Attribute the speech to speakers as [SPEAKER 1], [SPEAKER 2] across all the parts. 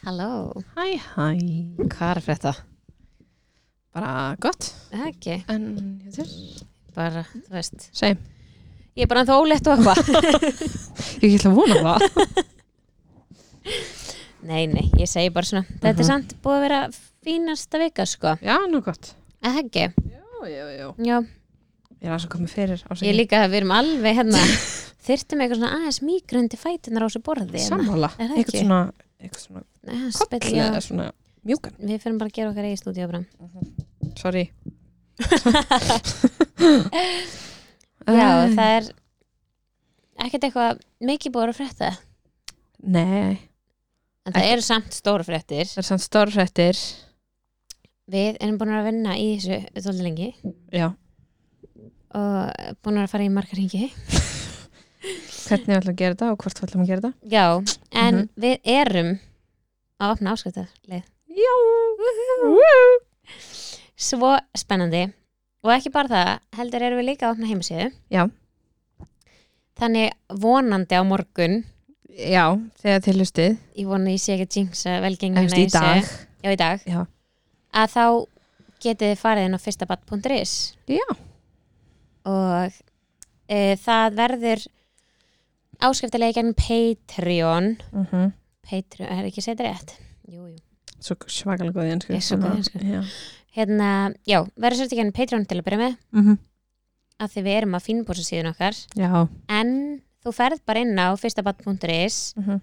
[SPEAKER 1] Halló,
[SPEAKER 2] Hæ, hæ.
[SPEAKER 1] hvað er fyrir þetta?
[SPEAKER 2] Bara gott.
[SPEAKER 1] Ekki,
[SPEAKER 2] En ég þér?
[SPEAKER 1] bara, þú veist
[SPEAKER 2] Segjum.
[SPEAKER 1] Ég er bara ennþá ólétt og eitthvað
[SPEAKER 2] Ég ætla að vona það.
[SPEAKER 1] Nei, nei, ég segi bara svona Þetta er
[SPEAKER 2] Mhm.
[SPEAKER 1] samt búið að vera fínasta vika, sko
[SPEAKER 2] Já, nú gott.
[SPEAKER 1] Ekki,
[SPEAKER 2] Já, já, já.
[SPEAKER 1] já,
[SPEAKER 2] Ég er aðeins að koma fyrir á
[SPEAKER 1] ég líka að við erum alveg hérna Þyrftum eitthvað svona aðeins mýgrundi fætunar á þessu borði hérna.
[SPEAKER 2] Sammála.
[SPEAKER 1] Er það
[SPEAKER 2] Eitthvað
[SPEAKER 1] ekki?
[SPEAKER 2] svona, eitthvað svona koll
[SPEAKER 1] Spilja,
[SPEAKER 2] eða svona mjúkan.
[SPEAKER 1] við fyrir bara að gera okkar eigin stúdíu bara
[SPEAKER 2] Sorry.
[SPEAKER 1] Já,
[SPEAKER 2] Æ,
[SPEAKER 1] það er ekkert eitthvað mikið búið að frétta
[SPEAKER 2] Nei,
[SPEAKER 1] en það eru samt stóra fréttir
[SPEAKER 2] það er sann stórfrættir.
[SPEAKER 1] Við erum búin að vinna í þessu þóldi lengi
[SPEAKER 2] Já.
[SPEAKER 1] og búin að fara í margar hengi
[SPEAKER 2] Hvernig við ætlum að gera þetta og hvort við ætlum að gera þetta?
[SPEAKER 1] Já, en
[SPEAKER 2] Mhm.
[SPEAKER 1] við erum að opna áskriftarleið
[SPEAKER 2] Já. Woo.
[SPEAKER 1] Svo spennandi og ekki bara það, heldur erum við líka að opna heimasíðu
[SPEAKER 2] Já.
[SPEAKER 1] Þannig vonandi á morgun
[SPEAKER 2] Já, þegar til hlustið.
[SPEAKER 1] ég vona að ég sé ekki að jinxa velgengina
[SPEAKER 2] Efst í
[SPEAKER 1] þessu.
[SPEAKER 2] dag.
[SPEAKER 1] Já, í dag
[SPEAKER 2] Já.
[SPEAKER 1] Að þá getið þið farið inn á fyrstabatt.is
[SPEAKER 2] Já.
[SPEAKER 1] og e, það verður áskriftarleið gegn Patreon
[SPEAKER 2] Mm
[SPEAKER 1] Patreon, er ekki að segja þetta rétt? Jú, jú
[SPEAKER 2] Svo svakalega góð í ennsku.
[SPEAKER 1] Ég er svo góð í ensku.
[SPEAKER 2] Já.
[SPEAKER 1] hérna, já, verður svolítið genið Patreon til að byrja með
[SPEAKER 2] Mm
[SPEAKER 1] af því við erum að fínbúsa síðan okkar
[SPEAKER 2] Já.
[SPEAKER 1] en þú ferð bara inn á fyrstabatt.is
[SPEAKER 2] Mhm.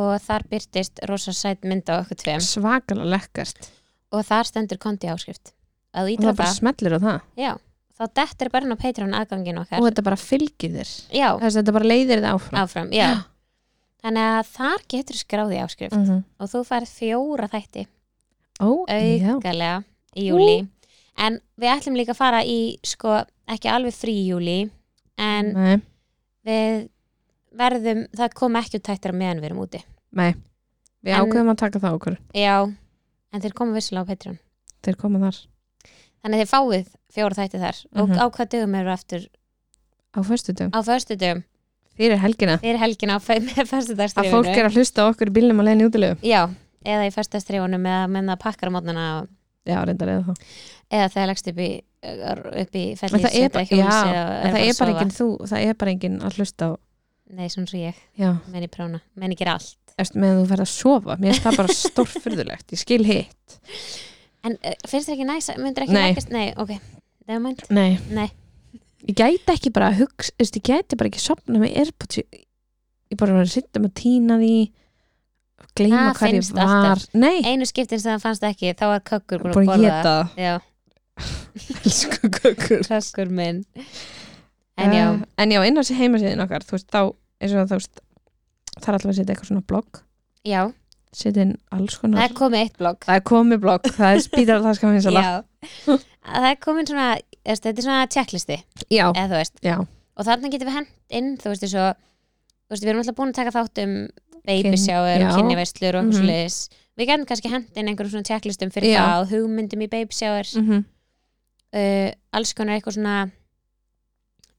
[SPEAKER 1] og þar byrtist rosa sæt mynd á okkur tveim
[SPEAKER 2] svakalega lekkert
[SPEAKER 1] og þar stendur konti áskrift að þú
[SPEAKER 2] og það
[SPEAKER 1] ítra
[SPEAKER 2] bara
[SPEAKER 1] það,
[SPEAKER 2] smellir á það
[SPEAKER 1] já, þá dettir bara inn á Patreon aðgangin
[SPEAKER 2] og
[SPEAKER 1] okkar
[SPEAKER 2] þetta bara fylgir þér
[SPEAKER 1] já,
[SPEAKER 2] Þess, þetta bara leiðir þið áfram
[SPEAKER 1] áfram, já þannig að þar getur skráði áskrift
[SPEAKER 2] mm -hmm.
[SPEAKER 1] og þú færð fjóra þætti
[SPEAKER 2] ó, já,
[SPEAKER 1] aukalega í júli en við ætlum líka að fara í sko, ekki alveg frí í júli en
[SPEAKER 2] nei,
[SPEAKER 1] við verðum, það kom ekki út tættir á meðan við erum úti
[SPEAKER 2] nei við
[SPEAKER 1] En-
[SPEAKER 2] ákveðum að taka það okkur
[SPEAKER 1] já, en þeir koma vissulega á Patreon
[SPEAKER 2] þeir koma þar
[SPEAKER 1] þannig að þeir fáið fjóra þætti þar
[SPEAKER 2] Mhm.
[SPEAKER 1] og á hvað dögum eru aftur
[SPEAKER 2] á föstudum,
[SPEAKER 1] á förstu dögum,
[SPEAKER 2] fyrir helgina
[SPEAKER 1] fyrir helgina á fe- með förstu
[SPEAKER 2] að fólk er
[SPEAKER 1] dagstrifunum
[SPEAKER 2] að hlusta á okkur í bílnum að leiðin í útilegu
[SPEAKER 1] já, eða í förstu dagstrifunum eða með það pakkar á mótnana og,
[SPEAKER 2] já, reyndar eða það
[SPEAKER 1] eða þegar leggst upp í upp í
[SPEAKER 2] en
[SPEAKER 1] fellið
[SPEAKER 2] það er, bara, já, en það er bara
[SPEAKER 1] ekki
[SPEAKER 2] engin þú, það er bara engin að hlusta á
[SPEAKER 1] nei, svona svo ég,
[SPEAKER 2] já,
[SPEAKER 1] menn í próna menn ekki allt
[SPEAKER 2] eftir meðan þú verð að sofa mér finnst það bara stórfyrðulegt, ég skil hitt
[SPEAKER 1] en uh, finnst þér ekki næs, myndir ekki
[SPEAKER 2] Nei.
[SPEAKER 1] leggast nei, ok, never mind
[SPEAKER 2] nei,
[SPEAKER 1] nei,
[SPEAKER 2] ég gæti ekki bara að hugsa, þú veist, ég gæti bara ekki sopna með airpods ég ég bara var að sitta með að týna því gleyma
[SPEAKER 1] Það
[SPEAKER 2] hvað ég
[SPEAKER 1] Ah, finnst
[SPEAKER 2] var
[SPEAKER 1] alltaf.
[SPEAKER 2] nei,
[SPEAKER 1] einu skiptin sem það fannst ekki þá var kökkur búin að
[SPEAKER 2] bara
[SPEAKER 1] borða
[SPEAKER 2] geta
[SPEAKER 1] Já,
[SPEAKER 2] elsku kökur
[SPEAKER 1] kraskur minn En já,
[SPEAKER 2] Eh, en já, inn á sér heimasíðin okkar þú veist, þá, eins og þú veist það er alltaf að setja eitthvað svona blogg
[SPEAKER 1] já,
[SPEAKER 2] setja inn alls
[SPEAKER 1] það
[SPEAKER 2] konar
[SPEAKER 1] er komið eitt blogg
[SPEAKER 2] það er komið blogg, það er spýtar það skal finnst að
[SPEAKER 1] Já, það er komin svona veist, þetta er svona checklisti
[SPEAKER 2] já,
[SPEAKER 1] eða, þú veist,
[SPEAKER 2] já,
[SPEAKER 1] og þarna getum við hent inn þú veist, svo, þú veist, við erum alltaf búin að taka þátt um
[SPEAKER 2] Kyn-
[SPEAKER 1] babysjáur
[SPEAKER 2] já.
[SPEAKER 1] og kynjaverslur og
[SPEAKER 2] Mhm.
[SPEAKER 1] mm við getum kannski hent inn einhverjum svona checklistum fyrir
[SPEAKER 2] Já.
[SPEAKER 1] það og hugmyndum í babysjáur
[SPEAKER 2] mm -hmm.
[SPEAKER 1] uh, alls konar eitthvað svona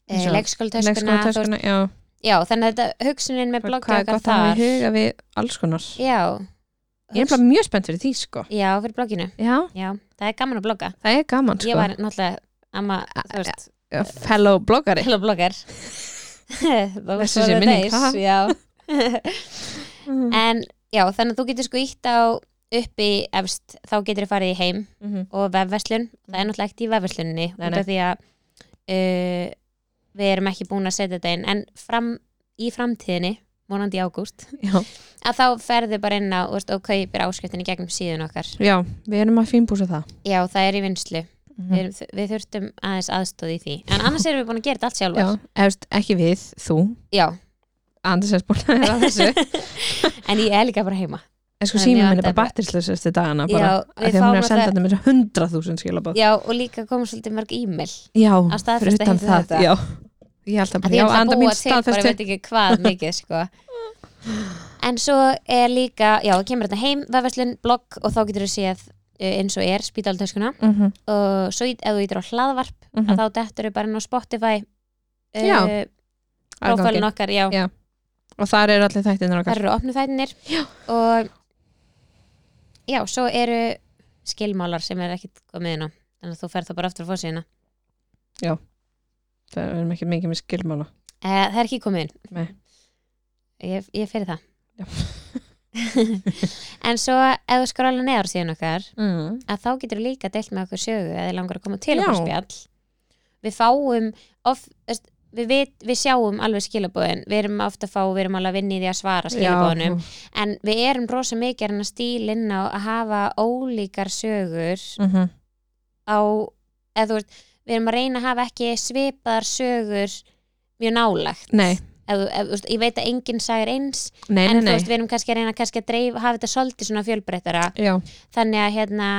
[SPEAKER 2] Eins
[SPEAKER 1] uh,
[SPEAKER 2] og
[SPEAKER 1] leikskólatöskuna þú veist-
[SPEAKER 2] já,
[SPEAKER 1] já, þannig að þetta hugsunin með
[SPEAKER 2] bara
[SPEAKER 1] bloggi
[SPEAKER 2] hvað er
[SPEAKER 1] okkar
[SPEAKER 2] gott að hafa
[SPEAKER 1] þar
[SPEAKER 2] í huga við alls konar
[SPEAKER 1] já,
[SPEAKER 2] ég er bara mjög spennt fyrir því, sko
[SPEAKER 1] já, fyrir blogginu
[SPEAKER 2] já,
[SPEAKER 1] Já, það er gaman að blogga.
[SPEAKER 2] það er gaman, sko
[SPEAKER 1] Ég var náttúrulega amma, þú veist,
[SPEAKER 2] fellow bloggari
[SPEAKER 1] hello blogger.
[SPEAKER 2] Blessuð sé minning, ha?
[SPEAKER 1] Já. en já, þannig að þú getur sko ítt á upp í efst, þá getur þið farið í heim
[SPEAKER 2] Mhm.
[SPEAKER 1] og vefverslun. Það er náttúrulega ekkert í vefversluninni
[SPEAKER 2] Mm. Nei,
[SPEAKER 1] út af því að uh, við erum ekki búin að setja þetta inn. En fram, í framtíðinni, vonandi í ágúst,
[SPEAKER 2] já.
[SPEAKER 1] að þá ferðu bara inn á þú veist, og kaupir áskriftinni gegnum síðun okkar.
[SPEAKER 2] já, við erum að fínbúsa það
[SPEAKER 1] Já, það er í vinslu.
[SPEAKER 2] Mhm.
[SPEAKER 1] við, erum- við þurftum aðeins aðstóð í því en annars erum við búin að gera þetta allt
[SPEAKER 2] já,
[SPEAKER 1] sjálfur
[SPEAKER 2] efst, ekki við, þú
[SPEAKER 1] já.
[SPEAKER 2] Anders er búin að vera að þessu
[SPEAKER 1] en ég er líka bara heima
[SPEAKER 2] en sko
[SPEAKER 1] En
[SPEAKER 2] símum
[SPEAKER 1] ég
[SPEAKER 2] minn er
[SPEAKER 1] vandaði
[SPEAKER 2] bara
[SPEAKER 1] bara-
[SPEAKER 2] batterisleisast í dagana bara,
[SPEAKER 1] já,
[SPEAKER 2] af
[SPEAKER 1] við
[SPEAKER 2] því að hún
[SPEAKER 1] fáum
[SPEAKER 2] er að senda
[SPEAKER 1] alltaf
[SPEAKER 2] um þetta með 100.000 skilabóð
[SPEAKER 1] já, og líka komum svolítið mörg e-mail
[SPEAKER 2] já,
[SPEAKER 1] Á staðfesta
[SPEAKER 2] fyrir utan
[SPEAKER 1] heitir
[SPEAKER 2] það
[SPEAKER 1] þetta.
[SPEAKER 2] já. ég held að
[SPEAKER 1] að
[SPEAKER 2] bara,
[SPEAKER 1] því
[SPEAKER 2] já,
[SPEAKER 1] að það
[SPEAKER 2] anda
[SPEAKER 1] búa
[SPEAKER 2] mín
[SPEAKER 1] til bara ég
[SPEAKER 2] staðfestu
[SPEAKER 1] veit ekki hvað mikið sko. en svo er líka já, það kemur þetta heim, vefverslun, blogg og þá getur við séð eh, eins og er spítaltöskuna
[SPEAKER 2] Mhm,
[SPEAKER 1] og svo í- ef þú ítir á hlaðvarp
[SPEAKER 2] mhm.
[SPEAKER 1] að þá dettur við bara inn á Spotify
[SPEAKER 2] Já,
[SPEAKER 1] profilin
[SPEAKER 2] Aðganginn.
[SPEAKER 1] okkar já,
[SPEAKER 2] og þar eru allir þættinir
[SPEAKER 1] þar
[SPEAKER 2] okkar
[SPEAKER 1] eru opnu þættinir og já, svo eru skilmálar sem er ekkit komið inn á þannig að þú ferð þá bara aftur á fórsíðina
[SPEAKER 2] það erum ekki mikið með skilmála
[SPEAKER 1] e, það er ekki komið inn
[SPEAKER 2] Nei.
[SPEAKER 1] ég, ég fyrir það
[SPEAKER 2] Já.
[SPEAKER 1] en svo ef þú skrála neðar síðan okkar
[SPEAKER 2] mm.
[SPEAKER 1] að þá getur líka deilt með okkur sögu eða langar að koma til
[SPEAKER 2] Já.
[SPEAKER 1] okkur spjall við fáum of, veist, við, við, við sjáum alveg skilabóðin við erum ofta að fá, við erum alveg að vinna í því að svara skilabóðinum en við erum rosa mikið en að stíla inn á að hafa ólíkar sögur
[SPEAKER 2] mm -hmm.
[SPEAKER 1] á, eða þú veist við erum að reyna að hafa ekki svipaðar sögur mjög nálægt
[SPEAKER 2] nei,
[SPEAKER 1] ef, þú- ef, þú veist, ég veit að enginn sagir eins
[SPEAKER 2] nei,
[SPEAKER 1] en
[SPEAKER 2] nei,
[SPEAKER 1] þú
[SPEAKER 2] nei.
[SPEAKER 1] veist, við erum kannski að reyna kannski að dreif, hafa þetta svolítið svona fjölbreyttara
[SPEAKER 2] Já,
[SPEAKER 1] þannig að hérna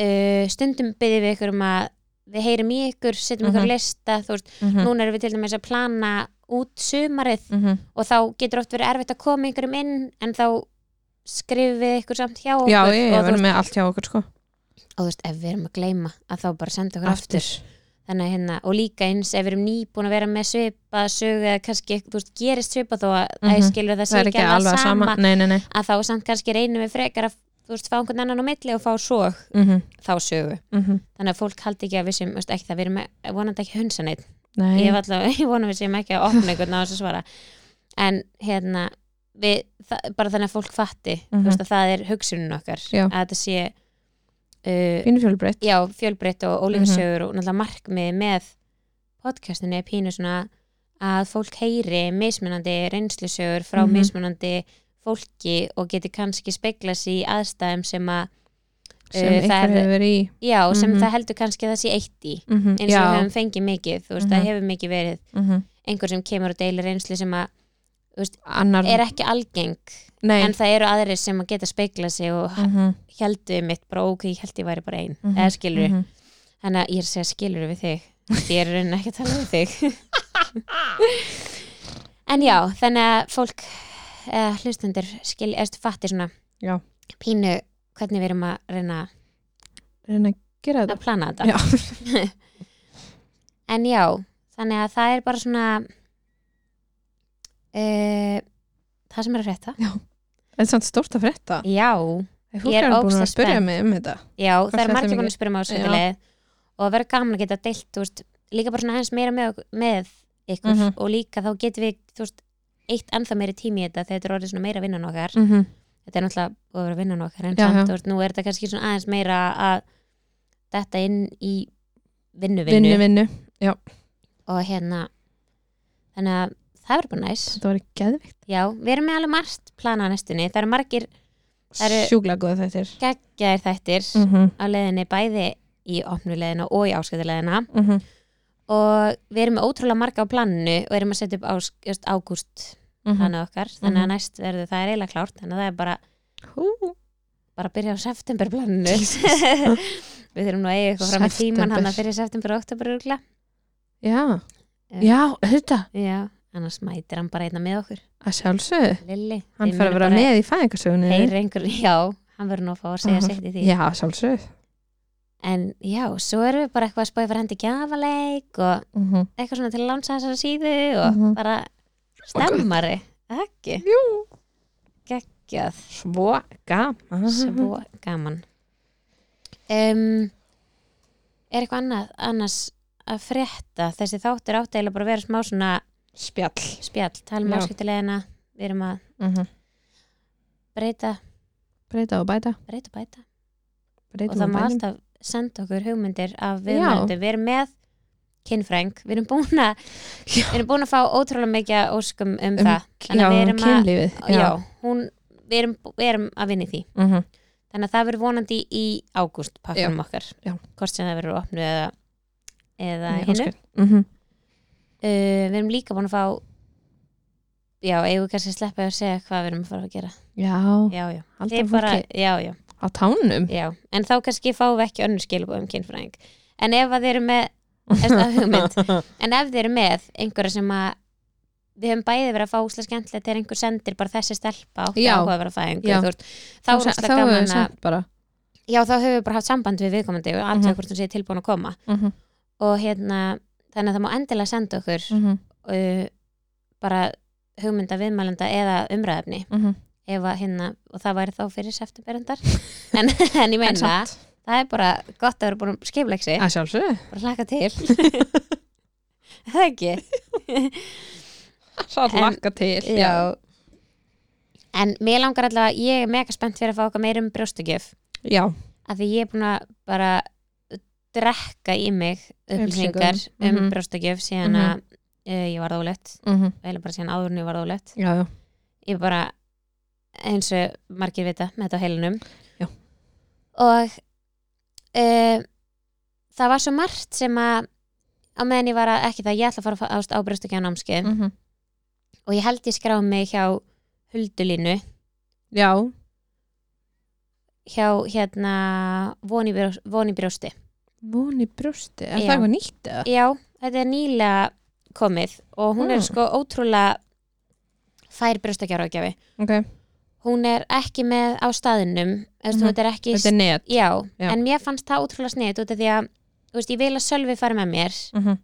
[SPEAKER 1] uh, stundum byggjum við ykkur um að við heyrum í ykkur, setjum ykkur
[SPEAKER 2] Mhm.
[SPEAKER 1] á lista þú veist,
[SPEAKER 2] mm -hmm.
[SPEAKER 1] núna erum við til dæmis að plana út sumarið
[SPEAKER 2] mm -hmm.
[SPEAKER 1] og þá getur oft verið erfitt að koma ykkurum inn en þá skrifum við ykkur samt hjá okkur
[SPEAKER 2] já, ég,
[SPEAKER 1] og,
[SPEAKER 2] ég
[SPEAKER 1] þú
[SPEAKER 2] verður
[SPEAKER 1] veist,
[SPEAKER 2] með allt hjá okkur sko
[SPEAKER 1] og þú veist, ef við erum að gleyma að þá bara senda okkur aftur, Þannig, að hérna, og líka eins ef við erum nýbúin að vera með svipa sögu eða kannski, þú veist, gerist svipa þó að mm
[SPEAKER 2] Mhm.
[SPEAKER 1] skilur það
[SPEAKER 2] það
[SPEAKER 1] sé
[SPEAKER 2] er ekki alveg að sama nei, nei, nei
[SPEAKER 1] að þá samt kannski reynum við frekar að þú veist, fá einhvern annan á milli og fá svo
[SPEAKER 2] mm -hmm.
[SPEAKER 1] þá sögu
[SPEAKER 2] mhm.
[SPEAKER 1] þannig að fólk haldi ekki að við sem, veist, ekki það við erum með- vonandi ekki hunsa neitt
[SPEAKER 2] nei.
[SPEAKER 1] ég, hef alltaf, ég vonum við sem ekki að opna einhvern á þessu svara en hérna við, það, bara þannig að fólk fatti
[SPEAKER 2] Mhm.
[SPEAKER 1] þú veist, að það er hugsunin okkar
[SPEAKER 2] Já.
[SPEAKER 1] að þetta sé uh,
[SPEAKER 2] Pínu fjölbreytt
[SPEAKER 1] já, fjölbreytt og ólíka
[SPEAKER 2] Mhm.
[SPEAKER 1] sögur og náttúrulega markmið með podcastinu er pínu svona að fólk heyri mismunandi reynslusögur frá
[SPEAKER 2] Mhm.
[SPEAKER 1] mismunandi fólki og geti kannski speglað sér í aðstæðum sem að
[SPEAKER 2] sem
[SPEAKER 1] eh, það
[SPEAKER 2] einhver
[SPEAKER 1] hefði-
[SPEAKER 2] hefur verið í
[SPEAKER 1] já, sem
[SPEAKER 2] Mhm.
[SPEAKER 1] það heldur kannski að það sé eitt í
[SPEAKER 2] mm -hmm.
[SPEAKER 1] eins og við höfum fengið mikið þú veist, það
[SPEAKER 2] Mhm.
[SPEAKER 1] hefur mikið verið einhver sem kemur og deilir reynslu sem að
[SPEAKER 2] annar
[SPEAKER 1] er ekki algeng
[SPEAKER 2] Mhm. nei,
[SPEAKER 1] en það eru aðrir sem að geta speikla sig og
[SPEAKER 2] mm -hmm.
[SPEAKER 1] heldur mitt bara ok, ég held ég væri bara ein
[SPEAKER 2] Mhm.
[SPEAKER 1] eða skilur,
[SPEAKER 2] Mm
[SPEAKER 1] þannig að ég er að segja skilur við þig ég er í rauninni ekki að tala við þig en já, þannig að fólk uh, hlustundur skil, eða fattir svona
[SPEAKER 2] Já.
[SPEAKER 1] pínu hvernig við erum að reyna
[SPEAKER 2] reyna að gera
[SPEAKER 1] að
[SPEAKER 2] þetta
[SPEAKER 1] plana þetta
[SPEAKER 2] já.
[SPEAKER 1] en já, þannig að það er bara svona uh, það sem er að frétta
[SPEAKER 2] þetta er samt stórt að frétta
[SPEAKER 1] já,
[SPEAKER 2] fólk
[SPEAKER 1] Ég er
[SPEAKER 2] er búin
[SPEAKER 1] ógeðslega
[SPEAKER 2] að spyrja
[SPEAKER 1] spennt.
[SPEAKER 2] mig um þetta
[SPEAKER 1] já
[SPEAKER 2] Hvað
[SPEAKER 1] það er
[SPEAKER 2] fréttum
[SPEAKER 1] margir
[SPEAKER 2] við
[SPEAKER 1] búin að spyrja mig á
[SPEAKER 2] Já.
[SPEAKER 1] svolítið og það verður gaman að geta deilt þú veist, líka bara svona aðeins meira með, ok- með ykkur
[SPEAKER 2] Mhm.
[SPEAKER 1] og líka þá getum við þú veist, eitt ennþá meiri tími í þetta þegar þetta er orðið svona meira vinnan okkar
[SPEAKER 2] mm -hmm.
[SPEAKER 1] þetta er náttúrulega búið að vera vinnan okkar en
[SPEAKER 2] Já, já.
[SPEAKER 1] samt, þú veist, nú er þetta kannski svona aðeins meira að detta inn í vinnu-vinnu
[SPEAKER 2] vinnu, vinnu,
[SPEAKER 1] og hérna þannig að það verður bara næs
[SPEAKER 2] þetta var geðvikt
[SPEAKER 1] Já, við erum með alveg margt planað á næstunni. Það eru margir Það eru- Mhm.
[SPEAKER 2] sjúklega góð þetta er
[SPEAKER 1] geggjaðir þættir
[SPEAKER 2] mm -hmm.
[SPEAKER 1] á leiðinni bæði í opnuleiðina og í áskættuleiðina
[SPEAKER 2] Mm -hmm.
[SPEAKER 1] og við erum með ótrúlega marga á planinu og erum að setja upp ás, just ágúst
[SPEAKER 2] Mm
[SPEAKER 1] hana okkar, þannig að næst verður það er eiginlega klárt, þannig að það er bara,
[SPEAKER 2] -hmm.
[SPEAKER 1] bara að byrja á september planinu Við þurfum nú að eiga eitthvað fram í tíman
[SPEAKER 2] September.
[SPEAKER 1] hana fyrir september og oktober örgla
[SPEAKER 2] já,
[SPEAKER 1] Eh.
[SPEAKER 2] já, þetta
[SPEAKER 1] Já, annars mætir hann bara einna með okkur
[SPEAKER 2] að sjálfsögðu,
[SPEAKER 1] Lilli,
[SPEAKER 2] hann
[SPEAKER 1] við
[SPEAKER 2] fær að
[SPEAKER 1] munum
[SPEAKER 2] vera
[SPEAKER 1] bara
[SPEAKER 2] með í fæðingarsögunni
[SPEAKER 1] heyra einhver, já, hann verður nú að fá að segja
[SPEAKER 2] Aha.
[SPEAKER 1] sitt í því
[SPEAKER 2] já, sjálfsögðu
[SPEAKER 1] En já, svo erum við bara eitthvað að spáði fyrir hendi gjafaleik og
[SPEAKER 2] mm -hmm.
[SPEAKER 1] eitthvað svona til að lánsa þessara síðu og
[SPEAKER 2] Mhm.
[SPEAKER 1] bara stemmari, ekki?
[SPEAKER 2] jú,
[SPEAKER 1] Gjöð,
[SPEAKER 2] svo gaman
[SPEAKER 1] svo gaman. Um, er eitthvað annað, annars að frétta? Þessi þáttur áttægilega bara að vera smá svona
[SPEAKER 2] spjall
[SPEAKER 1] spjall, tala um
[SPEAKER 2] Já.
[SPEAKER 1] áskiptilegina, við erum að
[SPEAKER 2] mm -hmm.
[SPEAKER 1] breyta,
[SPEAKER 2] breyta og bæta,
[SPEAKER 1] breyta og bæta
[SPEAKER 2] breyta
[SPEAKER 1] og það má alltaf senda okkur hugmyndir af
[SPEAKER 2] Já.
[SPEAKER 1] viðmjöndum, við erum með kynfræng, við erum búin að
[SPEAKER 2] Já.
[SPEAKER 1] við erum búin að fá ótrúlega mikið óskum um,
[SPEAKER 2] Um-
[SPEAKER 1] það, þannig
[SPEAKER 2] já,
[SPEAKER 1] að við erum að
[SPEAKER 2] kynlífið
[SPEAKER 1] já, Mhm. hún, við, erum, við erum að vinna í því
[SPEAKER 2] Mm -hmm.
[SPEAKER 1] þannig að það verður vonandi í ágúst pakkanum okkar,
[SPEAKER 2] Já.
[SPEAKER 1] hvort sem það verður opnu eða, eða hinu uh,
[SPEAKER 2] mm -hmm.
[SPEAKER 1] Eh, við erum líka búin að fá já, eigum við kannski að sleppa að segja hvað við erum að fara að gera
[SPEAKER 2] já,
[SPEAKER 1] já, já,
[SPEAKER 2] halda
[SPEAKER 1] Þið
[SPEAKER 2] fólki
[SPEAKER 1] bara, já, já
[SPEAKER 2] á tánum
[SPEAKER 1] Já, en þá kannski fáum við ekki önnur skilabóð um kynfræðing en ef að þeir eru með er það hugmynd, en ef þeir eru með einhverja sem að við höfum bæði verið að fá úslega skemmtilegt þegar einhver sendir bara þessi stelpa átti
[SPEAKER 2] Já.
[SPEAKER 1] áhuga að vera að fæða
[SPEAKER 2] Já.
[SPEAKER 1] einhver veist, þá er
[SPEAKER 2] sa-
[SPEAKER 1] úslega gaman
[SPEAKER 2] höfum
[SPEAKER 1] að
[SPEAKER 2] við sagt bara
[SPEAKER 1] já þá höfum við bara haft samband við viðkomandi og alltaf
[SPEAKER 2] Mhm.
[SPEAKER 1] hvort hún sé tilbúin að koma
[SPEAKER 2] mm -hmm.
[SPEAKER 1] og hérna, þannig að það má endilega senda okkur
[SPEAKER 2] Mm -hmm.
[SPEAKER 1] uh, bara hugmynda viðmælenda eh, eða umræðefni
[SPEAKER 2] Mm -hmm.
[SPEAKER 1] ef ef að hérna, og það væri þá fyrir septemberendar en, en Ah. ég meina, það, það er bara gott að vera búin að skipleik sig
[SPEAKER 2] að sjálfsög
[SPEAKER 1] bara hlaka til Er það ekki
[SPEAKER 2] svo
[SPEAKER 1] En-
[SPEAKER 2] lakka til já.
[SPEAKER 1] en mér langar allavega, ég er mega spennt fyrir að fá okkar meira um brjóstugjöf
[SPEAKER 2] já,
[SPEAKER 1] af því ég er búin að bara drekka í mig upplýsingar
[SPEAKER 2] Upplýsingar,
[SPEAKER 1] um
[SPEAKER 2] mhm.
[SPEAKER 1] brjóstagjöf síðan að uh, ég varð ólegt
[SPEAKER 2] mhm,
[SPEAKER 1] eða bara síðan áður en ég varð ólegt
[SPEAKER 2] já, já.
[SPEAKER 1] ég bara eins og margir vita með þetta á heilinum
[SPEAKER 2] Já.
[SPEAKER 1] og uh, það var svo margt sem að á meðan ég var að, ekki það, ég ætla að fara að fá- ást á brjóstagjöf námskeið
[SPEAKER 2] Mhm.
[SPEAKER 1] og ég held ég skrá mig hjá huldulínu
[SPEAKER 2] já,
[SPEAKER 1] hjá hérna voni, brjó, voni brjósti
[SPEAKER 2] voni brjósti er
[SPEAKER 1] Já.
[SPEAKER 2] það eitthvað nýtt eða?
[SPEAKER 1] Já, þetta er nýlega komið og hún er
[SPEAKER 2] Mm.
[SPEAKER 1] sko ótrúlega fær brjóstakjáraugjafi
[SPEAKER 2] ok,
[SPEAKER 1] hún er ekki með á staðinum mm
[SPEAKER 2] Mhm.
[SPEAKER 1] -hmm. þetta er ekki
[SPEAKER 2] þetta er net
[SPEAKER 1] já,
[SPEAKER 2] Já.
[SPEAKER 1] en mér fannst það ótrúlega sniðt út af því að þú veist, ég vil að Sölvi fara með mér
[SPEAKER 2] Mhm.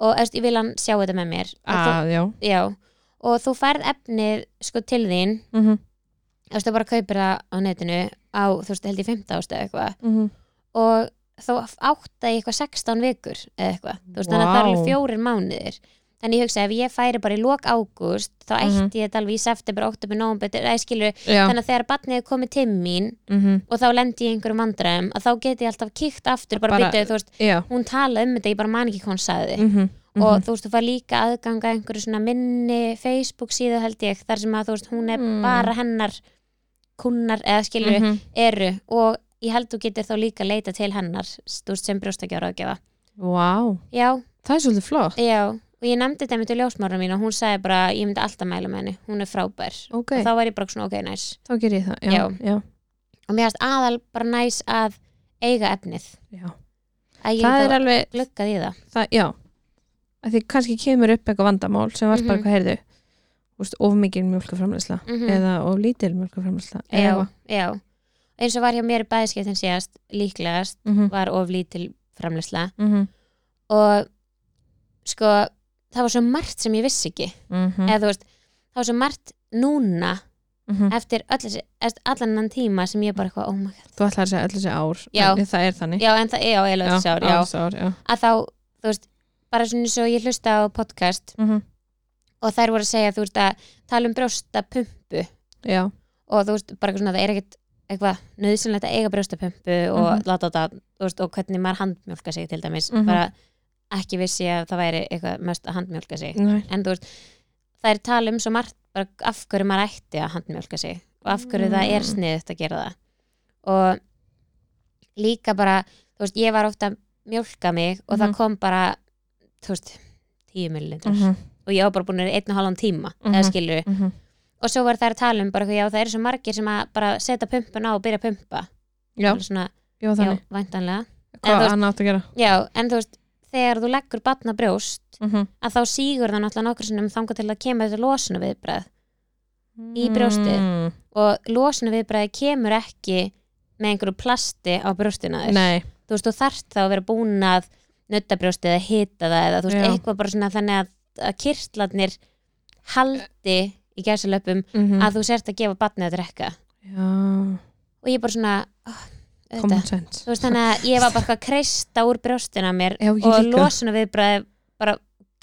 [SPEAKER 1] og þú veist, ég vil hann sjá þetta með mér Og þú,
[SPEAKER 2] að, Ah, já
[SPEAKER 1] já, og þú færð efnið sko til þín
[SPEAKER 2] mhm,
[SPEAKER 1] þú veist, þú bara kaupir það á netinu á, þú veist, held ég 15 ást eða eitthvað
[SPEAKER 2] mhm,
[SPEAKER 1] og þá átta ég eitthvað 16 vikur eða eitthvað, þú veist, þannig að það er
[SPEAKER 2] Vá.
[SPEAKER 1] alveg fjórir mánuðir þannig ég hugsa ef ég færi bara í lok ágúst þá ætti
[SPEAKER 2] Mhm.
[SPEAKER 1] ég þetta alveg í september, oktober, november eða skilur,
[SPEAKER 2] já,
[SPEAKER 1] þannig að þegar barnið er komið til mín
[SPEAKER 2] mhm,
[SPEAKER 1] og þá lendi ég í einhverjum vandræðum að þá geti ég alltaf kíkt aftur bara,
[SPEAKER 2] Bara-
[SPEAKER 1] bara þú veist,
[SPEAKER 2] já
[SPEAKER 1] hún talaði um þetta, ég bara man ekki hvað hún sagði
[SPEAKER 2] mhm, mhm,
[SPEAKER 1] og þú veist, þú fær líka aðganga einhverju svona minni Facebook síðu held ég þar sem að þú veist, hún er
[SPEAKER 2] Mm.
[SPEAKER 1] bara hennar kunnar eða skilur
[SPEAKER 2] mhm.
[SPEAKER 1] eru og ég held þú getur þá líka leita til hennar stúrst sem brjóstakjára ágefa
[SPEAKER 2] Vá,
[SPEAKER 1] já,
[SPEAKER 2] það er svolítið flott
[SPEAKER 1] já, og ég nefndi þetta með til ljósmára mín og hún sagði bara, ég myndi alltaf mæla með henni hún er frábær,
[SPEAKER 2] Ok,
[SPEAKER 1] og þá var ég bara svona ok, næs
[SPEAKER 2] þá ger ég það Já,
[SPEAKER 1] Já.
[SPEAKER 2] já, já,
[SPEAKER 1] og mér finnst aðal bara næs að eiga efnið, að ég
[SPEAKER 2] Það er
[SPEAKER 1] þá
[SPEAKER 2] alveg,
[SPEAKER 1] gluggað í það
[SPEAKER 2] það, já að Því kannski kemur upp eitthvað vandamál sem varst bara
[SPEAKER 1] Mhm.
[SPEAKER 2] hvað heyrðu Þú veist, of mikil mjölkaframleysla
[SPEAKER 1] mm
[SPEAKER 2] eða of lítil mjölkaframleysla
[SPEAKER 1] já, já, eins og var hjá mér bæðiskeptin síðast, líklegast
[SPEAKER 2] Mhm.
[SPEAKER 1] var of lítil framleysla og sko, það var svo margt sem ég vissi ekki,
[SPEAKER 2] Mhm. Mm.
[SPEAKER 1] eða þú veist það var svo margt núna
[SPEAKER 2] Mhm. Mm.
[SPEAKER 1] eftir öll þessi- eftir allan annan tíma sem ég bara eitthvað, oh my god
[SPEAKER 2] Þú ætlar að segja öll þessi ár
[SPEAKER 1] Já.
[SPEAKER 2] en Það er þannig
[SPEAKER 1] já, en það, já, ég lögði sár, já
[SPEAKER 2] ár, já
[SPEAKER 1] að þá, þú veist, bara svona eins og ég hlusta á podcast
[SPEAKER 2] Mhm.
[SPEAKER 1] og þær voru að segja, þú veist, að tala um brjóstapumpu
[SPEAKER 2] Já,
[SPEAKER 1] og þú veist, bara eitthvað svona, það er ekkert eitthvað nöðsynlegt að eiga brjóstapumpu og
[SPEAKER 2] Mhm.
[SPEAKER 1] láta þetta, þú veist, og hvernig maður handmjólka sig til dæmis,
[SPEAKER 2] Mhm.
[SPEAKER 1] bara ekki vissi ég að það væri eitthvað mest að handmjólka sig
[SPEAKER 2] næ,
[SPEAKER 1] en þú veist, það er tala um svo margt bara af hverju maður ætti að handmjölka sig og af hverju það er
[SPEAKER 2] Mm.
[SPEAKER 1] sniðut að gera það og líka bara, þú veist, ég var ofta að mjölka mig og
[SPEAKER 2] Mhm.
[SPEAKER 1] það kom bara þú veist, 10 millilitrar
[SPEAKER 2] Mhm,
[SPEAKER 1] og ég var bara búin að vera einn og halvan tíma
[SPEAKER 2] Mhm.
[SPEAKER 1] eða skilur,
[SPEAKER 2] mhm.
[SPEAKER 1] og svo var það að tala um bara, eitthvað, já, það eru svo margir sem að bara setja pumpun á og byrja að pumpa
[SPEAKER 2] já,
[SPEAKER 1] Alveg svona,
[SPEAKER 2] já,
[SPEAKER 1] já,
[SPEAKER 2] þannig
[SPEAKER 1] væntanlega En þú
[SPEAKER 2] Hvað
[SPEAKER 1] veist-
[SPEAKER 2] annað átt að gera
[SPEAKER 1] já, en þú veist, þegar þú leggur batna brjóst
[SPEAKER 2] Mhm.
[SPEAKER 1] að þá sígur það náttúrulega nokkur sinnum þangað til að kemur þetta losuna viðbræð Í brjóstið.
[SPEAKER 2] Mm,
[SPEAKER 1] og losinu viðbræði kemur ekki með einhverju plasti á brjóstina þér
[SPEAKER 2] Nei,
[SPEAKER 1] þú veist, þú þarft þá að vera búin að nutta brjóstið eða hita það eða þú veist,
[SPEAKER 2] Já.
[SPEAKER 1] eitthvað bara svona þannig að, að kyrtlarnir haldi í gæsalöpum
[SPEAKER 2] mhm.
[SPEAKER 1] að þú sért að gefa batnið að drekka
[SPEAKER 2] já
[SPEAKER 1] og ég bara svona oh,
[SPEAKER 2] Common
[SPEAKER 1] auðvitað.
[SPEAKER 2] sense
[SPEAKER 1] þú veist, þannig að ég var bara eitthvað að kreista úr brjóstina á mér
[SPEAKER 2] Já, ég
[SPEAKER 1] og
[SPEAKER 2] líka.
[SPEAKER 1] losinu viðbræði bara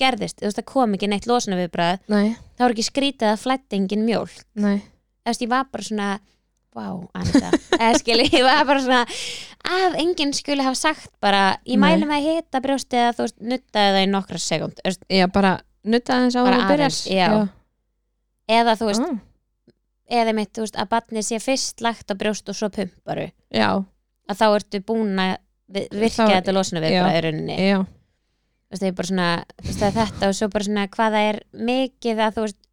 [SPEAKER 1] gerðist, þú veist, það kom ekki neitt losinu viðbræði
[SPEAKER 2] Nei,
[SPEAKER 1] þá var ekki skrítið að flætti engin mjól
[SPEAKER 2] nei
[SPEAKER 1] eftir ég var bara svona vá, Anita, eða skil ég var bara svona, að enginn skuli hafa sagt bara, ég
[SPEAKER 2] Nei.
[SPEAKER 1] mæli með að hita brjóstið að þú veist, nuttaði það í nokkra sekund Þú veist,
[SPEAKER 2] Já, bara nutta aðeins á
[SPEAKER 1] Bara
[SPEAKER 2] að byrja
[SPEAKER 1] aðeins, já. eða þú veist,
[SPEAKER 2] ah,
[SPEAKER 1] eða mitt, þú veist, að barnið sé fyrst lagt á brjóst og svo pumparu
[SPEAKER 2] já,
[SPEAKER 1] að þá ertu búin að vi- virkja
[SPEAKER 2] Þá-
[SPEAKER 1] þetta losna við
[SPEAKER 2] já.
[SPEAKER 1] bara í rauninni
[SPEAKER 2] já,
[SPEAKER 1] Þú veist, það er bara svona, þú veist, það er þetta og svo bara svona hvað það er mikið að þú veist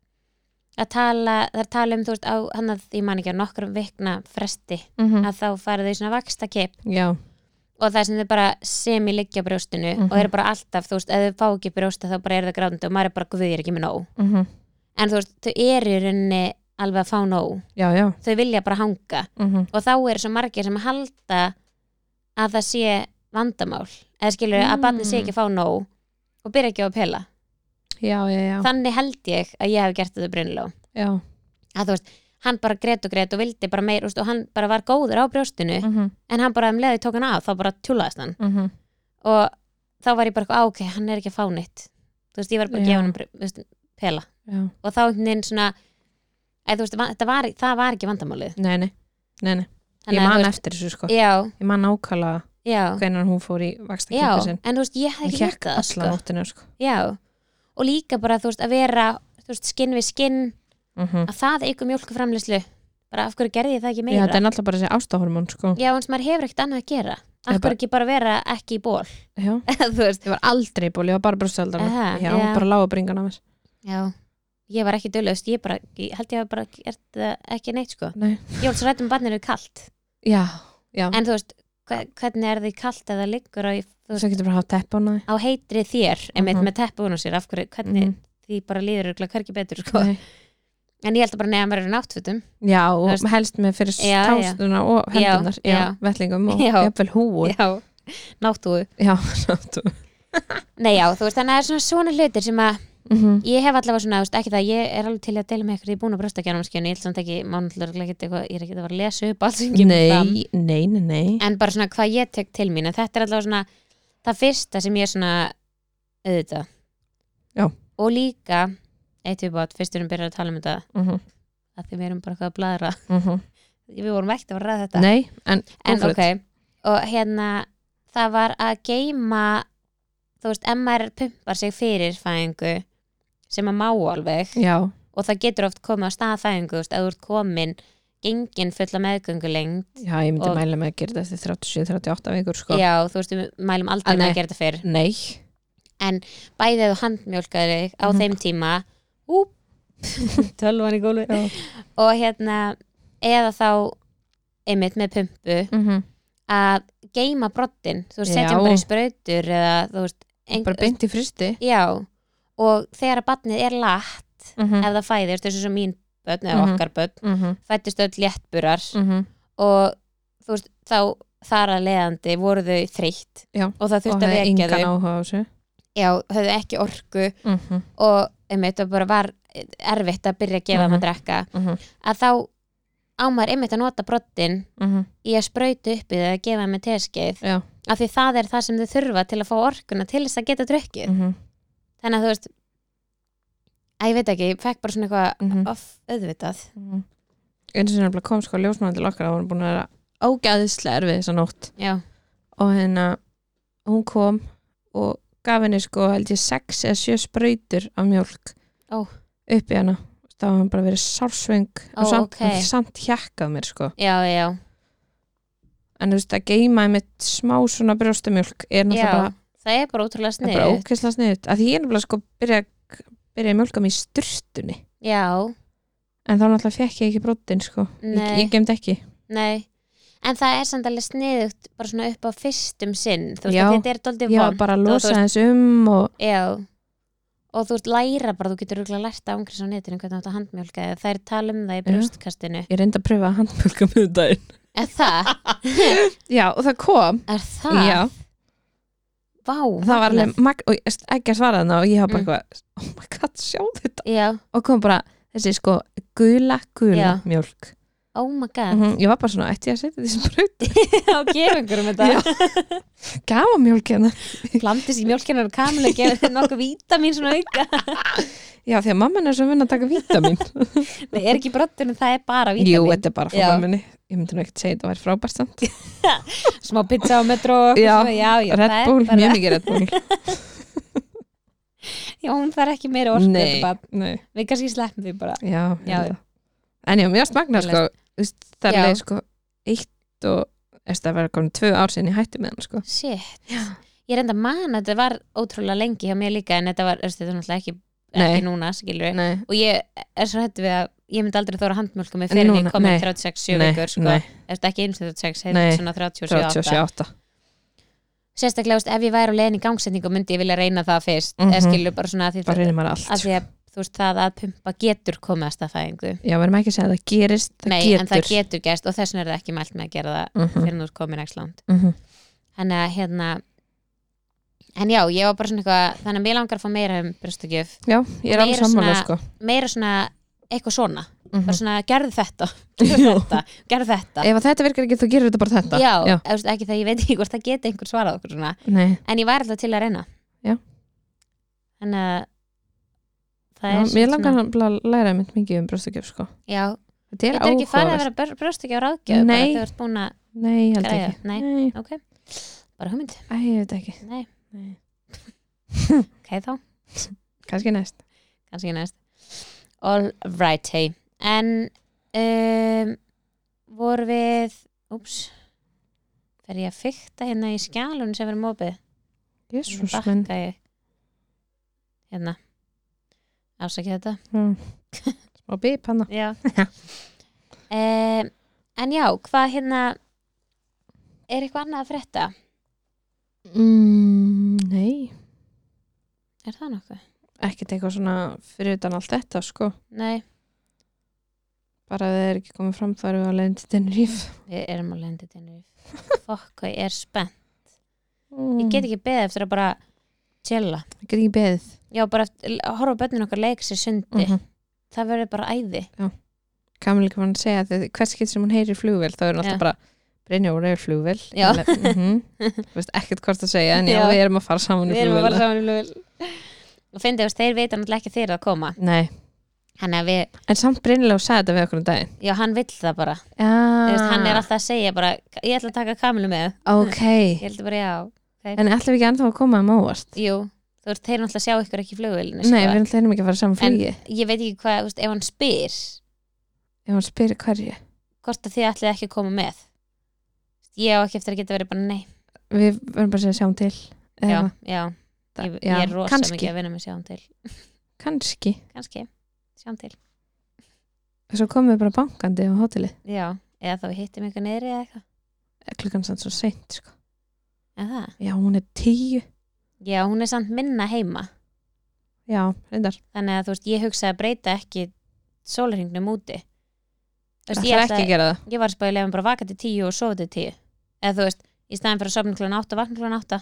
[SPEAKER 1] að tala, það er tala um þú veist á hann að því man ekki á nokkrum vikna fresti
[SPEAKER 2] mhm,
[SPEAKER 1] að þá farið þau í svona vakstakip
[SPEAKER 2] já
[SPEAKER 1] og það sem þau bara semi liggja á brjóstinu
[SPEAKER 2] Mhm.
[SPEAKER 1] og eru bara alltaf, þú veist, ef þau fá ekki brjósta þá bara eru það gráðandi og maður er bara guð, ég er ekki með nóg
[SPEAKER 2] mhm,
[SPEAKER 1] en þú veist, þau eru í rauninni alveg að fá nóg,
[SPEAKER 2] Já, já
[SPEAKER 1] þau vilja bara hanga
[SPEAKER 2] mhm,
[SPEAKER 1] og þá eru svo margir sem halda að það sé vandamál eða skilur að
[SPEAKER 2] Mm.
[SPEAKER 1] barnið sé ekki að fá nóg og byrja ekki á að pela
[SPEAKER 2] Já, já, já,
[SPEAKER 1] þannig held ég að ég hef gert þetta brunlega
[SPEAKER 2] já
[SPEAKER 1] að þú veist, hann bara grét og grét og vildi bara meir úst, og hann bara var góður á brjóstinu
[SPEAKER 2] Mhm,
[SPEAKER 1] en hann bara um leiði tók hann af, þá bara tjúlaðist hann
[SPEAKER 2] mhm.
[SPEAKER 1] og þá var ég bara eitthvað, "Á, ok, hann er ekki að fá neitt þú veist, ég var bara að
[SPEAKER 2] Já.
[SPEAKER 1] gefa hann br- þú veist, pela
[SPEAKER 2] Já.
[SPEAKER 1] og þá einhvern veginn svona eð, veist, va- þetta var, það var ekki vandamálið
[SPEAKER 2] Nei, nei, nei, nei.
[SPEAKER 1] Þannig
[SPEAKER 2] Ég
[SPEAKER 1] að, þú
[SPEAKER 2] man
[SPEAKER 1] veist,
[SPEAKER 2] eftir þessu sko
[SPEAKER 1] já,
[SPEAKER 2] Ég man ákala
[SPEAKER 1] já,
[SPEAKER 2] hvenar hún fór í vaksta
[SPEAKER 1] já
[SPEAKER 2] kippa sinn
[SPEAKER 1] en þú veist, ég hef
[SPEAKER 2] Hún
[SPEAKER 1] ekki
[SPEAKER 2] kekk
[SPEAKER 1] hægt það
[SPEAKER 2] alla
[SPEAKER 1] sko.
[SPEAKER 2] nóttina sko
[SPEAKER 1] já, og líka bara þú veist að vera, þú veist, skinn við skinn
[SPEAKER 2] Mhm.
[SPEAKER 1] að það eigur mjólkuframlislu bara af hverju gerði ég það ekki
[SPEAKER 2] Já,
[SPEAKER 1] meira
[SPEAKER 2] þetta er náttúrulega bara þessi ástahormón sko
[SPEAKER 1] Já, eins og maður hefur ekkert annað að gera
[SPEAKER 2] Eða
[SPEAKER 1] Af
[SPEAKER 2] bara-
[SPEAKER 1] hverju ekki bara vera ekki í ból
[SPEAKER 2] Já
[SPEAKER 1] Þú veist
[SPEAKER 2] Ég var aldrei í ból, ég var bara brústöldar
[SPEAKER 1] Aha,
[SPEAKER 2] Já,
[SPEAKER 1] já.
[SPEAKER 2] bara lága bringan af mér
[SPEAKER 1] Já, ég var ekki dölaust Ég bara, ég held ég að bara er það ekki neitt sko
[SPEAKER 2] Nei.
[SPEAKER 1] Ég var svo rætt um barninu kalt
[SPEAKER 2] Já, já,
[SPEAKER 1] En þú veist, hve- hvernig er því kalt eða liggur á, þú veist,
[SPEAKER 2] svo getur bara að hafa tepp á hana
[SPEAKER 1] á heitri þér einmitt
[SPEAKER 2] Mhm.
[SPEAKER 1] með teppun á sér af hverju, hvernig því bara líður örugglega hvergi betur sko
[SPEAKER 2] Mm, Nei.
[SPEAKER 1] En ég held að bara nefna verður náttfutum
[SPEAKER 2] Já, og
[SPEAKER 1] veist-
[SPEAKER 2] helst með fyrir
[SPEAKER 1] Já, já.
[SPEAKER 2] stásuna og hendunar, já,
[SPEAKER 1] Já, já.
[SPEAKER 2] vettlingum og
[SPEAKER 1] Já.
[SPEAKER 2] jafnvel húu Já,
[SPEAKER 1] Já, náttúu
[SPEAKER 2] já sáttu
[SPEAKER 1] Nei já, þú veist, þannig að það er svona svona hlutir sem að
[SPEAKER 2] mm -hmm.
[SPEAKER 1] ég hef allavega svona, þú veist, ekki það, ég er alveg til í að deila með ykkur, ég er búin að brosta ekki annars skjönu, ég ætla samt ekki, mánallega ekki eitthvað, ég er ekki að fara að lesa upp alls ekki fram,
[SPEAKER 2] Nei, nei, nei, nei
[SPEAKER 1] en bara svona hvað ég tek til mín, en þetta er allavega svona það fyrsta sem ég er svona auðvitað.
[SPEAKER 2] Já.
[SPEAKER 1] Og líka, eitt við bát, fyrst við erum byrjað að tala um þetta,
[SPEAKER 2] mm -hmm.
[SPEAKER 1] að því við erum bara eitthvað að bladra,
[SPEAKER 2] Mm -hmm.
[SPEAKER 1] við vorum ekkert að fara að ræða þetta.
[SPEAKER 2] Nei, en,
[SPEAKER 1] en
[SPEAKER 2] go for it.
[SPEAKER 1] ok og hérna það var að geyma þú veist, MR pumpar sig fyrir fæðingu sem að má alveg
[SPEAKER 2] Já,
[SPEAKER 1] og það getur oft komið á stað fæðingu þú veist, að þú ert komin gengin fulla meðgöngulengt
[SPEAKER 2] já, ég myndi
[SPEAKER 1] Og-
[SPEAKER 2] mæla með að gera þetta eftir 37-38 vikur sko
[SPEAKER 1] já, þú veist, við mælum aldrei með
[SPEAKER 2] Að nei.
[SPEAKER 1] að gera þetta fyrr
[SPEAKER 2] Nei,
[SPEAKER 1] bæðið þú handmjólkaði þig á
[SPEAKER 2] Mhm.
[SPEAKER 1] þeim tíma úp, tölvan í gólu
[SPEAKER 2] Já.
[SPEAKER 1] og hérna, eða þá einmitt með pumpu
[SPEAKER 2] mm -hmm.
[SPEAKER 1] að geyma brottin þú veist,
[SPEAKER 2] Já.
[SPEAKER 1] setjum bara í sprautur eða þú veist, ein-
[SPEAKER 2] bara beint í fristi
[SPEAKER 1] Já, og þegar að barnið er lagt
[SPEAKER 2] mm -hmm.
[SPEAKER 1] ef það fæðist, þessu sem mín börn eða
[SPEAKER 2] Mhm.
[SPEAKER 1] okkar börn,
[SPEAKER 2] mm -hmm.
[SPEAKER 1] fættist öll léttburar
[SPEAKER 2] Mm -hmm.
[SPEAKER 1] og þú veist, þá þar að leiðandi voru þau þreytt
[SPEAKER 2] Já,
[SPEAKER 1] og það
[SPEAKER 2] Og
[SPEAKER 1] þurfti að
[SPEAKER 2] hefði
[SPEAKER 1] vekja
[SPEAKER 2] engan
[SPEAKER 1] þau
[SPEAKER 2] áhuga á þessu
[SPEAKER 1] Já, höfðu ekki orku
[SPEAKER 2] mm -hmm.
[SPEAKER 1] og einmitt, það bara var erfitt að byrja að gefa þeim
[SPEAKER 2] Mhm.
[SPEAKER 1] að drekka
[SPEAKER 2] Mhm.
[SPEAKER 1] að þá á maður einmitt að nota brottin
[SPEAKER 2] Mm -hmm.
[SPEAKER 1] í að sprautu uppi þegar að gefa þeim með teskeið
[SPEAKER 2] Já.
[SPEAKER 1] af því það er það sem þau þurfa til að fá orkuna til þess að geta drukkið
[SPEAKER 2] Mm
[SPEAKER 1] þannig að þú veist að ég veit ekki, ég fekk bara svona eitthvað
[SPEAKER 2] -hmm.
[SPEAKER 1] of auðvitað
[SPEAKER 2] eins og nefnilega kom sko ljósmáðan til okkar að hún er búin að vera ágæðislega erfið þessa nótt
[SPEAKER 1] já,
[SPEAKER 2] og hérna hún kom og gaf henni sko held ég sex eða sjö sprautur af mjólk
[SPEAKER 1] Ó.
[SPEAKER 2] upp í hana þá hafði hann bara verið sársvöng
[SPEAKER 1] Ó,
[SPEAKER 2] og samt,
[SPEAKER 1] ok.
[SPEAKER 2] okay. samt hjakkað mér sko
[SPEAKER 1] já, já,
[SPEAKER 2] en þú veist að geima einmitt smá svona brjóstamjólk er
[SPEAKER 1] já
[SPEAKER 2] náttúrulega bara,
[SPEAKER 1] það er bara ótrúlega
[SPEAKER 2] er bara
[SPEAKER 1] snið
[SPEAKER 2] ókesslega sniðut að því ég er náttúrulega sko byrja, byrja að mjólka mig í styrtunni
[SPEAKER 1] já,
[SPEAKER 2] en þá náttúrulega fekk ég ekki brotin sko ég,
[SPEAKER 1] Nei.
[SPEAKER 2] ég gemd ekki
[SPEAKER 1] nei en það er samt alveg sniðugt bara svona upp á fyrstum sinn þú veist
[SPEAKER 2] Já.
[SPEAKER 1] að þetta er doldið
[SPEAKER 2] ég var
[SPEAKER 1] vond
[SPEAKER 2] bara að
[SPEAKER 1] og þú
[SPEAKER 2] losa
[SPEAKER 1] veist-
[SPEAKER 2] þess um og
[SPEAKER 1] já, og þú veist læra bara, þú getur rúglega lært að ángriðs á netinu hvernig þetta handmjólka eða það er tala um það í
[SPEAKER 2] Já.
[SPEAKER 1] brjóstkastinu
[SPEAKER 2] ég reyndi að pröfa að handmjölka með daginn
[SPEAKER 1] er það,
[SPEAKER 2] já og það kom
[SPEAKER 1] er það
[SPEAKER 2] já,
[SPEAKER 1] vá,
[SPEAKER 2] það var
[SPEAKER 1] magnað.
[SPEAKER 2] alveg mag- og ég- ekki að svara þarna og ég hafa bara
[SPEAKER 1] Mm.
[SPEAKER 2] eitthvað oh my god, sjá þetta
[SPEAKER 1] já,
[SPEAKER 2] og kom bara þessi sko gula, gula
[SPEAKER 1] Já.
[SPEAKER 2] mjölk
[SPEAKER 1] oh my god
[SPEAKER 2] Mhm, ég var bara svona, ætti ég að setja þessi brut
[SPEAKER 1] þá gefum einhverjum þetta
[SPEAKER 2] gafa mjölk hérna
[SPEAKER 1] plantist í mjólkinar og kamilu gefur þetta nokkuð vítamin svona auka
[SPEAKER 2] já, því að mamma henni er svo vinn að taka vítamin
[SPEAKER 1] Það er ekki brottun en það er bara vítamin
[SPEAKER 2] jú, þetta er bara
[SPEAKER 1] Já.
[SPEAKER 2] frá mamminni ég myndi nú ekkert segja þetta væri frábært samt
[SPEAKER 1] Smá pizza á metro og eitthvað
[SPEAKER 2] Já,
[SPEAKER 1] svona, já, já,
[SPEAKER 2] Red
[SPEAKER 1] það er
[SPEAKER 2] Bull,
[SPEAKER 1] bara,
[SPEAKER 2] mjög mikið Red Bull
[SPEAKER 1] Já, hún þarf ekki meira orku
[SPEAKER 2] nei,
[SPEAKER 1] þetta bara-
[SPEAKER 2] nei,
[SPEAKER 1] Við kannski sleppum því bara
[SPEAKER 2] já,
[SPEAKER 1] Já.
[SPEAKER 2] já. en já, mjög smagna
[SPEAKER 1] Ég
[SPEAKER 2] sko, þú veist, það
[SPEAKER 1] Já.
[SPEAKER 2] er leið sko eitt og eftir að vera komin tvö ár sinni hætti með hann sko
[SPEAKER 1] Shit Ég reynda að mana, þetta var ótrúlega lengi hjá mér líka en þetta var, veistu, þetta er náttúrulega ekki,
[SPEAKER 2] Nei.
[SPEAKER 1] ekki núna, skilur við
[SPEAKER 2] nei,
[SPEAKER 1] Og ég er svo hættu við að ég myndi aldrei þóra handmjölka mig
[SPEAKER 2] En
[SPEAKER 1] fyrir
[SPEAKER 2] núna,
[SPEAKER 1] ég komið
[SPEAKER 2] nei.
[SPEAKER 1] 36-7
[SPEAKER 2] Nei,
[SPEAKER 1] vikur, sko
[SPEAKER 2] nei.
[SPEAKER 1] Eftir ekki eins og 36,
[SPEAKER 2] Nei,
[SPEAKER 1] hefði svona 37-8
[SPEAKER 2] 37
[SPEAKER 1] Sérstaklega, veist, ef ég væri á leiðin í gangsetningu myndi ég vilja reyna það fyrst mm
[SPEAKER 2] Mhm.
[SPEAKER 1] skilur bara svona að því
[SPEAKER 2] bara
[SPEAKER 1] það,
[SPEAKER 2] reynir maður allt
[SPEAKER 1] að
[SPEAKER 2] sko.
[SPEAKER 1] því að þú veist það að pumpa getur komið að staðfæðingu
[SPEAKER 2] já, verðum ekki að segja að það gerist það
[SPEAKER 1] Nei,
[SPEAKER 2] getur
[SPEAKER 1] en það getur gerst og þess vegna er það ekki mælt með að gera það
[SPEAKER 2] Mhm,
[SPEAKER 1] fyrir nú komin ekki langt
[SPEAKER 2] mhm.
[SPEAKER 1] Þannig að hérna En já, ég var bara svona eitthvað Þannig að mér langar að fá meira um brjóstugjöf
[SPEAKER 2] já, ég er alveg
[SPEAKER 1] Meira
[SPEAKER 2] sammála
[SPEAKER 1] svona-
[SPEAKER 2] sko
[SPEAKER 1] Meira svona, eitthvað svona bara svona gerð þetta, gerð
[SPEAKER 2] Já.
[SPEAKER 1] þetta, gerð þetta
[SPEAKER 2] ef að þetta virkar ekki þú gerir þetta bara þetta
[SPEAKER 1] já,
[SPEAKER 2] já.
[SPEAKER 1] já. Veist, ekki það ég veit ekki hvort það geti einhver svarað okkur svona
[SPEAKER 2] Nei,
[SPEAKER 1] en ég var alltaf til að reyna
[SPEAKER 2] Já.
[SPEAKER 1] þannig að það
[SPEAKER 2] já,
[SPEAKER 1] er
[SPEAKER 2] mér
[SPEAKER 1] svolítið
[SPEAKER 2] langar svona... að læra mynd mikið um brjóstakjöf sko.
[SPEAKER 1] já,
[SPEAKER 2] Þetta er
[SPEAKER 1] getur ekki farið að
[SPEAKER 2] áhugaverst.
[SPEAKER 1] vera brjóst ekki á ráðgjöf bara
[SPEAKER 2] Nei.
[SPEAKER 1] þegar þú ert búin að,
[SPEAKER 2] Nei, ég held
[SPEAKER 1] Græja,
[SPEAKER 2] ekki.
[SPEAKER 1] nei.
[SPEAKER 2] Nei.
[SPEAKER 1] ok bara hugmynd,
[SPEAKER 2] Æ, ég veit ekki.
[SPEAKER 1] nei,
[SPEAKER 2] Nei.
[SPEAKER 1] ok þá
[SPEAKER 2] Kanski næst.
[SPEAKER 1] kannski næst all right, hey en um, voru við úps fer ég að fykta hérna í skjálun sem verið mópið
[SPEAKER 2] Jésús,
[SPEAKER 1] Þannig
[SPEAKER 2] menn.
[SPEAKER 1] bakka ég hérna afsakið þetta
[SPEAKER 2] Já. Smá bíp hana.
[SPEAKER 1] já um, en já, hvað hérna er eitthvað annað að frétta
[SPEAKER 2] Mm, nei.
[SPEAKER 1] er það nokkuð?
[SPEAKER 2] Ekkert eitthvað svona fyrir utan allt þetta, sko.
[SPEAKER 1] Nei,
[SPEAKER 2] Bara ef það er ekki komið fram þá erum við að leiðin til Tenerife.
[SPEAKER 1] við erum á lendi Tenerife fokk hvað ég er spennt ég get
[SPEAKER 2] ekki.
[SPEAKER 1] ekki beðið eftir að bara tjela
[SPEAKER 2] Ég Mm. get ekki beðið.
[SPEAKER 1] já, bara eftir, að horfa á börnin okkar leik sér sundi
[SPEAKER 2] Mm -hmm.
[SPEAKER 1] það verður bara æði
[SPEAKER 2] Kamil ekki fann að segja að hvers skilt sem hún heyrir flugvél þá er hún alltaf
[SPEAKER 1] Já.
[SPEAKER 2] bara Brynja úr eða flugvél.
[SPEAKER 1] Já.
[SPEAKER 2] Mm Veist ekkert hvort að segja en já,
[SPEAKER 1] Já.
[SPEAKER 2] við erum að fara saman í
[SPEAKER 1] við erum að fara
[SPEAKER 2] flugvél.
[SPEAKER 1] saman í flugvél og fyndið, þú veist, þeir veit náttúrulega ekki þeir að koma
[SPEAKER 2] Nei,
[SPEAKER 1] hann, að við,
[SPEAKER 2] en samt Brynja og sagði þetta við okkur um daginn.
[SPEAKER 1] já, hann vill það bara
[SPEAKER 2] Já.
[SPEAKER 1] Þú veist, hann
[SPEAKER 2] Ah.
[SPEAKER 1] er alltaf að segja bara ég ætla að taka kamilu með
[SPEAKER 2] Ok.
[SPEAKER 1] ég held bara já,
[SPEAKER 2] En ætlum við ekki ennþá að koma um óvart?
[SPEAKER 1] jú þú veist, þeir náttúrulega sjá ykkur ekki í flugvélinu
[SPEAKER 2] Nei, við ætlum ekki að fara saman
[SPEAKER 1] sko. en
[SPEAKER 2] flugi.
[SPEAKER 1] ég veit ekki hvað, þú veist, ef hann spyr
[SPEAKER 2] Ef hann spyrir hverju.
[SPEAKER 1] hvort að þið ætlið ekki að koma með ég á ekki eftir að geta verið bara nei
[SPEAKER 2] Við verðum bara að segja sjáum til. Eða
[SPEAKER 1] já,
[SPEAKER 2] eitthvað.
[SPEAKER 1] já, ég,
[SPEAKER 2] Já,
[SPEAKER 1] ég er rosa
[SPEAKER 2] kannski,
[SPEAKER 1] mikið að vinna með sjáum til
[SPEAKER 2] Kannski.
[SPEAKER 1] kannski, sjáum til
[SPEAKER 2] Og svo komum við bara bankandi á hótelið. Eh,
[SPEAKER 1] já, eða þá við hittum ykkur niðri eða eitthvað
[SPEAKER 2] Klukkan sann svo seint, sko.
[SPEAKER 1] eða það,
[SPEAKER 2] Já, hún er tíu.
[SPEAKER 1] já, hún er samt minna heima
[SPEAKER 2] Já, reyndar.
[SPEAKER 1] þannig að þú veist, ég hugsaði að breyta ekki sólarhingnum úti Þú
[SPEAKER 2] Það
[SPEAKER 1] veist,
[SPEAKER 2] þarf
[SPEAKER 1] ég
[SPEAKER 2] ekki
[SPEAKER 1] ætla-
[SPEAKER 2] að gera það.
[SPEAKER 1] ég var að spæði lefum bara vaka til tíu og sofa til tíu eða þú veist, í staðin fyrir að sofna klun átta vakna klun átta,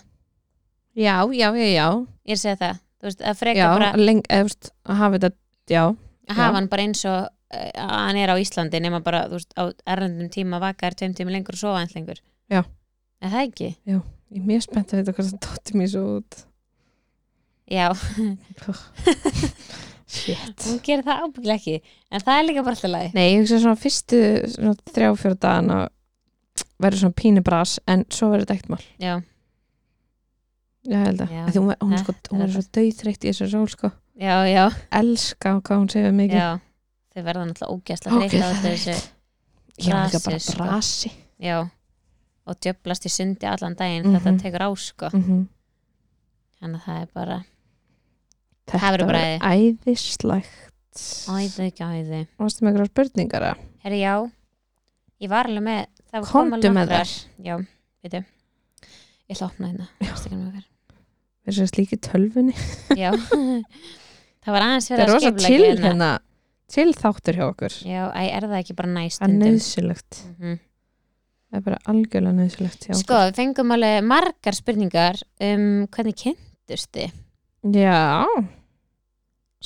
[SPEAKER 2] Já, já, já, já.
[SPEAKER 1] ég er að segja það þú veist, að freka
[SPEAKER 2] Já,
[SPEAKER 1] bara
[SPEAKER 2] leng, eða, þú veist, að hafa þetta, já.
[SPEAKER 1] að hafa hann bara eins og eh, að hann er á Íslandi nema bara, þú veist, á erlendum tíma vaka er tveim tíma lengur og sofa eins lengur
[SPEAKER 2] Já.
[SPEAKER 1] Er það ekki?
[SPEAKER 2] Ég er mjög spennt að vita hvað það tótti mér svo út.
[SPEAKER 1] Já,
[SPEAKER 2] Shit.
[SPEAKER 1] hún gerir það ábyggilega ekki en það er líka bara alltaf lagi
[SPEAKER 2] Nei, ég hugsa svona fyrstu svona þrjá fjóra dagana verður svona pínu bras en svo verður þetta ekkert mál.
[SPEAKER 1] Já,
[SPEAKER 2] Já, ég held að.
[SPEAKER 1] Já,
[SPEAKER 2] Af Því hún, var- hún, sko,
[SPEAKER 1] þetta
[SPEAKER 2] hún
[SPEAKER 1] er
[SPEAKER 2] er svo dauðþreytt í þessu ról, sko.
[SPEAKER 1] já, já,
[SPEAKER 2] Elska hvað hún segir mikið.
[SPEAKER 1] já. þau verða náttúrulega ógæsla
[SPEAKER 2] Ok,
[SPEAKER 1] þreytt á
[SPEAKER 2] það er
[SPEAKER 1] þessu
[SPEAKER 2] eitt. Ég var líka bara
[SPEAKER 1] brasi, sko.
[SPEAKER 2] brasi.
[SPEAKER 1] Já, og djöblast í sundi allan daginn
[SPEAKER 2] Mhm.
[SPEAKER 1] þetta tekur á sko
[SPEAKER 2] Mm
[SPEAKER 1] þannig að það er bara
[SPEAKER 2] Þetta
[SPEAKER 1] verður bara
[SPEAKER 2] verður æðislegt.
[SPEAKER 1] æði ekki æði
[SPEAKER 2] Varstu með eitthvað spurningar að?
[SPEAKER 1] Herri, já, ég var alveg með það kom
[SPEAKER 2] Komdu
[SPEAKER 1] alveg
[SPEAKER 2] með
[SPEAKER 1] nokkrar.
[SPEAKER 2] þær.
[SPEAKER 1] Já, veitu Ég ætla að opna hérna Instagram okkar.
[SPEAKER 2] Við erum slíki tölvunni.
[SPEAKER 1] Já Það var aðeins
[SPEAKER 2] Það
[SPEAKER 1] fyrir
[SPEAKER 2] er
[SPEAKER 1] að
[SPEAKER 2] rosa
[SPEAKER 1] skipla
[SPEAKER 2] til hérna. Til þáttur hjá okkur.
[SPEAKER 1] Já, æ, er það ekki bara næst
[SPEAKER 2] Það er nöðsilegt.
[SPEAKER 1] mm
[SPEAKER 2] Það er bara algjörlega nöðsilegt hjá
[SPEAKER 1] Sko, við fengum alveg margar spurningar um hvernig kynntust þið
[SPEAKER 2] okkur. Já.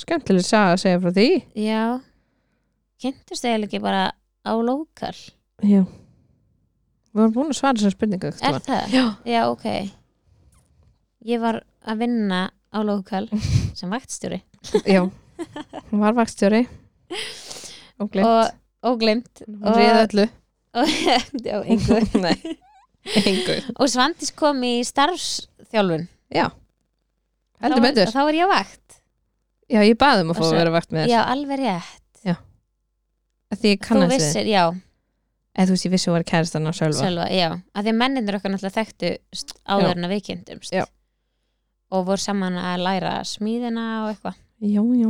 [SPEAKER 2] Skemmtileg saga að segja frá því.
[SPEAKER 1] Já Kynntust þið eiginlega ekki bara á lokal
[SPEAKER 2] Já. Við vorum búin að svara þessar spurningu. einhvern
[SPEAKER 1] Er
[SPEAKER 2] tímann.
[SPEAKER 1] það?
[SPEAKER 2] Já.
[SPEAKER 1] Já, ok Ég var að vinna á lokal sem vaktstjóri
[SPEAKER 2] Já, hún var vakstjóri og glemt
[SPEAKER 1] og óglimt
[SPEAKER 2] hún réði öllu
[SPEAKER 1] og, já, engu.
[SPEAKER 2] Engu.
[SPEAKER 1] og Svandís kom í starfsþjálfun
[SPEAKER 2] heldur
[SPEAKER 1] Þá var-
[SPEAKER 2] betur
[SPEAKER 1] þá var ég á vakt
[SPEAKER 2] já ég baði um að fá
[SPEAKER 1] Og
[SPEAKER 2] að
[SPEAKER 1] svo-
[SPEAKER 2] vera vakt með
[SPEAKER 1] já, alveg rétt
[SPEAKER 2] þess því ég
[SPEAKER 1] þú
[SPEAKER 2] kannast við
[SPEAKER 1] vissir, já,
[SPEAKER 2] eða þú veist ég vissi hún var kæristan á sjálfa
[SPEAKER 1] Sölva, já að því að mennindur okkar náttúrulega þekktu st-
[SPEAKER 2] Já.
[SPEAKER 1] áður en að við kynntumst
[SPEAKER 2] Já.
[SPEAKER 1] og voru saman að læra smíðina og eitthvað
[SPEAKER 2] já já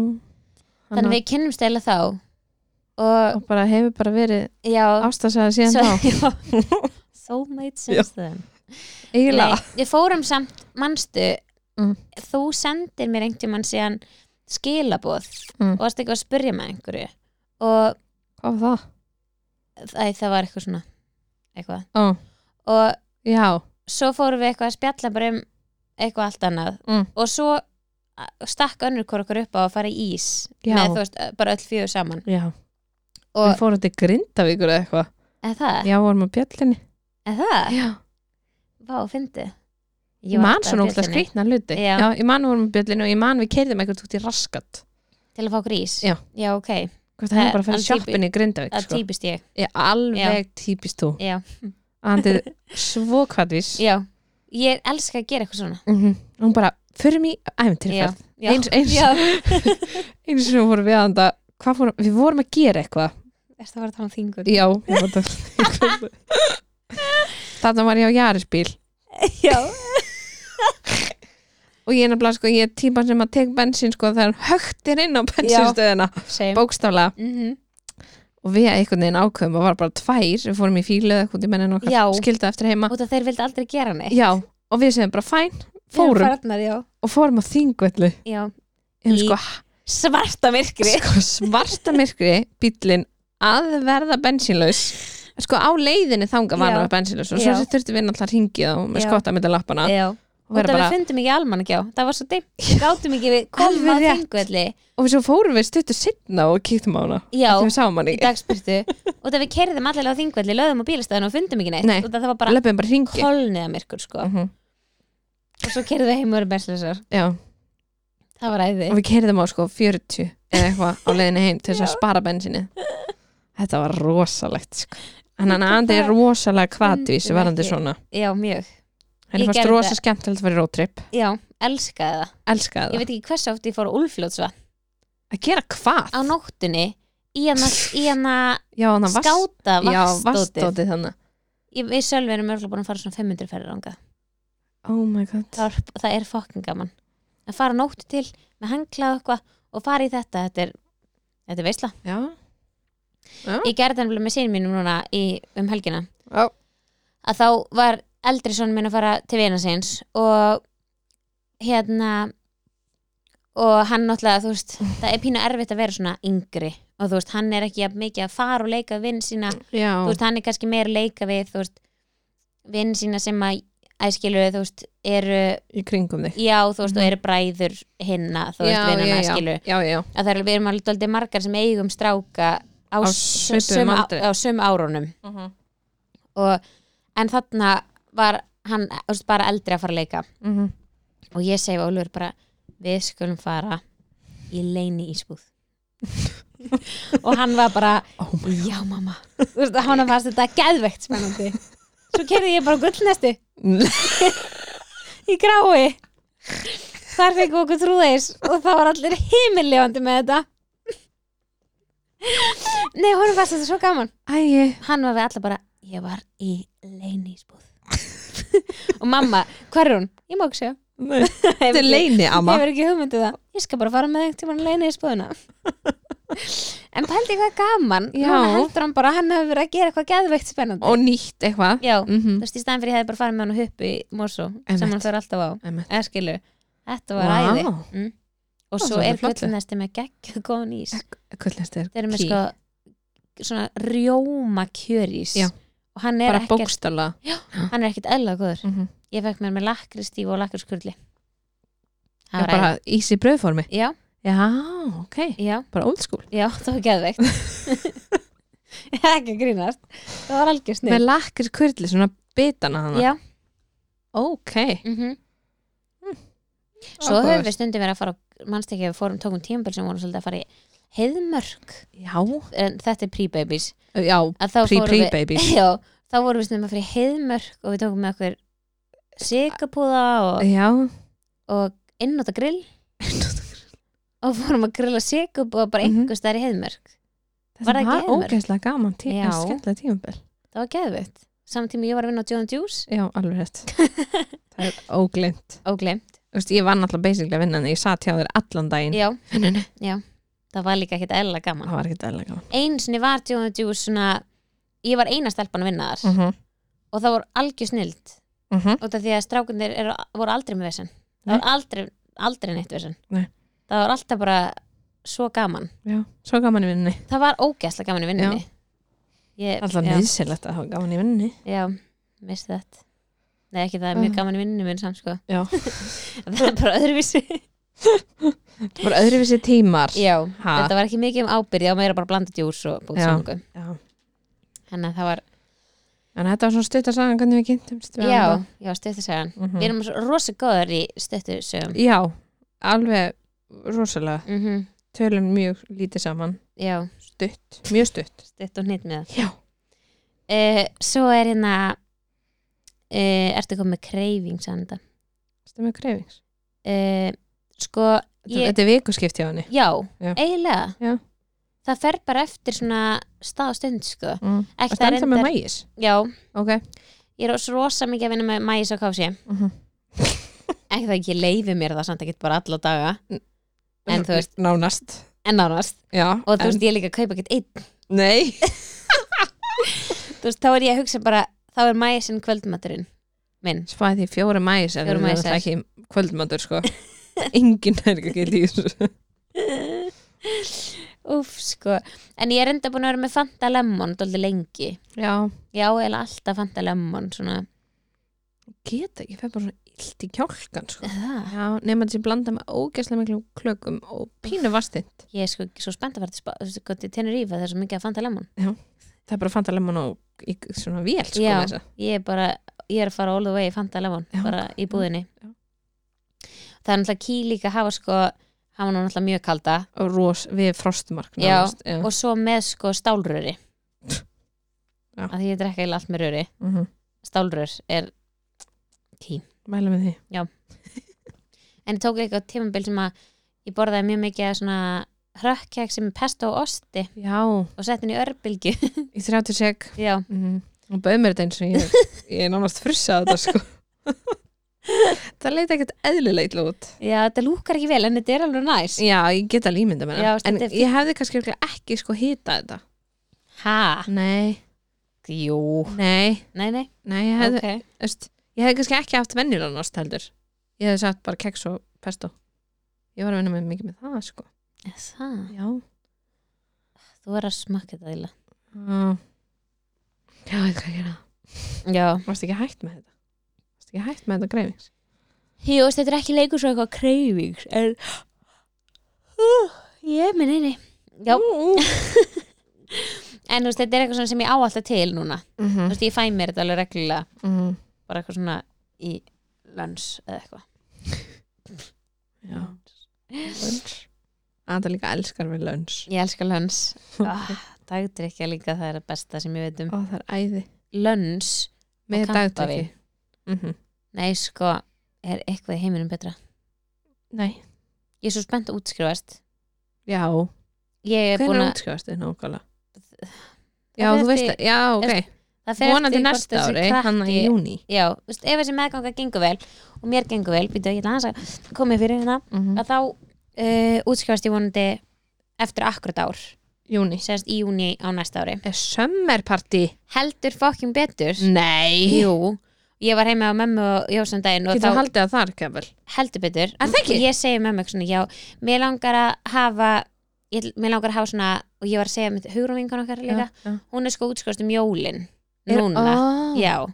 [SPEAKER 1] þannig að við kynnumst eða þá og
[SPEAKER 2] og bara hefur bara verið
[SPEAKER 1] já,
[SPEAKER 2] ástasaða síðan þá
[SPEAKER 1] já so made sense then
[SPEAKER 2] eiginlega
[SPEAKER 1] Nei, við fórum samt, manstu
[SPEAKER 2] Mm.
[SPEAKER 1] þú sendir mér einhvern tímann síðan skilaboð
[SPEAKER 2] Mm.
[SPEAKER 1] og varst eitthvað að spyrja með einhverju og
[SPEAKER 2] hvað var það?
[SPEAKER 1] æ, það var eitthvað svona eitthvað
[SPEAKER 2] Ó,
[SPEAKER 1] og
[SPEAKER 2] já
[SPEAKER 1] svo fórum við eitthvað að spjalla bara um eitthvað allt annað
[SPEAKER 2] Mm.
[SPEAKER 1] og svo a- stakk önnur hvort okkur upp á að fara í ís
[SPEAKER 2] Já.
[SPEAKER 1] með þú veist, bara öll fjögur saman
[SPEAKER 2] já
[SPEAKER 1] Og- Ah.
[SPEAKER 2] Við fórum til Grindavíkur eða eitthvað.
[SPEAKER 1] eða það,
[SPEAKER 2] Mm. Já, vorum á bjöllinni.
[SPEAKER 1] eða það
[SPEAKER 2] Já,
[SPEAKER 1] vá, fyndi
[SPEAKER 2] ég man svona ógst að skrýtna hluti.
[SPEAKER 1] Já.
[SPEAKER 2] ég man við vorum á bjöllinni og ég man við keirðum eitthvað út í raskat.
[SPEAKER 1] til að fá grís,
[SPEAKER 2] Já.
[SPEAKER 1] já ok
[SPEAKER 2] Hvort það
[SPEAKER 1] Það-
[SPEAKER 2] er bara að fara
[SPEAKER 1] hann
[SPEAKER 2] í
[SPEAKER 1] Eh, típi-
[SPEAKER 2] sjoppinni í Grindavík,
[SPEAKER 1] það
[SPEAKER 2] sko.
[SPEAKER 1] týpist ég,
[SPEAKER 2] Ég alveg típist þú.
[SPEAKER 1] já,
[SPEAKER 2] Andið svo kvartvís.
[SPEAKER 1] já ég elska að gera eitthvað svona
[SPEAKER 2] Mhm. Hún bara, förum í æfintýrferð.
[SPEAKER 1] já,
[SPEAKER 2] Eins- eins-
[SPEAKER 1] já.
[SPEAKER 2] Einu sinni vorum við að anda, hvað fórum, við vorum að gera eitthvað.
[SPEAKER 1] Ertu að fara að tala um þingur?
[SPEAKER 2] Já, þarna var ég á Jarisbíl
[SPEAKER 1] Já.
[SPEAKER 2] og ég er nefnilega sko, ég er típa sem að tek bensín sko þegar hann högtir inn á bensinstöðina
[SPEAKER 1] Same. Mhm.
[SPEAKER 2] bókstálega og við einhvern veginn ákveðum og var bara tvær, við fórum í fílu eða eitthvað, ég menna
[SPEAKER 1] Já.
[SPEAKER 2] nokkar skilda eftir heima
[SPEAKER 1] Út af þeir vildi aldrei gera neitt.
[SPEAKER 2] Já, og við segjum bara fæn, fórum
[SPEAKER 1] Farnar, já.
[SPEAKER 2] og fórum á þingvelli
[SPEAKER 1] já.
[SPEAKER 2] um
[SPEAKER 1] Í
[SPEAKER 2] sko,
[SPEAKER 1] Svarta myrkri.
[SPEAKER 2] sko svarta myrkri bíllinn að verða bensínlaus sko á leiðinni þanga var
[SPEAKER 1] Já.
[SPEAKER 2] hann bensínlaus og svo
[SPEAKER 1] Já.
[SPEAKER 2] þurftum við náttúrulega að ringið og með
[SPEAKER 1] Já.
[SPEAKER 2] skotta með lappana
[SPEAKER 1] Já.
[SPEAKER 2] og
[SPEAKER 1] Út af
[SPEAKER 2] vera bara
[SPEAKER 1] við fundum ekki almannagjá. Það var svo dimmt. Við gátum ekki við komum
[SPEAKER 2] Alveg
[SPEAKER 1] að
[SPEAKER 2] rétt.
[SPEAKER 1] þingvelli
[SPEAKER 2] og svo fórum við stuttu sinna og kíktum á hana
[SPEAKER 1] Já.
[SPEAKER 2] þegar við sáum
[SPEAKER 1] í
[SPEAKER 2] hana ekki,
[SPEAKER 1] dagspyrtu. Út af við kerðum allir á þingvelli, löðum á bílastæðinu og fundum ekki neitt.
[SPEAKER 2] Nei.
[SPEAKER 1] Út af það var bara
[SPEAKER 2] löpum bara hringi
[SPEAKER 1] kolniða myrkur sko.
[SPEAKER 2] Mhm.
[SPEAKER 1] Og svo kerðum við heim og erum berslösar.
[SPEAKER 2] Já.
[SPEAKER 1] Það var æði.
[SPEAKER 2] og við kerðum á sko 40 eða eitthvað á leiðinni heim til þess að spara bensinni þetta var rosalegt sko. hann hann
[SPEAKER 1] Þetta
[SPEAKER 2] andi er
[SPEAKER 1] var-
[SPEAKER 2] rosalega kvatvís
[SPEAKER 1] Stundum
[SPEAKER 2] varandi
[SPEAKER 1] Mm, ekki.
[SPEAKER 2] svona
[SPEAKER 1] Já, mjög. Ég
[SPEAKER 2] henni fannst
[SPEAKER 1] gerði
[SPEAKER 2] rosa
[SPEAKER 1] það.
[SPEAKER 2] skemmtilegt að vera í roadtrip
[SPEAKER 1] Já, elskaði það. Ég
[SPEAKER 2] elskaði það,
[SPEAKER 1] veit ekki hversu oft ég fór á Úlfljótsvatn
[SPEAKER 2] að gera hvað
[SPEAKER 1] á nóttunni í hana, í hana
[SPEAKER 2] já, hann var
[SPEAKER 1] skáta
[SPEAKER 2] já,
[SPEAKER 1] vastótið
[SPEAKER 2] vastótið þannig
[SPEAKER 1] ég við Sölvi erum örgulega búin að fara svona 500 ferðir ánga
[SPEAKER 2] oh my god
[SPEAKER 1] það, var- það er fokkin gaman að fara nóttu til með hanglað og eitthvað og fara í þetta, þetta er, þetta er veisla
[SPEAKER 2] já,
[SPEAKER 1] ég gerði það nefnilega með sínum mínum núna í, um helgina
[SPEAKER 2] já.
[SPEAKER 1] að þá var eldri sonur minn að fara til vina síns og hérna og hann náttúrulega, þú veist, það er pínu erfitt að vera svona yngri og þú veist, hann er ekki jafn mikið að fara og leika vinn sína
[SPEAKER 2] já.
[SPEAKER 1] þú veist, hann er kannski meira að leika við þú veist, vinn sína sem að æskilur, þú veist, eru
[SPEAKER 2] í kringum þig
[SPEAKER 1] já, þú veist,
[SPEAKER 2] Mhm.
[SPEAKER 1] og eru bræður hinna, þú veist,
[SPEAKER 2] já, já,
[SPEAKER 1] vinnana
[SPEAKER 2] já.
[SPEAKER 1] æskilur
[SPEAKER 2] já, já,
[SPEAKER 1] að það er, við erum alveg doldið margar sem eigum stráka á,
[SPEAKER 2] Á
[SPEAKER 1] s-
[SPEAKER 2] svipuðum
[SPEAKER 1] sum á,
[SPEAKER 2] aldri.
[SPEAKER 1] á sum árunum
[SPEAKER 2] Mhm.
[SPEAKER 1] og, en þarna var hann, þú veist, bara eldri að fara að leika
[SPEAKER 2] Mhm.
[SPEAKER 1] og ég segi við Ólfur bara við skulum fara í leini ísbúð og hann var bara
[SPEAKER 2] Oh
[SPEAKER 1] já mamma þú veist að hann fannst þetta geðveikt spennandi svo kerði ég bara á gullnesti í grái þar fengið okkur trúðeis og það var allir himilljóandi með þetta nei honum fannst þetta svo gaman
[SPEAKER 2] Æi,
[SPEAKER 1] hann var við alla bara ég var í leini ísbúð og mamma, hvar er hún? ég má ekki segja
[SPEAKER 2] Nei, þetta er leini,
[SPEAKER 1] Ég
[SPEAKER 2] amma
[SPEAKER 1] hefur ekki hugmyndið það. Ég skal bara fara með einhvern tímann leina í spöðuna. en pældi hvað gaman.
[SPEAKER 2] Já.
[SPEAKER 1] Núna heldur hann bara að hann hefur verið að gera eitthvað geðveikt spennandi.
[SPEAKER 2] og nýtt eitthvað
[SPEAKER 1] Já,
[SPEAKER 2] Mhm.
[SPEAKER 1] þú veist, í staðin fyrir ég hefði bara farið með hann og huppu í morsó sem
[SPEAKER 2] Einmitt.
[SPEAKER 1] hann fyrir alltaf á.
[SPEAKER 2] Einmitt.
[SPEAKER 1] Eða skilu, þetta var
[SPEAKER 2] Vá.
[SPEAKER 1] æði. Mm. Og
[SPEAKER 2] Það
[SPEAKER 1] svo
[SPEAKER 2] var
[SPEAKER 1] er
[SPEAKER 2] flott.
[SPEAKER 1] kvöldnesti með gegg góðan ís.
[SPEAKER 2] Gullnest er
[SPEAKER 1] Þeir eru með
[SPEAKER 2] key.
[SPEAKER 1] sko svona rjóma kjörís.
[SPEAKER 2] Já.
[SPEAKER 1] Og hann er,
[SPEAKER 2] bara
[SPEAKER 1] ekkert,
[SPEAKER 2] bókstala
[SPEAKER 1] hann er ekkert eðla góður.
[SPEAKER 2] mm -hmm.
[SPEAKER 1] Ég fekk mér með lakristíf og lakriskurli. Það var æði.
[SPEAKER 2] bara ís í bröðformi
[SPEAKER 1] Já,
[SPEAKER 2] já, ok,
[SPEAKER 1] já.
[SPEAKER 2] bara old school
[SPEAKER 1] Já, það var geðveikt Ég er ekki að grínast Það var algjör
[SPEAKER 2] með
[SPEAKER 1] snið
[SPEAKER 2] lakkir kurli, svona bitana hana
[SPEAKER 1] Já,
[SPEAKER 2] ok,
[SPEAKER 1] mm Svo höfum við stundum verið að fara mannst ekki að við fórum tókum tímabil sem vorum svolítið að fara í heiðmörk
[SPEAKER 2] já,
[SPEAKER 1] en þetta er pre-babies
[SPEAKER 2] já,
[SPEAKER 1] Að þá
[SPEAKER 2] pre
[SPEAKER 1] fórum
[SPEAKER 2] pre
[SPEAKER 1] við-
[SPEAKER 2] baby
[SPEAKER 1] Já, þá vorum við stundum að fara í heiðmörk og við tókum með okkur sigapúða og,
[SPEAKER 2] já,
[SPEAKER 1] og innóta grill og fórum að grilla sigapúða bara
[SPEAKER 2] Mhm.
[SPEAKER 1] einhvers staðar í heiðmörk Var
[SPEAKER 2] þetta
[SPEAKER 1] það
[SPEAKER 2] var
[SPEAKER 1] ekki heimur?
[SPEAKER 2] ógeðslega gaman tí
[SPEAKER 1] Já.
[SPEAKER 2] skemmtilega tímabil,
[SPEAKER 1] Það var geðveikt Samtími ég var að vinna á John Juice
[SPEAKER 2] já, alveg rétt það er óglind
[SPEAKER 1] og glemt
[SPEAKER 2] Vist, ég var náttúrulega basically að vinna en ég sat hjá þér allan daginn
[SPEAKER 1] Já,
[SPEAKER 2] Nei, nei, nei.
[SPEAKER 1] það var líka ekkert eðla gaman
[SPEAKER 2] það var ekki dæla gaman
[SPEAKER 1] einu sinni var Jóna Djús svona ég var eina stelpan að vinna þar
[SPEAKER 2] mm -hmm.
[SPEAKER 1] og það voru algjör snild
[SPEAKER 2] Mm -hmm.
[SPEAKER 1] út af því að strákundir eru, voru aldrei með vesen það
[SPEAKER 2] Nei.
[SPEAKER 1] voru aldrei, aldrei neitt vesen
[SPEAKER 2] Nei.
[SPEAKER 1] það var alltaf bara svo gaman
[SPEAKER 2] já, svo gaman í vinninni
[SPEAKER 1] það var ógæslega gaman í vinnunni ég,
[SPEAKER 2] alltaf
[SPEAKER 1] já,
[SPEAKER 2] nýðsilegt að hafa gaman í vinninni
[SPEAKER 1] já, misti þetta Nei, ekki það er mjög
[SPEAKER 2] Ah.
[SPEAKER 1] gaman í vinnunni minn samt sko
[SPEAKER 2] já,
[SPEAKER 1] það er bara öðruvísi
[SPEAKER 2] Þetta voru öðruvísi tímar
[SPEAKER 1] já,
[SPEAKER 2] Ha.
[SPEAKER 1] þetta var ekki mikið um ábyrði á meira bara að blanda djús og búið
[SPEAKER 2] Já.
[SPEAKER 1] samningu
[SPEAKER 2] Já.
[SPEAKER 1] þannig að það var,
[SPEAKER 2] En þetta var svona stutt að saga hvernig við kynntumst við
[SPEAKER 1] já,
[SPEAKER 2] hana.
[SPEAKER 1] já, stöttu segjan
[SPEAKER 2] Mhm.
[SPEAKER 1] við erum svo rosa góðar í stöttu sögum
[SPEAKER 2] Já, alveg rosalega
[SPEAKER 1] mm
[SPEAKER 2] Tölum mjög lítið saman
[SPEAKER 1] já,
[SPEAKER 2] Stutt, mjög stutt
[SPEAKER 1] stöttu og hnýtt með
[SPEAKER 2] Já
[SPEAKER 1] uh, svo er hérna uh, ertu komið með kreyfing sanda
[SPEAKER 2] Þetta er mjög greifings
[SPEAKER 1] uh, sko ég,
[SPEAKER 2] Þetta er vikuskipt hjá henni
[SPEAKER 1] já,
[SPEAKER 2] Já.
[SPEAKER 1] eiginlega
[SPEAKER 2] Já.
[SPEAKER 1] það fer bara eftir svona stað og stund sko
[SPEAKER 2] mm.
[SPEAKER 1] Ekki
[SPEAKER 2] Þetta
[SPEAKER 1] það
[SPEAKER 2] er ennþá með
[SPEAKER 1] reyndar-
[SPEAKER 2] mægis
[SPEAKER 1] já,
[SPEAKER 2] Ok Mhm.
[SPEAKER 1] ég er svo rosa mikið að vinna með mæs og kási ekki það ekki leifi mér það samt ekki bara alla daga En þú veist-
[SPEAKER 2] Nánast
[SPEAKER 1] en nánast
[SPEAKER 2] Já
[SPEAKER 1] og þú
[SPEAKER 2] en-
[SPEAKER 1] veist ég er líka að kaupa ekkert einn
[SPEAKER 2] Nei
[SPEAKER 1] þú veist þá er ég að hugsa bara þá er mæsinn kvöldmaturinn minn
[SPEAKER 2] Svæði því fjóra mægis
[SPEAKER 1] Fjórir maísar.
[SPEAKER 2] Það er ekki kvöldmatur sko Engin er ekki að geta í þessu
[SPEAKER 1] Úf, sko en ég er enda búin að vera með Fanta Lemon dóldi lengi,
[SPEAKER 2] Já
[SPEAKER 1] ég á eða alltaf Fanta Lemon svona
[SPEAKER 2] Geta ekki, ég fer bara svona illt í kjálkan sko
[SPEAKER 1] það,
[SPEAKER 2] Já, nema þessi blanda með ógeðslega miklum klökum og pínu vastind.
[SPEAKER 1] ég er sko ekki svo spennt að fara til, spa- þú veist, sko, til Tenerife það er svo mikið að Fanta Lemon
[SPEAKER 2] Það er bara fanta lemon og í svona vél, sko,
[SPEAKER 1] Já.
[SPEAKER 2] með þessa.
[SPEAKER 1] ég er bara, ég er að fara all the way í Fanta Lemon,
[SPEAKER 2] Já,
[SPEAKER 1] bara í búðinni
[SPEAKER 2] já.
[SPEAKER 1] það er náttúrulega ký líka að hafa sko, hafa nú náttúrulega mjög kalda
[SPEAKER 2] Og rós við frostmark.
[SPEAKER 1] Já,
[SPEAKER 2] nánast, Já.
[SPEAKER 1] og svo með sko stálröri
[SPEAKER 2] Já.
[SPEAKER 1] að því ég drekka eiginlega allt með röri
[SPEAKER 2] Mhm.
[SPEAKER 1] stálrör er
[SPEAKER 2] Mæla með því.
[SPEAKER 1] en ég tók líka á tímabil sem að ég borðaði mjög mikið af svona hrökkkek sem er pesto og osti
[SPEAKER 2] Já,
[SPEAKER 1] og sett henni í örbylgi
[SPEAKER 2] í 30 sek.
[SPEAKER 1] já,
[SPEAKER 2] Mm. Og bauð mér þetta eins og ég, ég er nánast frussa þetta, sko. það leita ekkert eðlilega illa út.
[SPEAKER 1] já, þetta lúkar ekki vel en þetta er alveg næs
[SPEAKER 2] Já, ég get að límynda mér. það.
[SPEAKER 1] Já,
[SPEAKER 2] en
[SPEAKER 1] þetta er fínt.
[SPEAKER 2] ég hefði kannski örugglega ekki sko hýta þetta.
[SPEAKER 1] ha,
[SPEAKER 2] Nei.
[SPEAKER 1] jú
[SPEAKER 2] Nei,
[SPEAKER 1] nei, nei,
[SPEAKER 2] nei, ég hefði,
[SPEAKER 1] ok
[SPEAKER 2] þú veist, ég hefði kannski ekki haft venjulegan ost heldur ég hefði sagt bara keks og pesto ég var að vinna með mikið með það sko
[SPEAKER 1] það,
[SPEAKER 2] já
[SPEAKER 1] þú verður að smakka þetta eiginlega.
[SPEAKER 2] já, ég hvað gera
[SPEAKER 1] já,
[SPEAKER 2] varst ekki hægt með þetta varst ekki hægt með þetta greifings
[SPEAKER 1] Jú, veist, þetta er ekki leikur svo eitthvað kreyfings en uh, ég minn einni Já. en þú veist, þetta er eitthvað svona sem ég á alltaf til núna
[SPEAKER 2] Mhm,
[SPEAKER 1] þú veist, ég fæ mér þetta alveg reglulega bara eitthvað svona í lönns eða eitthvað
[SPEAKER 2] já lunch Aða líka elskar við lunch
[SPEAKER 1] ég elska lönns ah, dagdrykja líka, það er að besta sem ég veit um
[SPEAKER 2] og það er æði
[SPEAKER 1] lönns,
[SPEAKER 2] með
[SPEAKER 1] kampavín.
[SPEAKER 2] dagtæki mm -hmm.
[SPEAKER 1] nei sko er eitthvað í heiminum betra
[SPEAKER 2] nei,
[SPEAKER 1] ég er svo spennt að útskrifast
[SPEAKER 2] já
[SPEAKER 1] ég er búin
[SPEAKER 2] hvernig
[SPEAKER 1] að
[SPEAKER 2] útskjáðast þið nákvæmlega já,
[SPEAKER 1] Það fer
[SPEAKER 2] þú veist
[SPEAKER 1] eftir-
[SPEAKER 2] það, já, ok
[SPEAKER 1] það fer
[SPEAKER 2] vonandi
[SPEAKER 1] eftir hvort
[SPEAKER 2] næsta
[SPEAKER 1] þessi
[SPEAKER 2] ári, hann í
[SPEAKER 1] krakki-
[SPEAKER 2] júni
[SPEAKER 1] já, þú veist, ef þessi meðganga gengur vel og mér gengur vel, býtu ég ætla aðeins að koma mér fyrir hérna,
[SPEAKER 2] mm -hmm.
[SPEAKER 1] að þá uh, útskrifast ég vonandi eftir akkurat ár,
[SPEAKER 2] júni
[SPEAKER 1] sérst í júni á næsta ári
[SPEAKER 2] er sömmerparti
[SPEAKER 1] heldur fokkin betur
[SPEAKER 2] Mm. nei
[SPEAKER 1] jú, ég var heima á mömmu og Jósan daginn og
[SPEAKER 2] getur
[SPEAKER 1] þá
[SPEAKER 2] haldið að það er kefal
[SPEAKER 1] heldur betur
[SPEAKER 2] Er það ekki?
[SPEAKER 1] ég segi mömmu eitthvað svona, já, mér langar að hafa ég, ætl- mér langar að hafa svona og ég var að segja með hugrúmingan okkar líka hún er sko útskrifast um jólin núna
[SPEAKER 2] Ah.
[SPEAKER 1] já,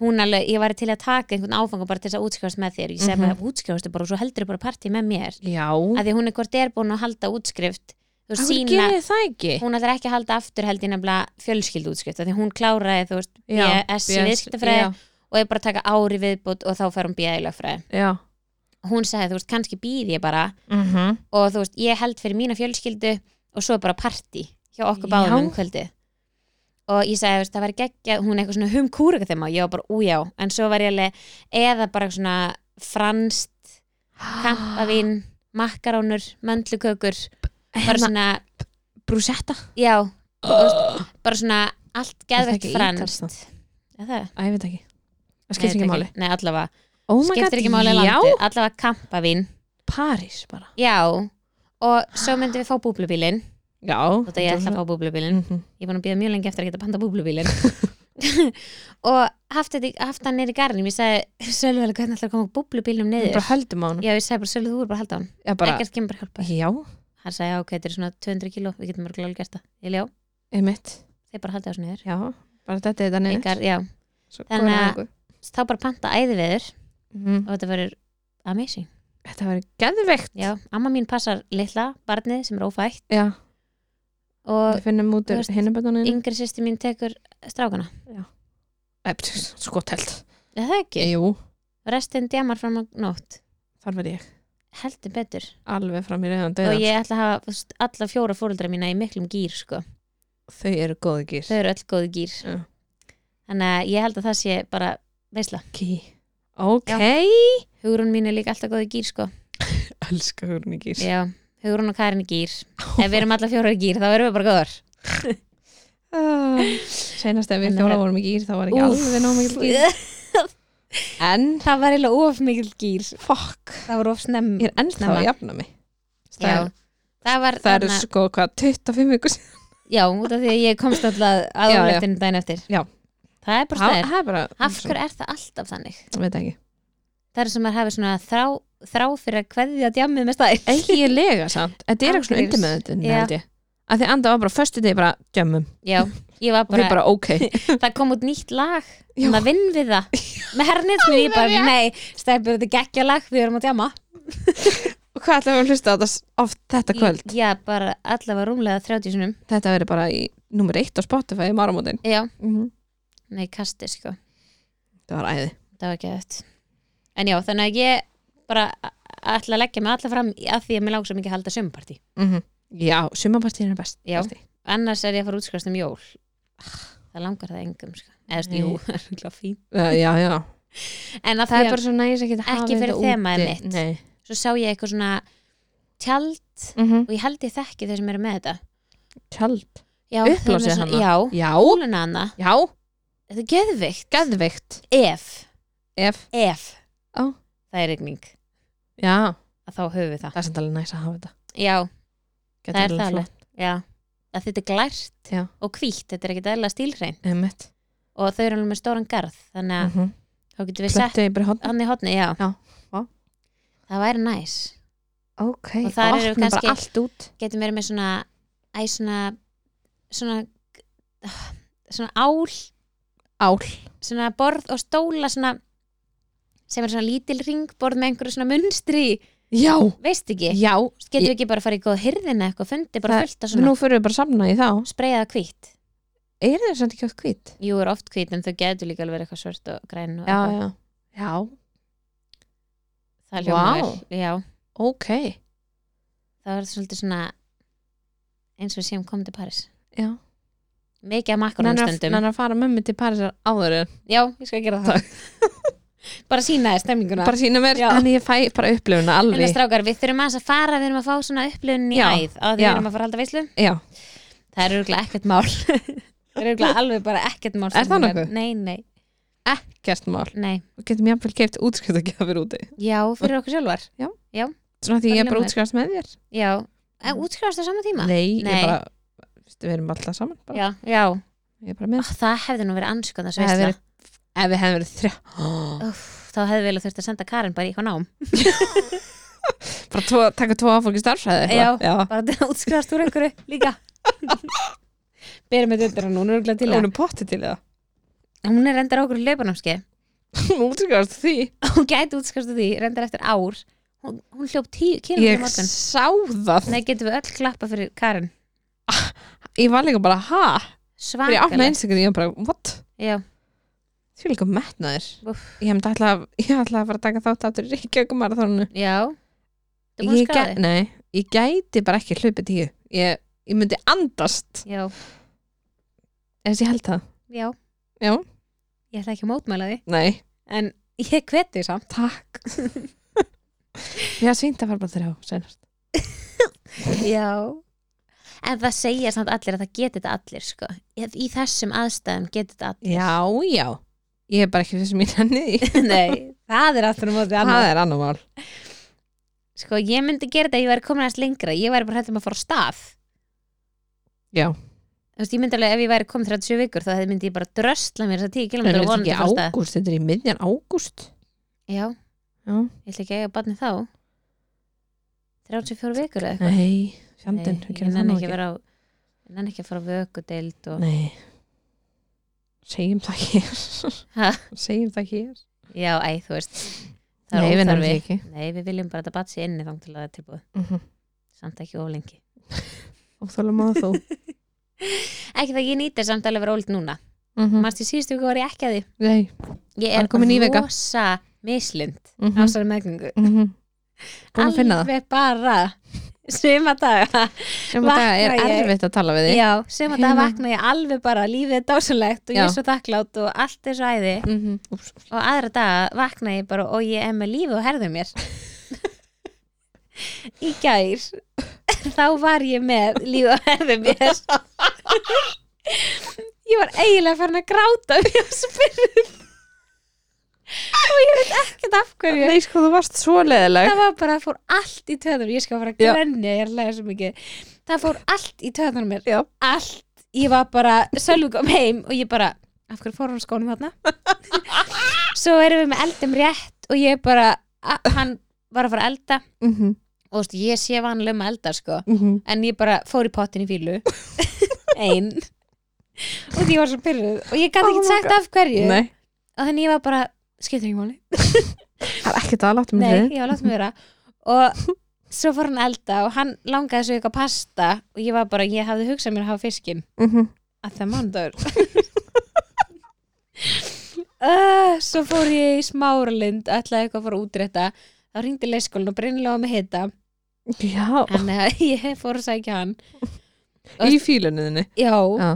[SPEAKER 1] hún alveg, ég var til að taka einhvern áfanga bara til þess að útskrifast með þér ég segi
[SPEAKER 2] Mhm.
[SPEAKER 1] bara, útskrifastu bara og svo heldur bara partí með mér
[SPEAKER 2] já
[SPEAKER 1] að því að hún er hvort er búin að halda útskrift þú veist,
[SPEAKER 2] það
[SPEAKER 1] sína,
[SPEAKER 2] gerir það ekki
[SPEAKER 1] hún ætlar ekki að halda aftur held ég nefnilega fjölskyldu útskrift því hún kláraði, þú veist, BS í viðskiptafræði
[SPEAKER 2] já,
[SPEAKER 1] og er bara að taka ári viðbútt og þá fær hún BS í lögfræði
[SPEAKER 2] já.
[SPEAKER 1] hún sagði, þú veist, kannski býð ég bara
[SPEAKER 2] Mm -hmm.
[SPEAKER 1] og þú veist, ég held fyrir mína fjölskyldu og svo er bara partí hjá okkur
[SPEAKER 2] Já.
[SPEAKER 1] báðum um kvöldi og ég sagði, þú veist, það væri geggja hún er eitthvað svona hum kúrika þeim á, ég var bara újá en svo var ég alveg, eða bara svona franskt,
[SPEAKER 2] Ah.
[SPEAKER 1] kampavín makkarónur, möndlukökur
[SPEAKER 2] Hérna,
[SPEAKER 1] bara svona,
[SPEAKER 2] brúsetta
[SPEAKER 1] já þú veist, bara svona allt geðvegt
[SPEAKER 2] ekki
[SPEAKER 1] franskt
[SPEAKER 2] ítalskt?
[SPEAKER 1] Er það?
[SPEAKER 2] að ég veit ekki
[SPEAKER 1] Nei,
[SPEAKER 2] það skiptir
[SPEAKER 1] þetta
[SPEAKER 2] ekki máli
[SPEAKER 1] Nei, allavega,
[SPEAKER 2] oh my
[SPEAKER 1] skiptir
[SPEAKER 2] God,
[SPEAKER 1] ekki máli
[SPEAKER 2] já
[SPEAKER 1] landið Allavega kampavín,
[SPEAKER 2] París bara
[SPEAKER 1] já Og svo myndum við fá búblubílin
[SPEAKER 2] já
[SPEAKER 1] Þetta ég ætla að fá búblubílin
[SPEAKER 2] -hmm.
[SPEAKER 1] ég er búin að bíða mjög lengi eftir að geta panta búblubílinn og haft, þetta, haft hann niður í garnum ég sagði, Sölvi, alveg, hvernig ætlar að koma búblubílnum niður
[SPEAKER 2] bara höldum á hann
[SPEAKER 1] já, ég sagði bara, Sölvi, þú er bara að halda á hann
[SPEAKER 2] já, bara,
[SPEAKER 1] ekkert kemur bara að hjálpa
[SPEAKER 2] já
[SPEAKER 1] hann sagði, já, ok, þetta er svona 200 kíló við getum mörgulega alveg gert það, ég ljá,
[SPEAKER 2] einmitt
[SPEAKER 1] þeir bara halda á þessu niður
[SPEAKER 2] já bara þetta er þetta
[SPEAKER 1] Ykkar,
[SPEAKER 2] neður
[SPEAKER 1] já,
[SPEAKER 2] Svo
[SPEAKER 1] Þannig
[SPEAKER 2] góður
[SPEAKER 1] að-
[SPEAKER 2] árangur.
[SPEAKER 1] þá bara panta æði veður
[SPEAKER 2] Mhm.
[SPEAKER 1] og þetta verður amazing
[SPEAKER 2] þetta verður geðveikt
[SPEAKER 1] já, amma mín passar litla barnið sem er ófætt
[SPEAKER 2] já
[SPEAKER 1] og
[SPEAKER 2] við finnum út
[SPEAKER 1] þú veist,
[SPEAKER 2] hinnabötunum
[SPEAKER 1] yngri sýsti mín tekur strákana
[SPEAKER 2] skotelt
[SPEAKER 1] er það ekki?
[SPEAKER 2] sko, jú,
[SPEAKER 1] restin djamar fram á nótt
[SPEAKER 2] þar verð ég
[SPEAKER 1] heldur betur
[SPEAKER 2] alveg fram í reyðan
[SPEAKER 1] og
[SPEAKER 2] döðan
[SPEAKER 1] ég ætla að hafa þú veist, alla fjóra fóruldra mína í miklum gýr sko.
[SPEAKER 2] þau eru góði gýr
[SPEAKER 1] þau eru öll góðu gýr
[SPEAKER 2] Já.
[SPEAKER 1] þannig að ég held að það sé bara veisla
[SPEAKER 2] ekki ok,
[SPEAKER 1] Hugrún mín er líka alltaf góðu gýr sko.
[SPEAKER 2] elska húrni gýr
[SPEAKER 1] Já, Hugrún og Karin í gýr Ef við erum alla fjórar í gýr, þá erum við bara góðar
[SPEAKER 2] senast ef
[SPEAKER 1] En
[SPEAKER 2] við
[SPEAKER 1] það
[SPEAKER 2] fjóra
[SPEAKER 1] er-
[SPEAKER 2] vorum í gýr þá var ekki alveg nóg mikil gýr en,
[SPEAKER 1] Það var eiginlega of mikil gýr
[SPEAKER 2] fuck
[SPEAKER 1] Það var of snemm
[SPEAKER 2] ég er ennþá
[SPEAKER 1] Snemma.
[SPEAKER 2] að jafna mig
[SPEAKER 1] Já, það var
[SPEAKER 2] það eru
[SPEAKER 1] þarna-
[SPEAKER 2] sko hvað 25 vikur síðan.
[SPEAKER 1] Já, út af því að ég komst alltaf
[SPEAKER 2] Já,
[SPEAKER 1] að
[SPEAKER 2] já.
[SPEAKER 1] áleittinu dæn eftir
[SPEAKER 2] Já.
[SPEAKER 1] Það er bara stæðir
[SPEAKER 2] það er bara
[SPEAKER 1] Af hverju er það alltaf þannig?
[SPEAKER 2] veit það ekki
[SPEAKER 1] Það er sem að hafi svona þrá, þrá fyrir að kveðja djammið með stæðir
[SPEAKER 2] eiginlega samt, þetta er eitthvað svona
[SPEAKER 1] Aldrei.
[SPEAKER 2] undir með þetta
[SPEAKER 1] Já.
[SPEAKER 2] held ég, að því anda var bara förstu degi bara djömmum
[SPEAKER 1] Já, ég var
[SPEAKER 2] og þau
[SPEAKER 1] bara,
[SPEAKER 2] bara ok
[SPEAKER 1] það kom út nýtt lag
[SPEAKER 2] Já.
[SPEAKER 1] um að vinn við það með hernið sem ég bara, nei, stæðir þetta geggja lag, við erum að djama
[SPEAKER 2] og hvað ætlum við að hlusta á þetta s- oft þetta kvöld
[SPEAKER 1] Já, bara allavega rúmlega 30 sinum
[SPEAKER 2] þetta verður bara í nummer eitt á Spotify um í marmótin
[SPEAKER 1] Já,
[SPEAKER 2] mm -hmm.
[SPEAKER 1] nei, kasti sko
[SPEAKER 2] það var æði
[SPEAKER 1] það var ekki þetta en já, þannig að ég bara a- ætla að leggja mig alla fram í- af því að mér langar svo mikið að halda sömpartí
[SPEAKER 2] mm -hmm. já, sumapartíðin er best
[SPEAKER 1] Já.
[SPEAKER 2] besti.
[SPEAKER 1] annars er ég að fara að útskrifast um jól Ah, það langar það engum sko. eða
[SPEAKER 2] Nei.
[SPEAKER 1] stu, jú, það er örugglega fín
[SPEAKER 2] Uh, já, já.
[SPEAKER 1] en að
[SPEAKER 2] það er
[SPEAKER 1] því
[SPEAKER 2] bara
[SPEAKER 1] að
[SPEAKER 2] svo næs að geta
[SPEAKER 1] Ekki fyrir þemaðið mitt.
[SPEAKER 2] Nei.
[SPEAKER 1] svo sá ég eitthvað svona tjald
[SPEAKER 2] Mm -hmm.
[SPEAKER 1] og ég held ég þekki þau sem eru með þetta
[SPEAKER 2] tjald
[SPEAKER 1] já,
[SPEAKER 2] Upplásið
[SPEAKER 1] þeim er
[SPEAKER 2] hana.
[SPEAKER 1] svona, já,
[SPEAKER 2] já,
[SPEAKER 1] húluna hana
[SPEAKER 2] já,
[SPEAKER 1] þetta er geðvikt
[SPEAKER 2] geðveikt
[SPEAKER 1] ef,
[SPEAKER 2] ef,
[SPEAKER 1] ef
[SPEAKER 2] Ó.
[SPEAKER 1] það er regning
[SPEAKER 2] já,
[SPEAKER 1] að þá höfum við það
[SPEAKER 2] það er samt alveg næs að hafa þetta
[SPEAKER 1] já,
[SPEAKER 2] Gæti
[SPEAKER 1] það er
[SPEAKER 2] verið
[SPEAKER 1] það
[SPEAKER 2] flott.
[SPEAKER 1] alveg já, að þetta er glært
[SPEAKER 2] Já.
[SPEAKER 1] og hvítt, þetta er ekki eðla stílhrein
[SPEAKER 2] Einmitt.
[SPEAKER 1] og þau eru alveg með stóran garð þannig að
[SPEAKER 2] Mhm.
[SPEAKER 1] þá getum við sett
[SPEAKER 2] Plöntu í bara horn.
[SPEAKER 1] hann í hotni, já,
[SPEAKER 2] Já, vá.
[SPEAKER 1] það væri næs
[SPEAKER 2] ok,
[SPEAKER 1] Og þar eru
[SPEAKER 2] opnum bara
[SPEAKER 1] kannski-
[SPEAKER 2] allt út
[SPEAKER 1] getum verið með svona æ, svona svona, svona ál
[SPEAKER 2] ál
[SPEAKER 1] svona borð og stóla svona sem er svona lítil ringborð með einhverju svona munstri í,
[SPEAKER 2] já,
[SPEAKER 1] veist ekki,
[SPEAKER 2] já,
[SPEAKER 1] getum við ekki bara að fara í góð hirðina eitthvað, fundi bara
[SPEAKER 2] Það-
[SPEAKER 1] fullt af
[SPEAKER 2] nú
[SPEAKER 1] svona
[SPEAKER 2] fyrir við bara að samna í þá
[SPEAKER 1] spreyja það hvít,
[SPEAKER 2] er þeir samt ekki átt hvít
[SPEAKER 1] jú er oft hvít en þau getur líka alveg verið eitthvað svört og græn og
[SPEAKER 2] já,
[SPEAKER 1] eitthvað.
[SPEAKER 2] já, já,
[SPEAKER 1] það hljóma
[SPEAKER 2] Vá.
[SPEAKER 1] vel, já
[SPEAKER 2] ok
[SPEAKER 1] það var svolítið svona eins og við séum komið til Paris
[SPEAKER 2] já,
[SPEAKER 1] mikið að makkarum
[SPEAKER 2] nannar
[SPEAKER 1] stundum
[SPEAKER 2] að fara mömmu til Parísar áður en
[SPEAKER 1] já, ég skal gera það bara sína þér stemninguna
[SPEAKER 2] bara sína mér,
[SPEAKER 1] Já.
[SPEAKER 2] en ég fæ bara upplifuna
[SPEAKER 1] En það
[SPEAKER 2] alveg
[SPEAKER 1] strákar, við þurfum aðeins að fara, við erum að fá svona upplifun í
[SPEAKER 2] Já,
[SPEAKER 1] æð á því við
[SPEAKER 2] já.
[SPEAKER 1] erum að fara að halda veislu
[SPEAKER 2] já,
[SPEAKER 1] það er örgulega ekkert mál það er örgulega alveg bara ekkert mál
[SPEAKER 2] Er það
[SPEAKER 1] strákar.
[SPEAKER 2] nokkuð?
[SPEAKER 1] Nei, nei,
[SPEAKER 2] gert mál
[SPEAKER 1] nei,
[SPEAKER 2] og getum jafnvel keift útskriftagjöfur úti
[SPEAKER 1] já, fyrir okkur sjálfar
[SPEAKER 2] svona því ég
[SPEAKER 1] Þannig
[SPEAKER 2] er bara
[SPEAKER 1] maður.
[SPEAKER 2] útskrifast með þér
[SPEAKER 1] Já, en útskrifast á sama tíma?
[SPEAKER 2] Mm. nei,
[SPEAKER 1] Nei.
[SPEAKER 2] ég bara, veistu, við erum alltaf saman bara.
[SPEAKER 1] Já, já,
[SPEAKER 2] ég er bara með
[SPEAKER 1] Ó, það hefði nú verið anskotna
[SPEAKER 2] Það hefði
[SPEAKER 1] sveisla
[SPEAKER 2] verið- ef við hefum verið þrjá
[SPEAKER 1] Úff, Þá hefði vel þurft að senda Karin bara í hvað nám
[SPEAKER 2] bara tvo, taka tvo áfólki starfræði
[SPEAKER 1] Já.
[SPEAKER 2] já.
[SPEAKER 1] bara til að útskrifast úr einhverju líka Berum við þetta nú, hún er örgulega til
[SPEAKER 2] hún
[SPEAKER 1] það
[SPEAKER 2] er potti til það
[SPEAKER 1] Hún er reyndar á okkur löpunámskeið
[SPEAKER 2] hún útskrifast því
[SPEAKER 1] hún gæti útskastu því, reyndar eftir ár hún, hún hljóp tíu kynum
[SPEAKER 2] ég
[SPEAKER 1] í morgun
[SPEAKER 2] sá það
[SPEAKER 1] Nei, getum við öll klappa fyrir Karin
[SPEAKER 2] ég var líka bara ha þegar ég opna
[SPEAKER 1] Svangaleg
[SPEAKER 2] einstaklega ég var bara what
[SPEAKER 1] Já,
[SPEAKER 2] því líka metnaður
[SPEAKER 1] Úff.
[SPEAKER 2] ég hefði alltaf ég ætlaði að fara að taka þátt aftur í Reykjavík marathónu
[SPEAKER 1] já Þú búin að
[SPEAKER 2] ég,
[SPEAKER 1] skráði?
[SPEAKER 2] gæ- nei, ég gæti bara ekki hlaupið tíu ég, ég myndi andast
[SPEAKER 1] Já,
[SPEAKER 2] eða ég held það
[SPEAKER 1] já,
[SPEAKER 2] já
[SPEAKER 1] ég ætla ekki að mótmæla því
[SPEAKER 2] nei
[SPEAKER 1] En ég hveti því samt
[SPEAKER 2] takk ég hafði svínt að fara bara þrjá senast
[SPEAKER 1] Já En það segja samt allir að það geti þetta allir sko. Í í þessum aðstæðum geti þetta allir
[SPEAKER 2] já já ég er bara ekki þessum mín henni í.
[SPEAKER 1] Nei, það er aftur á móti annað
[SPEAKER 2] það er annar mál
[SPEAKER 1] Sko, ég myndi gera þetta ef ég væri komin aðeins lengra Ég væri bara hættum að fara á stað
[SPEAKER 2] já
[SPEAKER 1] Þú veist, ég myndi alveg ef ég væri komin 37 vikur þá hefði- myndi ég bara drösla mér þessa 10 km
[SPEAKER 2] en er
[SPEAKER 1] og
[SPEAKER 2] þetta
[SPEAKER 1] vonandi
[SPEAKER 2] ekki
[SPEAKER 1] að fara af stað.
[SPEAKER 2] ágúst þetta er í miðjan ágúst
[SPEAKER 1] Já,
[SPEAKER 2] já
[SPEAKER 1] ég ætla ekki að eiga barni þá 34 vikur eða eitthvað
[SPEAKER 2] nei fjandinn
[SPEAKER 1] Nei, ég nenni ekki að vera á ég nenni ekki að fara á vökudeild og...
[SPEAKER 2] Nei Segjum það hér
[SPEAKER 1] Ha?
[SPEAKER 2] Segjum það hér
[SPEAKER 1] Já, æ, þú veist það
[SPEAKER 2] Nei,
[SPEAKER 1] er
[SPEAKER 2] við náum
[SPEAKER 1] óþarfi
[SPEAKER 2] því ekki.
[SPEAKER 1] Nei, við viljum bara að þetta batsi inni þang til að það er tilbúið
[SPEAKER 2] Mhm.
[SPEAKER 1] samt ekki of lengi
[SPEAKER 2] Óþálega maður þú
[SPEAKER 1] ekki það ég nýtir samt alveg vera ólitt núna
[SPEAKER 2] Mhm.
[SPEAKER 1] mannst í síðustu viku var ég ekki að því
[SPEAKER 2] Nei
[SPEAKER 1] ég
[SPEAKER 2] Bara komin í
[SPEAKER 1] er
[SPEAKER 2] vika.
[SPEAKER 1] rosa mislind
[SPEAKER 2] Mhm.
[SPEAKER 1] ásari meðgöngu
[SPEAKER 2] Mhm. Búin að finna það
[SPEAKER 1] alveg bara suma daga
[SPEAKER 2] Sem að það er
[SPEAKER 1] vakna ég-
[SPEAKER 2] erfitt að tala við þig
[SPEAKER 1] já, suma daga
[SPEAKER 2] Heima.
[SPEAKER 1] vakna ég alveg bara lífið er dásalegt og ég
[SPEAKER 2] Já.
[SPEAKER 1] er svo þakklátt og allt er svo æði
[SPEAKER 2] Mhm. Úps.
[SPEAKER 1] og aðra daga vakna ég bara og ég er með lífið og herðu mér í gær þá var ég með lífið og herðu mér ég var eiginlega farin að gráta því að spyrja og ég veit ekkert af hverju
[SPEAKER 2] Nei sko þú varst svo leðileg
[SPEAKER 1] það var bara, það fór allt í töðunum ég skal fara að
[SPEAKER 2] Já.
[SPEAKER 1] grenja, ég er að lega svo mikið það fór allt í töðunum mér
[SPEAKER 2] Já.
[SPEAKER 1] allt, ég var bara, Sölvi kom heim og ég bara, af hverju fór hann úr skónum þarna svo erum við með eldum rétt og ég bara a- hann var að fara að elda
[SPEAKER 2] Mhm,
[SPEAKER 1] og þú veist, ég sé vanlega um að elda sko en ég bara fór í pottin í fílu ein og því ég var svo pyrruð og ég gæti
[SPEAKER 2] Oh
[SPEAKER 1] ekki
[SPEAKER 2] my
[SPEAKER 1] sagt
[SPEAKER 2] God.
[SPEAKER 1] af hverju
[SPEAKER 2] Nei
[SPEAKER 1] og þannig ég var bara, skiptir ekki máli
[SPEAKER 2] Það er ekkert að láta mig
[SPEAKER 1] Nei,
[SPEAKER 2] þig
[SPEAKER 1] ég var látt með vera og svo fór hann að elda og hann langaði svo eitthvað pasta og ég var bara, ég hafði hugsað mér að hafa fiskin
[SPEAKER 2] Mhm.
[SPEAKER 1] að það mandagur uh, Svo fór ég í smáralind ætlaði eitthvað að fara að útrétta þá ringdi leyskólinn og brinnilega með hita
[SPEAKER 2] Já
[SPEAKER 1] þannig að ég fór að sækja hann
[SPEAKER 2] Í fíluninni
[SPEAKER 1] Já,
[SPEAKER 2] Já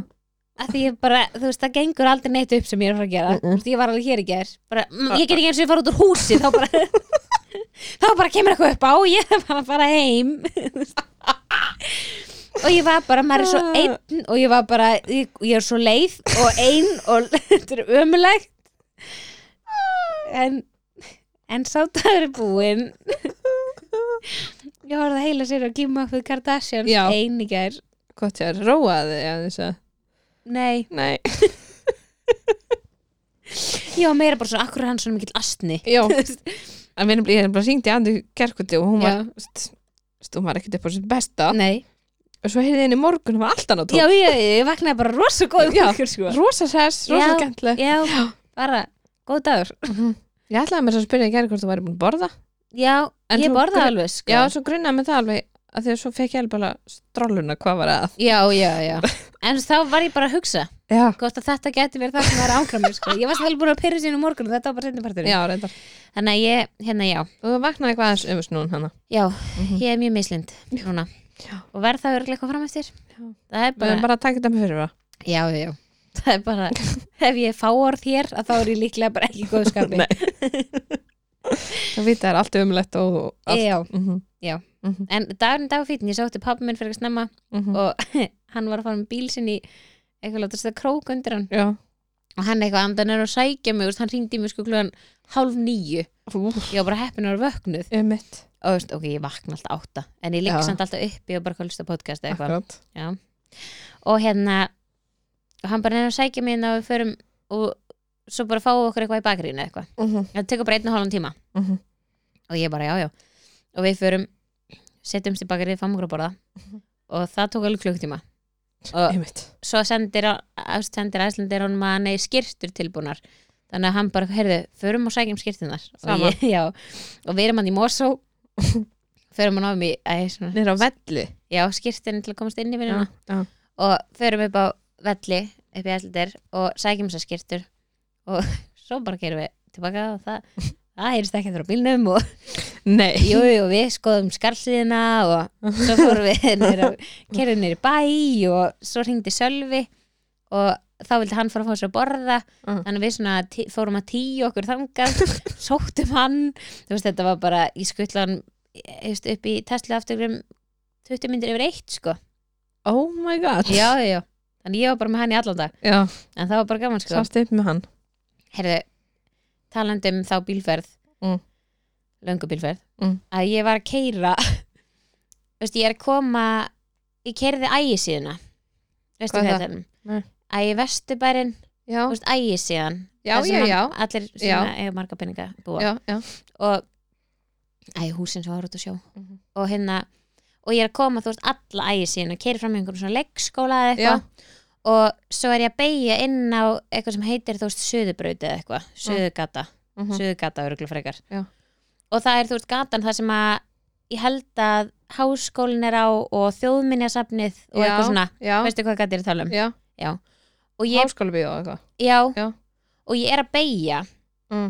[SPEAKER 1] að því ég bara, þú veist, það gengur aldrei neitt upp sem ég er að fara að gera
[SPEAKER 2] Mm-mm.
[SPEAKER 1] þú veist, ég var alveg hér í ger bara, mm, ég get ekki eins og ég fara út úr húsi þá bara, þá bara kemur eitthvað upp á og ég er bara að fara heim og ég var bara maður er
[SPEAKER 2] Ah.
[SPEAKER 1] svo einn og ég var bara ég, ég er svo leið og einn og þetta er ömulegt en en sá dagur er búinn ég horfði að heila sér og gíma upp við Kardashians
[SPEAKER 2] Já.
[SPEAKER 1] ein í ger
[SPEAKER 2] Gott ég er róaði aðeins að
[SPEAKER 1] nei
[SPEAKER 2] Nei
[SPEAKER 1] Já, meira bara svona, akkur er hann svona mikill astni
[SPEAKER 2] Já En við erum bara, ég er bara syngt í andu kerkuti og hún var
[SPEAKER 1] Já.
[SPEAKER 2] st- st- hún var ekkert upp á sitt besta
[SPEAKER 1] Nei
[SPEAKER 2] og svo heyrði ég henni í morgun hún var allt annað
[SPEAKER 1] Já,
[SPEAKER 2] tók
[SPEAKER 1] ég, ég vaknaði bara rosa góð
[SPEAKER 2] Já.
[SPEAKER 1] morgun, sko.
[SPEAKER 2] Rosa sess, rosa
[SPEAKER 1] Já.
[SPEAKER 2] gentleg
[SPEAKER 1] Já, bara, góð dagur
[SPEAKER 2] Ég ætlaði mér svo að spyrja í gerði hvort þú væri búin að borða
[SPEAKER 1] Já,
[SPEAKER 2] En
[SPEAKER 1] ég
[SPEAKER 2] svo
[SPEAKER 1] borða
[SPEAKER 2] gr-
[SPEAKER 1] alveg, sko
[SPEAKER 2] Já, svo grunnaði með það alveg að því að svo fekk ég alveg bara stróluna hvað var að
[SPEAKER 1] já, já, já. En þá var ég bara að hugsa
[SPEAKER 2] Já,
[SPEAKER 1] Gótt að þetta geti verið það sem var ángra mér, sko Ég var svo vel búin að pyrra sín um morgun og þetta var bara setniparturinn
[SPEAKER 2] já reyndar
[SPEAKER 1] Þannig að ég, hérna, já
[SPEAKER 2] Og þú vaknaði eitthvað aðeins um snúin hana
[SPEAKER 1] Já, ég er mjög mislind núna
[SPEAKER 2] Mhm. Já.
[SPEAKER 1] Og verð það örglega eitthvað fram eftir
[SPEAKER 2] Já.
[SPEAKER 1] Það er
[SPEAKER 2] Við
[SPEAKER 1] bara,
[SPEAKER 2] erum bara að taka þetta með fyrir það
[SPEAKER 1] já, já, já Það er bara, ef ég fá orð hér að þá er ég líklega bara ekki í góðu skapi
[SPEAKER 2] Nei. Það vita er allt umlegt og og allt
[SPEAKER 1] Já,
[SPEAKER 2] Mhm,
[SPEAKER 1] Já.
[SPEAKER 2] mhm,
[SPEAKER 1] en dagurinn dagfýtin, ég sótti pappa minn fyrir að snemma
[SPEAKER 2] mhm.
[SPEAKER 1] og hann var að fara með bíl sinn í eitthvað láta setja krók undir hann
[SPEAKER 2] Já.
[SPEAKER 1] og hann eitthvað andan er að sækja mig og hann ringdi mig sko klugan hálf nýju
[SPEAKER 2] Úff,
[SPEAKER 1] ég var bara heppin að vera vöknuð
[SPEAKER 2] einmitt.
[SPEAKER 1] og veist, ok, ég vakna alltaf átta en ég ligg
[SPEAKER 2] Já.
[SPEAKER 1] samt alltaf uppi og bara hvað hlusta á podcast eða eitthvað
[SPEAKER 2] Akkurát.
[SPEAKER 1] Já. og hérna og hann bara er að sækja mig inn og við förum og svo bara fáum við okkur eitthvað í bakrínu eða eitthvað
[SPEAKER 2] Mhm,
[SPEAKER 1] það tekur bara einn og hálfan tíma
[SPEAKER 2] mhm,
[SPEAKER 1] og ég bara já já og við förum, setjumst í bakrið fáum okkur að borða og það tók alveg klukktíma og
[SPEAKER 2] einmitt.
[SPEAKER 1] svo sendir, á- sendir æslandir honum að nei skýrtur tilbúnar þannig að hann bara, heyrðu, förum og sækjum skýrtunar
[SPEAKER 2] Saman.
[SPEAKER 1] og, ég, já, og við erum hann í Mosó förum hann ofum í æ, svona,
[SPEAKER 2] Niður á velli.
[SPEAKER 1] já, skýrtin til að komast inn í
[SPEAKER 2] Já,
[SPEAKER 1] vinnuna
[SPEAKER 2] já.
[SPEAKER 1] og förum upp á velli upp í æslandir og sækjum sér skýrtur og svo bara gerum við tilbaka og það það heyrist ekki frá bílnum og
[SPEAKER 2] Nei.
[SPEAKER 1] jú, jú, við skoðum skarlsýðina og svo fórum við kerðum nýri bæ og svo hringdi Sölvi og þá vildi hann fara að fá sér að borða
[SPEAKER 2] Mm.
[SPEAKER 1] þannig að við svona tí, fórum að tíu okkur þangað sóttum hann þú veist þetta var bara, ég skuttla hann ég veist, upp í Tesla afturgrum 20 myndir yfir eitt sko
[SPEAKER 2] Oh my god.
[SPEAKER 1] já, já, þannig ég var bara með hann í allan dag
[SPEAKER 2] Já,
[SPEAKER 1] en það var bara gaman sko
[SPEAKER 2] sást upp með hann.
[SPEAKER 1] heyrðu, talandi um þá bílferð
[SPEAKER 2] Mm.
[SPEAKER 1] löngu bílferð
[SPEAKER 2] Mm.
[SPEAKER 1] að ég var að keira veist, ég er að koma ég keiriði ægisíðuna veistu
[SPEAKER 2] Hvað
[SPEAKER 1] hvað
[SPEAKER 2] er
[SPEAKER 1] þetta er?
[SPEAKER 2] Nei.
[SPEAKER 1] Ægi vesturbærin,
[SPEAKER 2] Já,
[SPEAKER 1] þú veist ægisíðan
[SPEAKER 2] já,
[SPEAKER 1] þar sem
[SPEAKER 2] já,
[SPEAKER 1] hann-
[SPEAKER 2] já.
[SPEAKER 1] allir sem
[SPEAKER 2] Já.
[SPEAKER 1] eiga marga peninga búa
[SPEAKER 2] Já, já.
[SPEAKER 1] og ægi húsin sem var út að sjó
[SPEAKER 2] Mhm.
[SPEAKER 1] og hérna og ég er að koma þú veist alla ægisíðuna keiri fram í einhverjum svona leggskóla eða
[SPEAKER 2] Já.
[SPEAKER 1] eitthvað og svo er ég að beigja inn
[SPEAKER 2] Mm.
[SPEAKER 1] á eitthvað sem heitir þú veist söðubraut eða eitthvað, söðugata
[SPEAKER 2] Mhm.
[SPEAKER 1] söðugata öruglega frekar
[SPEAKER 2] Já.
[SPEAKER 1] og það er þú veist gatan það sem að ég held að háskólin er á og þjóðminjasafnið
[SPEAKER 3] Já.
[SPEAKER 1] og eitthvað svona,
[SPEAKER 3] já,
[SPEAKER 1] veistu hvað gæti er að tala um
[SPEAKER 3] já,
[SPEAKER 1] og ég,
[SPEAKER 3] háskóla bíó eitthvað
[SPEAKER 1] já,
[SPEAKER 3] Já.
[SPEAKER 1] og ég er að beigja
[SPEAKER 3] mm.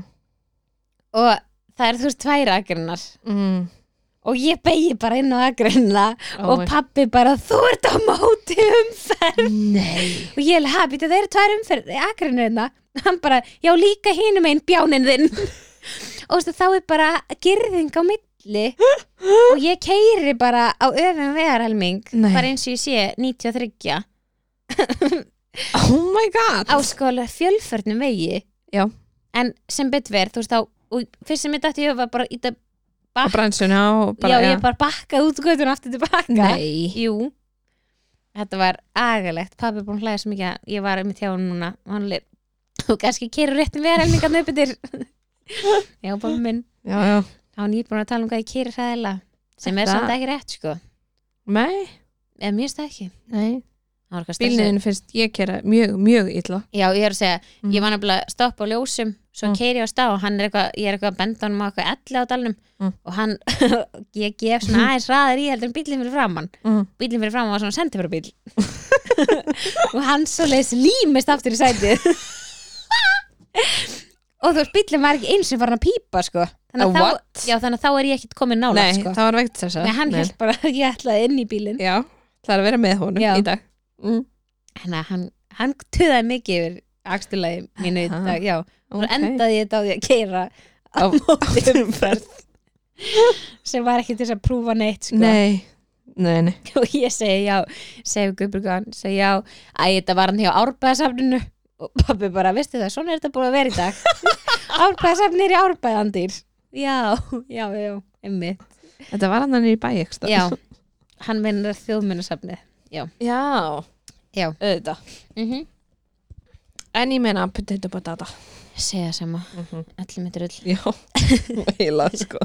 [SPEAKER 1] og það er þú veist tvær akrinnar
[SPEAKER 2] Mhm.
[SPEAKER 3] Mm.
[SPEAKER 1] og ég beigi bara inn á akrinna og
[SPEAKER 3] my-
[SPEAKER 1] pappi bara þú ert á móti umferð
[SPEAKER 3] Nei
[SPEAKER 1] og ég er happy þetta eru tvær umferð akrinna, hann bara, já líka hinum einn bjánin þinn og veistu, þá er bara girðing á milli og ég keiri bara á öfum vegarhelming
[SPEAKER 2] Nei.
[SPEAKER 1] bara eins og ég sé 93
[SPEAKER 3] Oh my god
[SPEAKER 1] á sko alveg fjölförnum vegi
[SPEAKER 2] Já.
[SPEAKER 1] en sem betur verð, þú veist þá og fyrst sem ég dætti ég var bara í þetta
[SPEAKER 2] og bransuna og bara,
[SPEAKER 1] já, ég bara bakkaði út göttun aftur tilbaka
[SPEAKER 2] Nei,
[SPEAKER 1] Jú Þetta var agalegt, pabbi er búin að hlæða svo mikið að ég var einmitt hjá hann núna og hann leir, þú kannski kerur réttin við helmingarn upp yfir Já, pabbi minn,
[SPEAKER 3] Já, já
[SPEAKER 1] þá er nýbúin að tala um hvað ég kerir hræðilega sem er
[SPEAKER 2] Þetta-
[SPEAKER 1] samt ekki rétt, sko
[SPEAKER 2] nei,
[SPEAKER 1] eða mér stað ekki
[SPEAKER 2] nei.
[SPEAKER 1] Það var eitthvað stressað.
[SPEAKER 2] bílniðin finnst ég kera mjög, mjög illa
[SPEAKER 1] Já, ég er að segja,
[SPEAKER 2] Mm.
[SPEAKER 1] ég var nefnilega að stoppa á ljósum svo
[SPEAKER 2] Mm.
[SPEAKER 1] mm. keiri á stað og hann er eitthvað, ég er eitthvað að benda honum á eitthvað elli á dalnum
[SPEAKER 2] Mm.
[SPEAKER 1] og hann, ég gef svona aðeins hraðar í heldur en bíllinn fyrir framann
[SPEAKER 2] mm.
[SPEAKER 1] bílinn fyrir fram var svona sendiförubíl og hann svo leiðis límist aftur í sætið og þú veist bílinn var ekki eins og var hann að pípa sko
[SPEAKER 2] Oh,
[SPEAKER 1] þannig að,
[SPEAKER 2] what?
[SPEAKER 1] þá, já, þannig að þá er ég ekkert komin nála
[SPEAKER 2] Nei,
[SPEAKER 1] sko.
[SPEAKER 2] það var veikt þess að
[SPEAKER 1] Nei, hann held bara að ég ætlaði inn í bílinn
[SPEAKER 2] Já, það er að vera með honum
[SPEAKER 1] Já.
[SPEAKER 2] í dag mm.
[SPEAKER 1] þannig að hann, hann töðaði mikið yfir akstulagi mínu í
[SPEAKER 2] Aha.
[SPEAKER 1] dag já, og
[SPEAKER 2] Ok.
[SPEAKER 1] okay. endaði ég þetta á því að keira á
[SPEAKER 2] Á-
[SPEAKER 1] móti umferð sem var ekki til þess að prúfa neitt sko.
[SPEAKER 2] Nei, nei, nei
[SPEAKER 1] og ég segi já, segi Guðbjörgan segi já, að þetta var hann hjá árbæðasafninu og pabbi bara, veistu það, svona er þetta búin að vera í dag árbæðasafni er í árbæðandir já, já, já, einmitt
[SPEAKER 2] Þetta var hann hann í bæ ekstra
[SPEAKER 1] já, hann minnur þjóðmunasafnið
[SPEAKER 2] Já,
[SPEAKER 1] Já.
[SPEAKER 2] auðvitað
[SPEAKER 1] mm -hmm.
[SPEAKER 2] En ég meina potato patata
[SPEAKER 1] segja sama,
[SPEAKER 2] Mhm.
[SPEAKER 1] allir mitt rull
[SPEAKER 2] Já, heila sko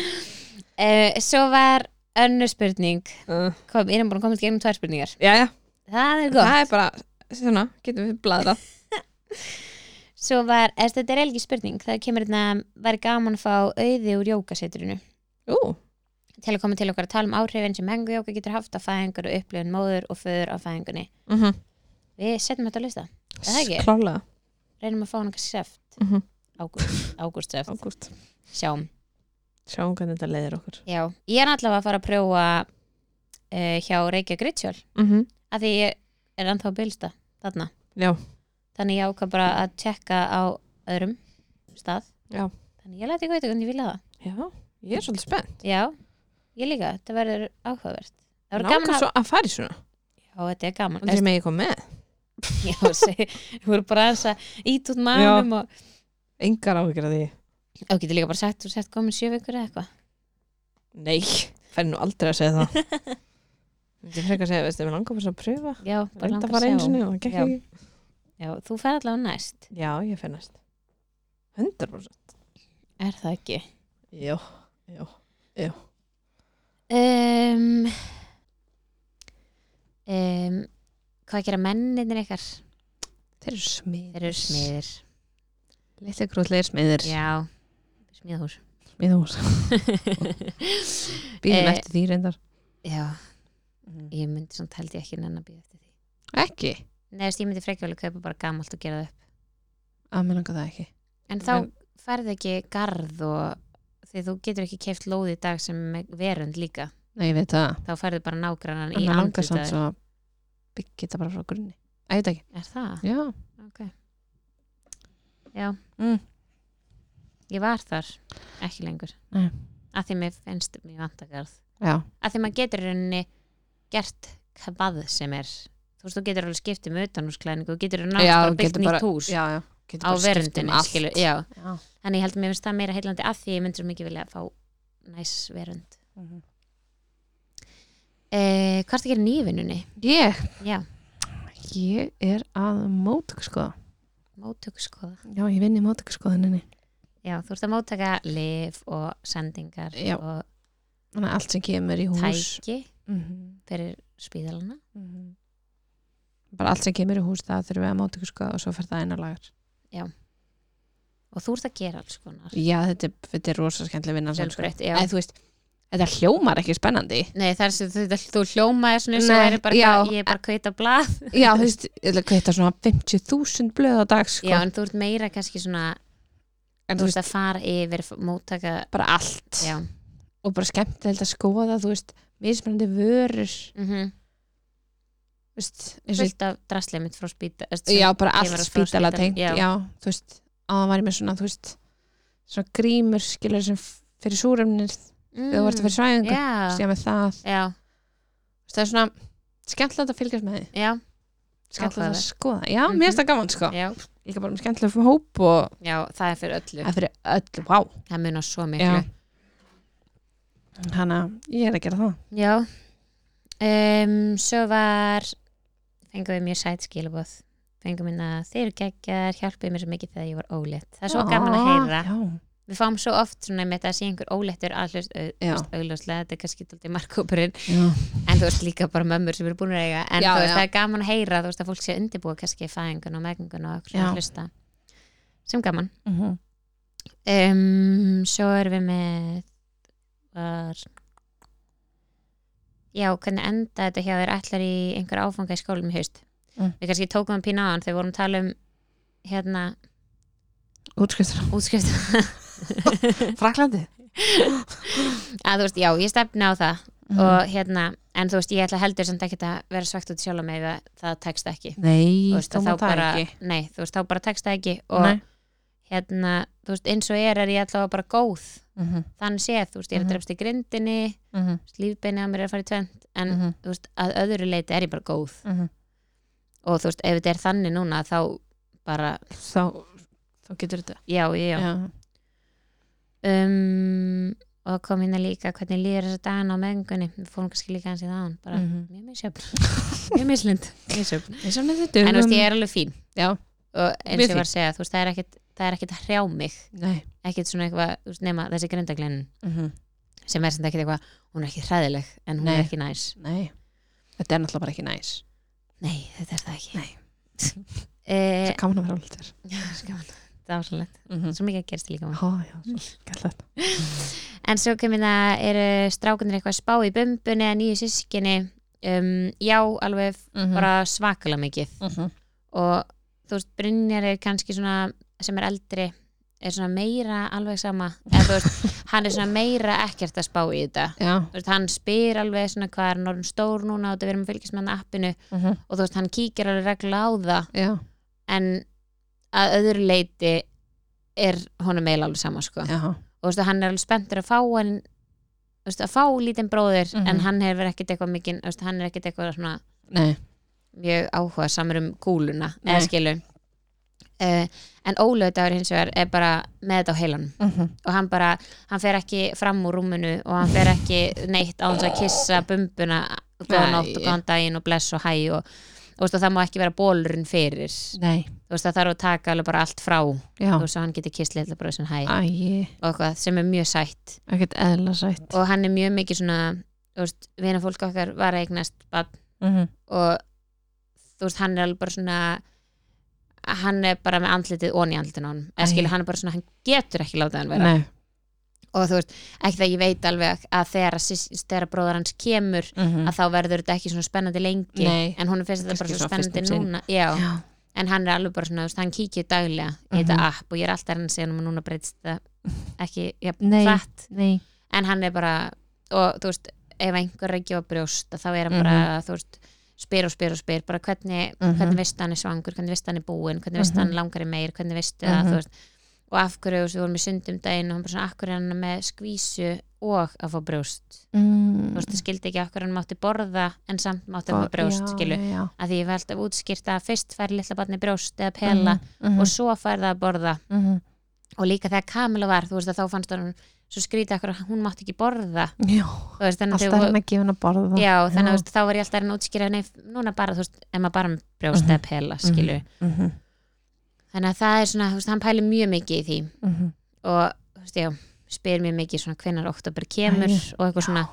[SPEAKER 1] uh, svo var önnur spurning
[SPEAKER 2] uh.
[SPEAKER 1] kom, ég er búin að komast gegnum tvær spurningar
[SPEAKER 2] Jæja,
[SPEAKER 1] það er gott,
[SPEAKER 2] það er bara svona, getum við bladrað
[SPEAKER 1] svo var, eða þetta er elgi spurning það kemur hérna, væri gaman að fá auði úr jókasetrinu
[SPEAKER 2] Ú,
[SPEAKER 1] til að koma til okkar að tala um áhrifin sem hengujóka getur haft á fæðingar og upplifun móður og föður á fæðingunni.
[SPEAKER 2] mm -hmm.
[SPEAKER 1] Við setjum þetta að lista, Er það ekki?
[SPEAKER 2] klálega
[SPEAKER 1] reynum að fá hann eitthvað seft,
[SPEAKER 2] Mhm.
[SPEAKER 1] ágúst, ágúst seft,
[SPEAKER 2] Ágúst,
[SPEAKER 1] sjáum.
[SPEAKER 2] sjáum hvernig þetta leiðir okkur
[SPEAKER 1] Já, ég er allavega að fara að prjóa uh, hjá Reykja Gritsjól,
[SPEAKER 2] mm -hmm.
[SPEAKER 1] af því ég er ennþá að bylsta þarna.
[SPEAKER 2] Já.
[SPEAKER 1] Þannig ég ákvað bara að tjekka á öðrum stað.
[SPEAKER 2] Já.
[SPEAKER 1] Þannig ég læti ekki veit hvernig ég vilja það.
[SPEAKER 2] Já, ég er svolítið spennt
[SPEAKER 1] Já, ég líka, þetta verður áhugavert. Það verður gaman
[SPEAKER 2] Nákvæm
[SPEAKER 1] að,
[SPEAKER 2] svo að fara í svona
[SPEAKER 1] já þetta er gaman.
[SPEAKER 2] Þetta er með ég kom með
[SPEAKER 1] Já, seg- þú voru bara aðeins að ít út maðurum og
[SPEAKER 2] Engar áhyggjur af því
[SPEAKER 1] og getur líka bara sagt, þú sett komin sjö vikur eða eitthvað
[SPEAKER 2] Nei, fær nú aldrei að segja það Þetta er frekar að segja, veistu, við langar bara svo að pröfa
[SPEAKER 1] Já, bara
[SPEAKER 2] Reynda
[SPEAKER 1] langar
[SPEAKER 2] að fara einu
[SPEAKER 1] sjá.
[SPEAKER 2] sinni og það gekk
[SPEAKER 1] Já.
[SPEAKER 2] ekki
[SPEAKER 1] Já, þú fer allavega næst,
[SPEAKER 2] Já, ég fær næst 100%
[SPEAKER 1] er það ekki
[SPEAKER 2] Já,
[SPEAKER 1] um, um, Hvað gera menninir ykkar?
[SPEAKER 2] þeir eru smiðir
[SPEAKER 1] Þeir eru smiðir
[SPEAKER 2] Lítið grútlegir smiðir
[SPEAKER 1] Já, smiðhús
[SPEAKER 2] Smiðhús Býðum
[SPEAKER 1] Eh, Mhm.
[SPEAKER 2] eftir því reyndar
[SPEAKER 1] Já, ég myndi samt held ég ekki nenn að býða eftir því
[SPEAKER 2] Ekki?
[SPEAKER 1] Nei, veist, ég myndi frekjúlega kaupa bara gamalt og gera það upp
[SPEAKER 2] Að mér langar það ekki
[SPEAKER 1] En þá
[SPEAKER 2] En-
[SPEAKER 1] færðu ekki garð og því þú getur ekki keift lóð í dag sem er verund líka
[SPEAKER 2] Nei, ég veit það
[SPEAKER 1] þá færðu bara nágrannan
[SPEAKER 2] En
[SPEAKER 1] í
[SPEAKER 2] mér langar
[SPEAKER 1] andlitið á
[SPEAKER 2] samt
[SPEAKER 1] þér.
[SPEAKER 2] svo að byggja þetta bara frá grunni Æ, þetta ekki
[SPEAKER 1] Er það?
[SPEAKER 2] Já
[SPEAKER 1] Ég var þar, ekki lengur
[SPEAKER 2] Nei.
[SPEAKER 1] að því mér finnst mér vantakarð
[SPEAKER 2] Já,
[SPEAKER 1] að því maður getur í rauninni gert hvað sem er þú veist, þú getur alveg skipt um utanhúsklæningu þú getur nátt
[SPEAKER 2] Já,
[SPEAKER 1] bara
[SPEAKER 2] þú
[SPEAKER 1] byggt
[SPEAKER 2] getur
[SPEAKER 1] nýtt
[SPEAKER 2] bara-
[SPEAKER 1] hús
[SPEAKER 2] já, já Getur
[SPEAKER 1] á
[SPEAKER 2] bara skipt um
[SPEAKER 1] verundinni,
[SPEAKER 2] allt.
[SPEAKER 1] skilu já.
[SPEAKER 2] Já.
[SPEAKER 1] þannig ég held að mér finnst það meira heillandi að því ég myndi svo mikið vilja að fá næs verund
[SPEAKER 2] Mhm.
[SPEAKER 1] eh, Hvað er það að gera nývinunni?
[SPEAKER 2] Ég
[SPEAKER 1] Já,
[SPEAKER 2] Ég er að mótökurskoða.
[SPEAKER 1] móttöku skoða
[SPEAKER 2] Já, ég vinn í mótökurskoðuninni.
[SPEAKER 1] Já, þú ert að móttaka lif og sendingar
[SPEAKER 2] Já.
[SPEAKER 1] og
[SPEAKER 2] Þannig að allt sem kemur í hús.
[SPEAKER 1] tæki
[SPEAKER 2] Mm
[SPEAKER 1] fyrir spíðalana
[SPEAKER 2] mhm. Bara allt sem kemur í hús það þurfum við að mótökurskoða og svo fer það inn á lagar.
[SPEAKER 1] og þú ert að gera alls konar
[SPEAKER 2] já, þetta, er- þetta er rosa skemmtileg vinna samt, sko.
[SPEAKER 1] Fjölbreytt, já.
[SPEAKER 2] en þú veist, þetta hljómar ekki spennandi
[SPEAKER 1] Nei, það er sem þetta, þú hljómaði svona sem
[SPEAKER 2] Nei,
[SPEAKER 1] væri bara,
[SPEAKER 2] já.
[SPEAKER 1] ég er bara að kveita blað
[SPEAKER 2] já, þú veist, þetta kvittar svona 50.000 blöð á dag sko.
[SPEAKER 1] Já, en þú ert meira kannski svona
[SPEAKER 2] en
[SPEAKER 1] þú ert að fara yfir f- móttaka
[SPEAKER 2] bara allt
[SPEAKER 1] Já,
[SPEAKER 2] og bara skemmtilegt að skoða þú veist, mismunandi vörur þú
[SPEAKER 1] mm -hmm.
[SPEAKER 2] veist, eins og
[SPEAKER 1] fullt af draslið mitt frá spýta
[SPEAKER 2] já, bara
[SPEAKER 1] kemur
[SPEAKER 2] allt
[SPEAKER 1] að frá
[SPEAKER 2] spítala
[SPEAKER 1] spítalanum,
[SPEAKER 2] tengt já.
[SPEAKER 1] já.
[SPEAKER 2] þú veist, á það væri með svona þú veist, svona grímur skilur sem f- fyrir súrumnir
[SPEAKER 1] mm.
[SPEAKER 2] þegar þú ert að fyrir svæðingu,
[SPEAKER 1] Já,
[SPEAKER 2] síðan með það
[SPEAKER 1] já,
[SPEAKER 2] Þú veist, það er svona skemmtilegt að fylgjast með því
[SPEAKER 1] já,
[SPEAKER 2] skemmtilegt að
[SPEAKER 1] Áhugavert.
[SPEAKER 2] skoða, já,
[SPEAKER 1] Mhm.
[SPEAKER 2] mér finnst það gaman sko
[SPEAKER 1] já,
[SPEAKER 2] líka bara um skemmtilegt hóp og
[SPEAKER 1] já, það er fyrir öllu
[SPEAKER 2] það fyrir öll, vá
[SPEAKER 1] Það munar svo miklu
[SPEAKER 2] já. þannig að ég er að gera það
[SPEAKER 1] Já um, Svo var fengum við mjög sæt skilabóð fengum við að þeir geggar hjálpuðu mér svo mikið þegar ég var ólétt það er svo gaman að heyra
[SPEAKER 2] Ah, já,
[SPEAKER 1] við fáum svo oft svona með þetta að sé einhver óléttur allur
[SPEAKER 2] Já.
[SPEAKER 1] augljóslega þetta er kannski alltaf markkópurinn
[SPEAKER 2] já.
[SPEAKER 1] en þú veist líka bara mömmur sem eru búin að eiga en
[SPEAKER 2] Já,
[SPEAKER 1] þú veist
[SPEAKER 2] já.
[SPEAKER 1] það er gaman að heyra þú veist að fólk sé að undirbúa kannski fæðingun og meðgöngun og okkur
[SPEAKER 2] Já.
[SPEAKER 1] svona hlusta sem gaman
[SPEAKER 2] Mm -hmm.
[SPEAKER 1] um, svo erum við með var já, hvernig enda þetta hjá þér allar í einhver áfanga í skólum í haust
[SPEAKER 2] Mm.
[SPEAKER 1] við kannski tókum að pína á hann þegar við vorum að tala um hérna
[SPEAKER 2] útskriftur
[SPEAKER 1] útskrift
[SPEAKER 2] Fraklandi
[SPEAKER 1] að þú veist, já, ég stefni á það
[SPEAKER 2] Mhm.
[SPEAKER 1] og hérna, en þú veist, ég ætla heldur samt ekki að vera svegt út sjálf með að það tekst ekki
[SPEAKER 2] nei,
[SPEAKER 1] Þú
[SPEAKER 2] þá
[SPEAKER 1] að
[SPEAKER 2] má það
[SPEAKER 1] bara,
[SPEAKER 2] ekki
[SPEAKER 1] nei, þú veist, þá bara tekst það ekki og
[SPEAKER 2] Nei.
[SPEAKER 1] hérna, þú veist, eins og er er ég alltaf bara góð
[SPEAKER 2] mm -hmm.
[SPEAKER 1] þannig séð, þú veist, ég er
[SPEAKER 2] Mhm.
[SPEAKER 1] að drefst í grindinni
[SPEAKER 2] Mm
[SPEAKER 1] Mhm.
[SPEAKER 2] -hmm.
[SPEAKER 1] lífbeini á mér er að fara í tvent en þú veist, að öðru leiti er ég bara góð
[SPEAKER 2] Mhm.
[SPEAKER 1] og þú veist, ef þetta er þannig núna þá bara,
[SPEAKER 2] þá, þá getur þetta
[SPEAKER 1] já, já, já. Um, og það kom hérna líka hvernig líður þess að dagana á meðingunni við fórum kannski líka hans í þaðan bara
[SPEAKER 2] Mhm.
[SPEAKER 1] mjög misjöfn, mjög mislind misjöfn.
[SPEAKER 2] ég sem þetta um-
[SPEAKER 1] en þú veist, ég er alveg fín
[SPEAKER 2] Já.
[SPEAKER 1] og eins og
[SPEAKER 2] Mjög
[SPEAKER 1] ég var að segja, þú veist, það er ekkit það er ekkit að hrjá mig,
[SPEAKER 2] nei
[SPEAKER 1] ekkit svona eitthvað þú veist, nema þessi grindaglennin
[SPEAKER 2] mm -hmm.
[SPEAKER 1] sem er sem ekkit eitthvað, hún er ekki hræðileg en hún
[SPEAKER 2] Nei.
[SPEAKER 1] er ekki næs
[SPEAKER 2] nei, þetta er náttúrulega bara ekki næs
[SPEAKER 1] Nei, þetta er það ekki
[SPEAKER 2] Nei.
[SPEAKER 1] Eh, Mhm.
[SPEAKER 2] það kaman að vera áldur
[SPEAKER 1] Já, skaman, það var svolítið Svo mikið að gerst líka maður
[SPEAKER 2] Há, já,
[SPEAKER 1] Mhm.
[SPEAKER 2] svo skemmtilegt.
[SPEAKER 1] En svo kemur það, eru strákunir eitthvað að spá í bumbunni eða nýju sískinni um, Já, alveg
[SPEAKER 2] Mm.
[SPEAKER 1] bara mhm. svakalega mikið
[SPEAKER 2] Mhm.
[SPEAKER 1] Og þú veist, Brynjar er kannski svona sem er eldri er svona meira alveg sama eða þú veist, hann er svona meira ekkert að spá í þetta
[SPEAKER 2] já
[SPEAKER 1] Þú veist, hann spyr alveg svona hvað er norðin stór núna og þetta verðum að fylgjast með hann appinu
[SPEAKER 2] mm -hmm.
[SPEAKER 1] og þú veist, hann kíkir alveg regla á það
[SPEAKER 2] já,
[SPEAKER 1] en að öðru leiti er honum eiginlega alveg sama sko.
[SPEAKER 2] já,
[SPEAKER 1] og veistu, hann er alveg spenntur að fá en þú veistu, að fá lítinn bróðir
[SPEAKER 2] Mhm.
[SPEAKER 1] en hann hefur ekkert eitthvað mikið veistu, hann er ekkert eitthvað svona
[SPEAKER 2] nei
[SPEAKER 1] mjög áhuga samur um kúluna
[SPEAKER 2] Nei.
[SPEAKER 1] eða skilur uh, en ólöðdagur hins vegar er bara með þetta á heilanum
[SPEAKER 2] mm -hmm.
[SPEAKER 1] og hann bara, hann fer ekki fram úr rúminu og hann fer ekki neitt á hans að kissa bumbuna góða
[SPEAKER 2] Nei.
[SPEAKER 1] nótt og góðan daginn og bless og hæ og, og veistu, það má ekki vera bólurinn fyrir
[SPEAKER 2] nei,
[SPEAKER 1] þú veist það þarf að taka alveg bara allt frá
[SPEAKER 2] já
[SPEAKER 1] þú veist að hann getur kist litla bróð sem hæ
[SPEAKER 2] æg,
[SPEAKER 1] og eitthvað sem er mjög sætt
[SPEAKER 2] ekkert eðla sætt
[SPEAKER 1] og hann er mjög mikið svona þú veist, vina fólk okkar var að eignast bad,
[SPEAKER 2] mm
[SPEAKER 1] Mhm.
[SPEAKER 2] -hmm.
[SPEAKER 1] og þú veist hann er alveg bara svona hann er bara með andlitið ón í andlitin á hann eða
[SPEAKER 2] Æ.
[SPEAKER 1] skilur hann er bara svona, hann getur ekki látað hann vera
[SPEAKER 2] nei
[SPEAKER 1] og þú veist, ekki það ég veit alveg að þegar, að sys- þegar bróðar hans kemur
[SPEAKER 2] mm -hmm.
[SPEAKER 1] að þá verður þetta Mhm. ekki svona spennandi lengi
[SPEAKER 2] Nei.
[SPEAKER 1] en hún finnst þetta bara svona
[SPEAKER 2] Kannski svona fyrst um
[SPEAKER 1] spennandi
[SPEAKER 2] sinn.
[SPEAKER 1] núna já.
[SPEAKER 2] já,
[SPEAKER 1] en hann er alveg bara svona, þú veist, hann kíkir daglega í
[SPEAKER 2] Mhm.
[SPEAKER 1] þetta app og ég er alltaf að reyna að segja hann núna breytist það ekki ja,
[SPEAKER 2] Nei.
[SPEAKER 1] hratt
[SPEAKER 2] nei
[SPEAKER 1] en hann er bara og þú veist, ef einhver er að gefa brjóst þá er hann bara, þú veist spyr og spyr og spyr, bara hvernig,
[SPEAKER 2] Mhm.
[SPEAKER 1] hvernig veist hann er svangur, hvernig veist hann er búinn hvernig veist
[SPEAKER 2] Mhm.
[SPEAKER 1] hann langar í meir, hvernig veist mm
[SPEAKER 2] Mhm.
[SPEAKER 1] það þú veist, og af hverju, þú veist, við vorum í sundum daginn og hann bara svona, af hverju er hann með skvísu og að fá brjóst þú
[SPEAKER 2] mm.
[SPEAKER 1] veist, það skildi ekki af hverju hann mátti borða en samt mátti hann fá brjóst, skilu
[SPEAKER 2] já, já.
[SPEAKER 1] að því ég velt að útskýrta að fyrst fær litla barni brjóst eða pela
[SPEAKER 2] mm -hmm.
[SPEAKER 1] og svo fær það að borða
[SPEAKER 2] mm -hmm.
[SPEAKER 1] og líka þegar Kamila var, þú veist að þá fannst hann svo skrýta akkur að hún mátti ekki borða
[SPEAKER 2] já
[SPEAKER 1] þú veist, þannig
[SPEAKER 2] alltaf
[SPEAKER 1] að
[SPEAKER 2] er
[SPEAKER 1] þau
[SPEAKER 2] hann að gefa hann að borða
[SPEAKER 1] Já, þannig að
[SPEAKER 2] Já.
[SPEAKER 1] þú veist, þá var ég alltaf að reyna að útskýra nei, núna bara, þú veist, ef maður bara með brjóst
[SPEAKER 2] Mhm.
[SPEAKER 1] eða pela, skilu
[SPEAKER 2] mm -hmm.
[SPEAKER 1] þannig að það er svona, þú veist, hann pælir mjög mikið í því
[SPEAKER 2] Mm -hmm.
[SPEAKER 1] og, þú veist, já, spyr mjög mikið svona hvenær oktober kemur
[SPEAKER 2] Æi,
[SPEAKER 1] og eitthvað svona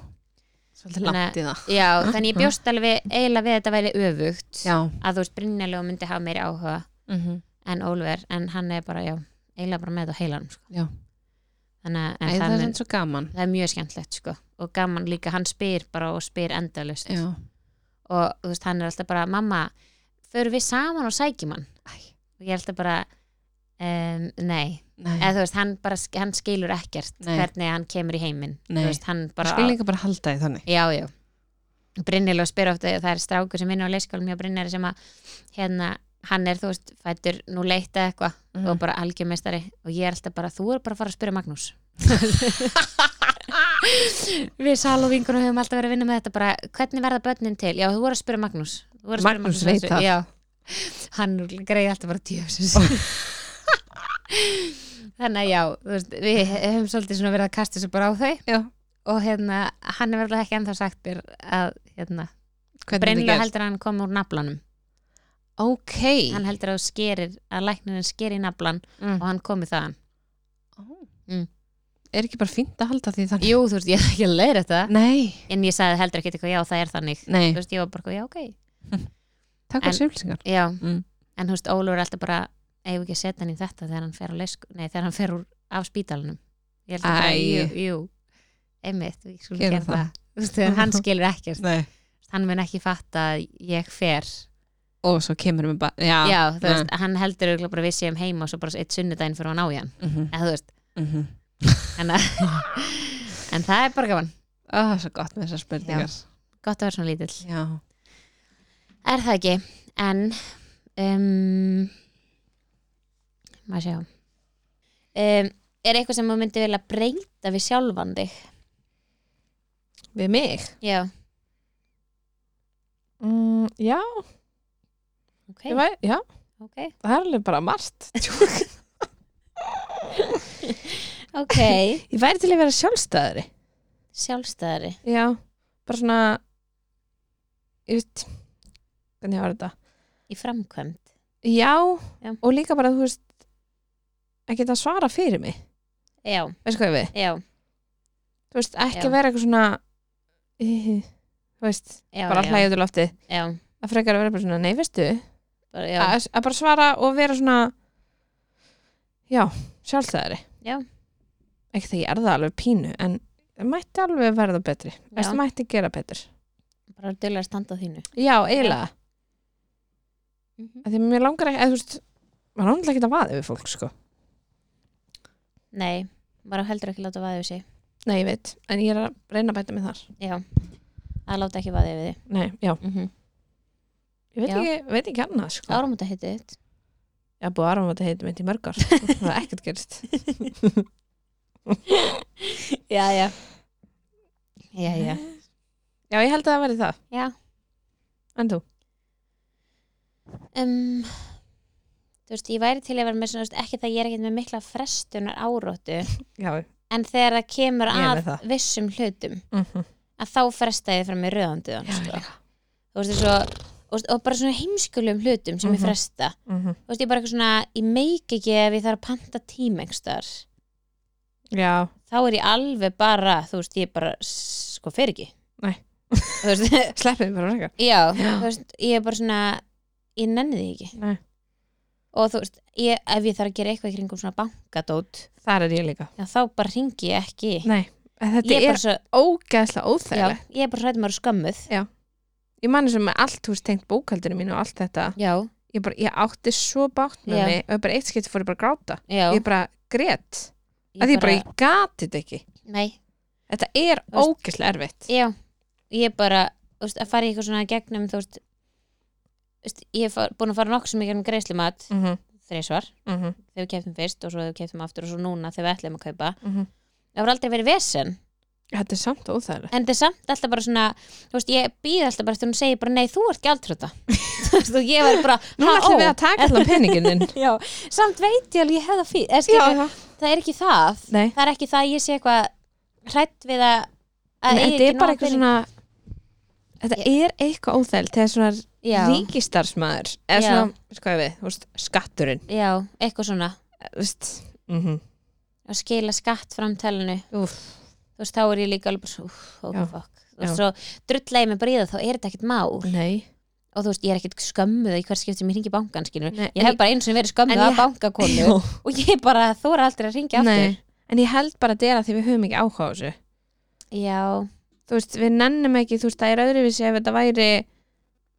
[SPEAKER 2] svolítið
[SPEAKER 1] Þannig
[SPEAKER 2] langt í það
[SPEAKER 1] Já, þannig ég bjóst alveg eiginlega við að þetta væri öfugt
[SPEAKER 2] já
[SPEAKER 1] að þú veist, Brynjarlega myndi hafa meiri áhuga
[SPEAKER 2] mm -hmm.
[SPEAKER 1] en Ólver, en hann er bara, já eiginlega bara með þetta á heilanum sko.
[SPEAKER 2] Já.
[SPEAKER 1] þannig að
[SPEAKER 2] Æ,
[SPEAKER 1] en
[SPEAKER 2] það er
[SPEAKER 1] þannig,
[SPEAKER 2] samt svo gaman
[SPEAKER 1] það er mjög skemmtlegt sko. og gaman líka, hann spyr bara og spyr endalust
[SPEAKER 2] já.
[SPEAKER 1] og þú veist, hann er alltaf bara, mamma förum við saman og sækjum hann
[SPEAKER 2] Æ,
[SPEAKER 1] og ég er alltaf bara um, nei,
[SPEAKER 2] nei,
[SPEAKER 1] eða þú veist, hann bara sk- hann skilur ekkert
[SPEAKER 2] Nei.
[SPEAKER 1] hvernig hann kemur í heiminn
[SPEAKER 2] Nei.
[SPEAKER 1] þú veist, hann bara
[SPEAKER 2] bara skulle líka bara halda því þannig
[SPEAKER 1] Já, já. Brynnilega spyr ofta, það er strákur sem vinna á leyskálum hjá Brynnari sem að hérna, hann er, þú veist, fættur nú leita eitthvað
[SPEAKER 2] Mhm.
[SPEAKER 1] og bara algjörmestari og ég er alltaf bara, þú er bara að fara að spyrja Magnús. Við Sal og vingunum höfum alltaf verið að vinna með þetta bara, hvernig verða börnin til? Já, þú voru að spyrja Magnús. Þú voru að spyrja
[SPEAKER 2] Magnús
[SPEAKER 1] að
[SPEAKER 2] veit
[SPEAKER 1] þessu.
[SPEAKER 2] það.
[SPEAKER 1] Já, hann greiði alltaf bara tjófsins. Þannig að já, þú veist, við höfum svolítið svona verið að kasta þessu bara á þau
[SPEAKER 2] já,
[SPEAKER 1] og hérna, hann er verið ekki ennþá sagt mér að hérna,
[SPEAKER 2] hvernig
[SPEAKER 1] Brynlega
[SPEAKER 2] þetta gerst
[SPEAKER 1] heldur að hann kom úr naflanum
[SPEAKER 2] ok
[SPEAKER 1] hann heldur að þú skerir, að læknirinn skeri naflan
[SPEAKER 2] Mm.
[SPEAKER 1] og hann komi þaðan
[SPEAKER 2] Ó.
[SPEAKER 1] Mm.
[SPEAKER 2] er ekki bara fínt að halda því þannig
[SPEAKER 1] Jú, þú veist, ég er ekki að leiða þetta
[SPEAKER 2] nei,
[SPEAKER 1] en ég sagði heldur ekki eitthvað, já, það er þannig
[SPEAKER 2] Mm. nei,
[SPEAKER 1] þú veist, ég var bara, eitthvað, já, ok
[SPEAKER 2] takk
[SPEAKER 1] En-
[SPEAKER 2] fyrir sjöflsingar
[SPEAKER 1] já.
[SPEAKER 2] Mm.
[SPEAKER 1] en þú veist, Ólur er alltaf bara eigum við ekki að setja hann í þetta þegar hann fer, á lesk, nei, þegar hann fer úr af spítalunum ég held að bara,
[SPEAKER 2] Æ.
[SPEAKER 1] jú, jú einmitt, við skulum
[SPEAKER 2] Gerum
[SPEAKER 1] gera
[SPEAKER 2] það.
[SPEAKER 1] það, Þú veist, þegar hann skilur ekkert
[SPEAKER 2] nei.
[SPEAKER 1] hann mun ekki fatta að ég fer
[SPEAKER 2] og svo kemur við bara já, Mm.
[SPEAKER 1] já, þú veist, hann heldur örugglega bara við séum heima og svo bara eitt sunnudaginn fyrir hann á í hann
[SPEAKER 2] Mm -hmm.
[SPEAKER 1] eða þú veist, en, að- en það er bara gaman
[SPEAKER 2] svo gott með þessar spurningar
[SPEAKER 1] gott að vera svona lítill
[SPEAKER 2] já.
[SPEAKER 1] er það ekki, en um, maður sjá um, er eitthvað sem maður myndi vilja breyta við sjálfan þig
[SPEAKER 2] við mig
[SPEAKER 1] já,
[SPEAKER 2] mm, já,
[SPEAKER 1] ok,
[SPEAKER 2] ég væ- já,
[SPEAKER 1] ok,
[SPEAKER 2] það er alveg bara margt
[SPEAKER 1] ok
[SPEAKER 2] ég væri til að vera sjálfstæðari
[SPEAKER 1] sjálfstæðari
[SPEAKER 2] já, bara svona ég veit hvernig var þetta
[SPEAKER 1] í framkvæmd
[SPEAKER 2] já,
[SPEAKER 1] Já.
[SPEAKER 2] og líka bara þú veist að geta svara fyrir mig
[SPEAKER 1] já,
[SPEAKER 2] veist hvað ég við,
[SPEAKER 1] já,
[SPEAKER 2] þú veist ekki
[SPEAKER 1] Já.
[SPEAKER 2] vera eitthvað svona "Ihi", þú veist,
[SPEAKER 1] já
[SPEAKER 2] bara
[SPEAKER 1] já,
[SPEAKER 2] hlæja út í loftið
[SPEAKER 1] já,
[SPEAKER 2] að frekar að vera bara svona, nei veistu
[SPEAKER 1] bara, já,
[SPEAKER 2] að, að bara svara og vera svona já, sjálfstæðari
[SPEAKER 1] Já.
[SPEAKER 2] ekki þegar ég er það alveg pínu en mætti alveg verða betri Veistu, mætti gera betur
[SPEAKER 1] bara dölur að standa á þínu
[SPEAKER 2] já, eiginlega,
[SPEAKER 1] mm -hmm.
[SPEAKER 2] af því mér langar ekki eða þú veist, maður langar ekki að vaða yfir fólk sko.
[SPEAKER 1] nei, bara heldur ekki láta vaðið við sig
[SPEAKER 2] nei, ég veit, en ég er að reyna að bæta mig þar
[SPEAKER 1] já, að láta ekki vaðið við þig
[SPEAKER 2] nei, já,
[SPEAKER 1] mm -hmm.
[SPEAKER 2] ég veit
[SPEAKER 1] Já.
[SPEAKER 2] ekki, veit ekki annað sko.
[SPEAKER 1] áramóta heitið þitt
[SPEAKER 2] ég hafa búið aðrum að þetta heitum eitt í mörgar það er ekkert gerist
[SPEAKER 1] já, já já, já,
[SPEAKER 2] já, ég held að það verði það,
[SPEAKER 1] já.
[SPEAKER 2] en þú
[SPEAKER 1] Um, þú veist, ég væri til að vera með svona, þú veist, ekki það ég er ekkert með mikla frestunar áróttu
[SPEAKER 2] já,
[SPEAKER 1] en þegar það kemur
[SPEAKER 2] Ég er
[SPEAKER 1] að
[SPEAKER 2] með það.
[SPEAKER 1] vissum hlutum
[SPEAKER 2] mm -hmm.
[SPEAKER 1] að þá fresta ég fram í röðanduðan sko. þú veist, svo, og, og bara svona heimskulum hlutum sem ég
[SPEAKER 2] Mhm.
[SPEAKER 1] fresta þú veist, ég bara eitthvað svona, ég meik ekki ef ég þarf að panta tíma einhverstaðar
[SPEAKER 2] já,
[SPEAKER 1] þá er ég alveg bara, þú veist, ég bara sko, fer ekki
[SPEAKER 2] Nei.
[SPEAKER 1] þú veist,
[SPEAKER 2] sleppið mér bara frekar
[SPEAKER 1] Já,
[SPEAKER 2] Já.
[SPEAKER 1] þú veist, ég er bara svona ég nenni því ekki
[SPEAKER 2] Nei.
[SPEAKER 1] og þú veist, ég, ef ég þarf að gera eitthvað í kringum svona bankadót
[SPEAKER 2] þar er ég líka
[SPEAKER 1] já, þá bara ringi ég ekki
[SPEAKER 2] Nei, en þetta
[SPEAKER 1] ég er
[SPEAKER 2] er,
[SPEAKER 1] bara svo,
[SPEAKER 2] ógeðslega
[SPEAKER 1] já,
[SPEAKER 2] óþægilegt.
[SPEAKER 1] ég er bara svo hættum að vera skömmuð
[SPEAKER 2] Ég man eins og með allt hús tengt bókaldinu mínu og allt þetta.
[SPEAKER 1] já,
[SPEAKER 2] Ég, bara, ég átti svo bátt með
[SPEAKER 1] Já.
[SPEAKER 2] mig og bara eitt skipti fór ég bara að gráta.
[SPEAKER 1] já
[SPEAKER 2] Ég bara grét. Ég að ég bara, ég gati þetta ekki.
[SPEAKER 1] nei,
[SPEAKER 2] Þetta er
[SPEAKER 1] Þú veist-
[SPEAKER 2] ógeðslega erfitt.
[SPEAKER 1] já, ég bara þú veist, að fara í eitthvað svona gegnum þú veist, þú veist ég hef far- búin að fara nokkuð sem ekki um greiðslumat
[SPEAKER 2] Mm -hmm,
[SPEAKER 1] þreysvar,
[SPEAKER 2] mm -hmm,
[SPEAKER 1] þegar við keftum fyrst og svo þegar við keftum aftur og svo núna þegar við ætlum að kaupa
[SPEAKER 2] mm -hmm.
[SPEAKER 1] það var aldrei verið vesen
[SPEAKER 2] Þetta er samt óþægilegt.
[SPEAKER 1] en þetta er samt alltaf bara svona þú veist, ég býð alltaf bara eftir hún segir bara nei, þú ert gjaldröta þú veist, og ég verður bara
[SPEAKER 2] Núna
[SPEAKER 1] ha, ó.
[SPEAKER 2] ætlum við að taka allan peningin þinn.
[SPEAKER 1] já, samt veit ég alveg ég hefða fín er, skilur,
[SPEAKER 2] Já,
[SPEAKER 1] það er ekki það
[SPEAKER 2] Nei.
[SPEAKER 1] það er ekki það að ég sé eitthvað hrætt við að að
[SPEAKER 2] en
[SPEAKER 1] eigi
[SPEAKER 2] þetta er
[SPEAKER 1] ekki nóg
[SPEAKER 2] bara eitthvað
[SPEAKER 1] pening.
[SPEAKER 2] svona, þetta er eitthvað óþægilegt. Þegar svona
[SPEAKER 1] já,
[SPEAKER 2] ríkistarsmaður, eða
[SPEAKER 1] Já.
[SPEAKER 2] svona, veistu hvað ég við, þú veist, skatturinn,
[SPEAKER 1] já, eitthvað svona
[SPEAKER 2] þú veist, mm
[SPEAKER 1] mhm.
[SPEAKER 2] -hmm.
[SPEAKER 1] að skila skatt framtælinu þú veist, þá er ég líka alveg bara svo, úff, ok,
[SPEAKER 2] Já.
[SPEAKER 1] fuck
[SPEAKER 2] Já.
[SPEAKER 1] og svo drulla ég mig bara í það, þá er þetta ekkert mál
[SPEAKER 2] nei,
[SPEAKER 1] og þú veist, ég er ekkert skömmuð í hver skipt sem ég ringi bankan, skilur
[SPEAKER 2] Nei,
[SPEAKER 1] ég hef bara einu sinni verið skömmuð
[SPEAKER 2] En
[SPEAKER 1] að
[SPEAKER 2] ég-
[SPEAKER 1] bankakonu og ég bara þóra aldrei að ringja aftur
[SPEAKER 2] Nei, en ég held bara að þetta er að því við höfum ekki áhuga á þessu
[SPEAKER 1] já,
[SPEAKER 2] þú veist, við nennum ekki, þú veist, það er öðruvísi ef þetta væri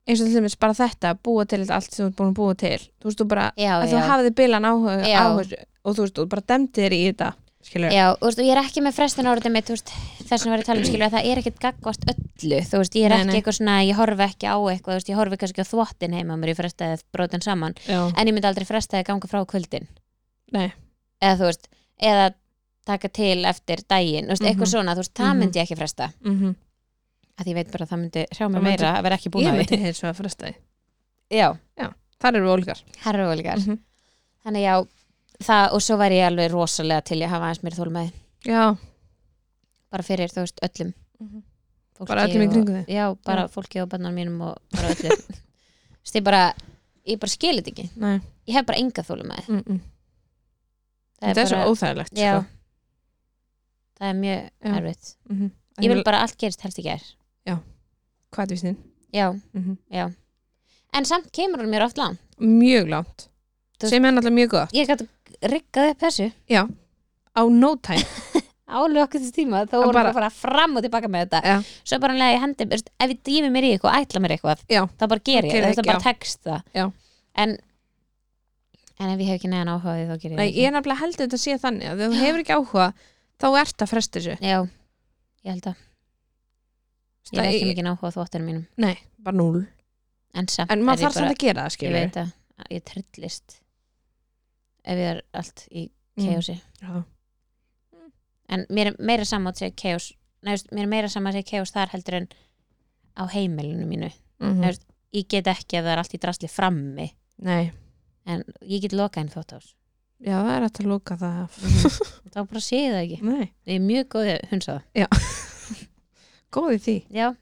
[SPEAKER 2] eins og til dæmis bara þetta, búa til þetta allt sem þú ert búin að búa til þú veist, þú bara,
[SPEAKER 1] já,
[SPEAKER 2] að
[SPEAKER 1] já
[SPEAKER 2] þú hafið bilan áhuga
[SPEAKER 1] Já.
[SPEAKER 2] á þessu og þú veist, þú bara demdi þér í þetta skilur,
[SPEAKER 1] Já, þú veist, og ég er ekki með frestin áriðið mitt, þú veist, þess að vera að tala um skilur að það er ekkert gagvart öllu, þú veist, ég er
[SPEAKER 2] Nei,
[SPEAKER 1] ekki
[SPEAKER 2] nei.
[SPEAKER 1] eitthvað svona, ég horfi ekki á eitthvað, þú veist, ég horfi kannski á þvottin heima á mér, ég frestaði að brotin saman,
[SPEAKER 2] já,
[SPEAKER 1] en ég myndi aldrei frestaði að ganga frá á kvöldin.
[SPEAKER 2] Nei.
[SPEAKER 1] Eða þú veist, eða taka til eftir daginn, þú veist,
[SPEAKER 2] Mhm.
[SPEAKER 1] eitthvað svona, þú veist, það
[SPEAKER 2] Mhm.
[SPEAKER 1] myndi ég ekki fresta,
[SPEAKER 2] mm -hmm.
[SPEAKER 1] að ég veit bara að það myndi hrjá mig
[SPEAKER 2] Það myndi-
[SPEAKER 1] meira að vera ekki búin
[SPEAKER 2] ég
[SPEAKER 1] að
[SPEAKER 2] myndi þeir svo að frestaði
[SPEAKER 1] því. Já,
[SPEAKER 2] þar eru við ólíkar
[SPEAKER 1] herruvölgar.
[SPEAKER 2] Mhm.
[SPEAKER 1] Þannig já, það, og svo væri ég alveg rosalega til ég hafa aðeins mér þólmaði,
[SPEAKER 2] já,
[SPEAKER 1] bara fyrir, þú veist, öllum fólki
[SPEAKER 2] bara öllum í
[SPEAKER 1] og-
[SPEAKER 2] kringum þig
[SPEAKER 1] já, bara fólki og barnar mínum og bara öllu Þessi, ég bara, ég bara skilir þetta ekki
[SPEAKER 2] Nei,
[SPEAKER 1] ég hef bara enga þólum með
[SPEAKER 2] mm -mm. þetta er svo óþægilegt
[SPEAKER 1] já,
[SPEAKER 2] sko.
[SPEAKER 1] það er mjög
[SPEAKER 2] Já.
[SPEAKER 1] erfitt
[SPEAKER 2] mm -hmm.
[SPEAKER 1] ég vil bara að allt gerist helst í gær
[SPEAKER 2] hvað er vísnin?
[SPEAKER 1] já,
[SPEAKER 2] Mm
[SPEAKER 1] en samt kemur hann mér oft langt
[SPEAKER 2] mjög langt
[SPEAKER 1] Þú-
[SPEAKER 2] sem er náttúrulega mjög gott
[SPEAKER 1] ég gæti riggað upp þessu
[SPEAKER 2] á no time
[SPEAKER 1] álöku okkur þessu tíma, þó
[SPEAKER 2] Og
[SPEAKER 1] vorum bara,
[SPEAKER 2] bara-
[SPEAKER 1] bara fram og tilbaka með þetta
[SPEAKER 2] Já.
[SPEAKER 1] svo bara lega ég hendi, veist, ef ég dýfi mér í eitthvað ætla mér eitthvað,
[SPEAKER 2] Já.
[SPEAKER 1] þá bara ger ég
[SPEAKER 2] Gerir
[SPEAKER 1] það, þetta
[SPEAKER 2] ekki,
[SPEAKER 1] bara tekst það
[SPEAKER 2] Já.
[SPEAKER 1] en en ef ég hef ekki neðan áhugaði þá ger ég
[SPEAKER 2] Nei,
[SPEAKER 1] það
[SPEAKER 2] ég er nefnilega held að þetta sé þannig að þegar þú hefur ekki áhuga þá ert að fresta þessu
[SPEAKER 1] Já, ég held að Ég er
[SPEAKER 2] Það
[SPEAKER 1] ekki
[SPEAKER 2] er-
[SPEAKER 1] mikið náhuga þvóttunum mínum
[SPEAKER 2] Nei, bara núl
[SPEAKER 1] En samt
[SPEAKER 2] En maður
[SPEAKER 1] er ég
[SPEAKER 2] þarf
[SPEAKER 1] bara
[SPEAKER 2] samt að gera það,
[SPEAKER 1] Ég
[SPEAKER 2] skilur
[SPEAKER 1] veit að að ég trillist Ef ég er allt í
[SPEAKER 2] Mm.
[SPEAKER 1] keosi
[SPEAKER 2] Já.
[SPEAKER 1] En mér er meira saman að segja keos Nei, veist, mér er meira saman að segja keos þar heldur en á heimilinu mínu
[SPEAKER 2] mm
[SPEAKER 1] Nei, Ég get ekki að það er allt í drasli frammi
[SPEAKER 2] Nei,
[SPEAKER 1] En ég get lokað henni þvóttás
[SPEAKER 2] já, það er hægt að lóka það af
[SPEAKER 1] Þá bara sé ég það ekki
[SPEAKER 2] Nei,
[SPEAKER 1] Ég er mjög góð hundsað
[SPEAKER 2] góði því
[SPEAKER 1] Já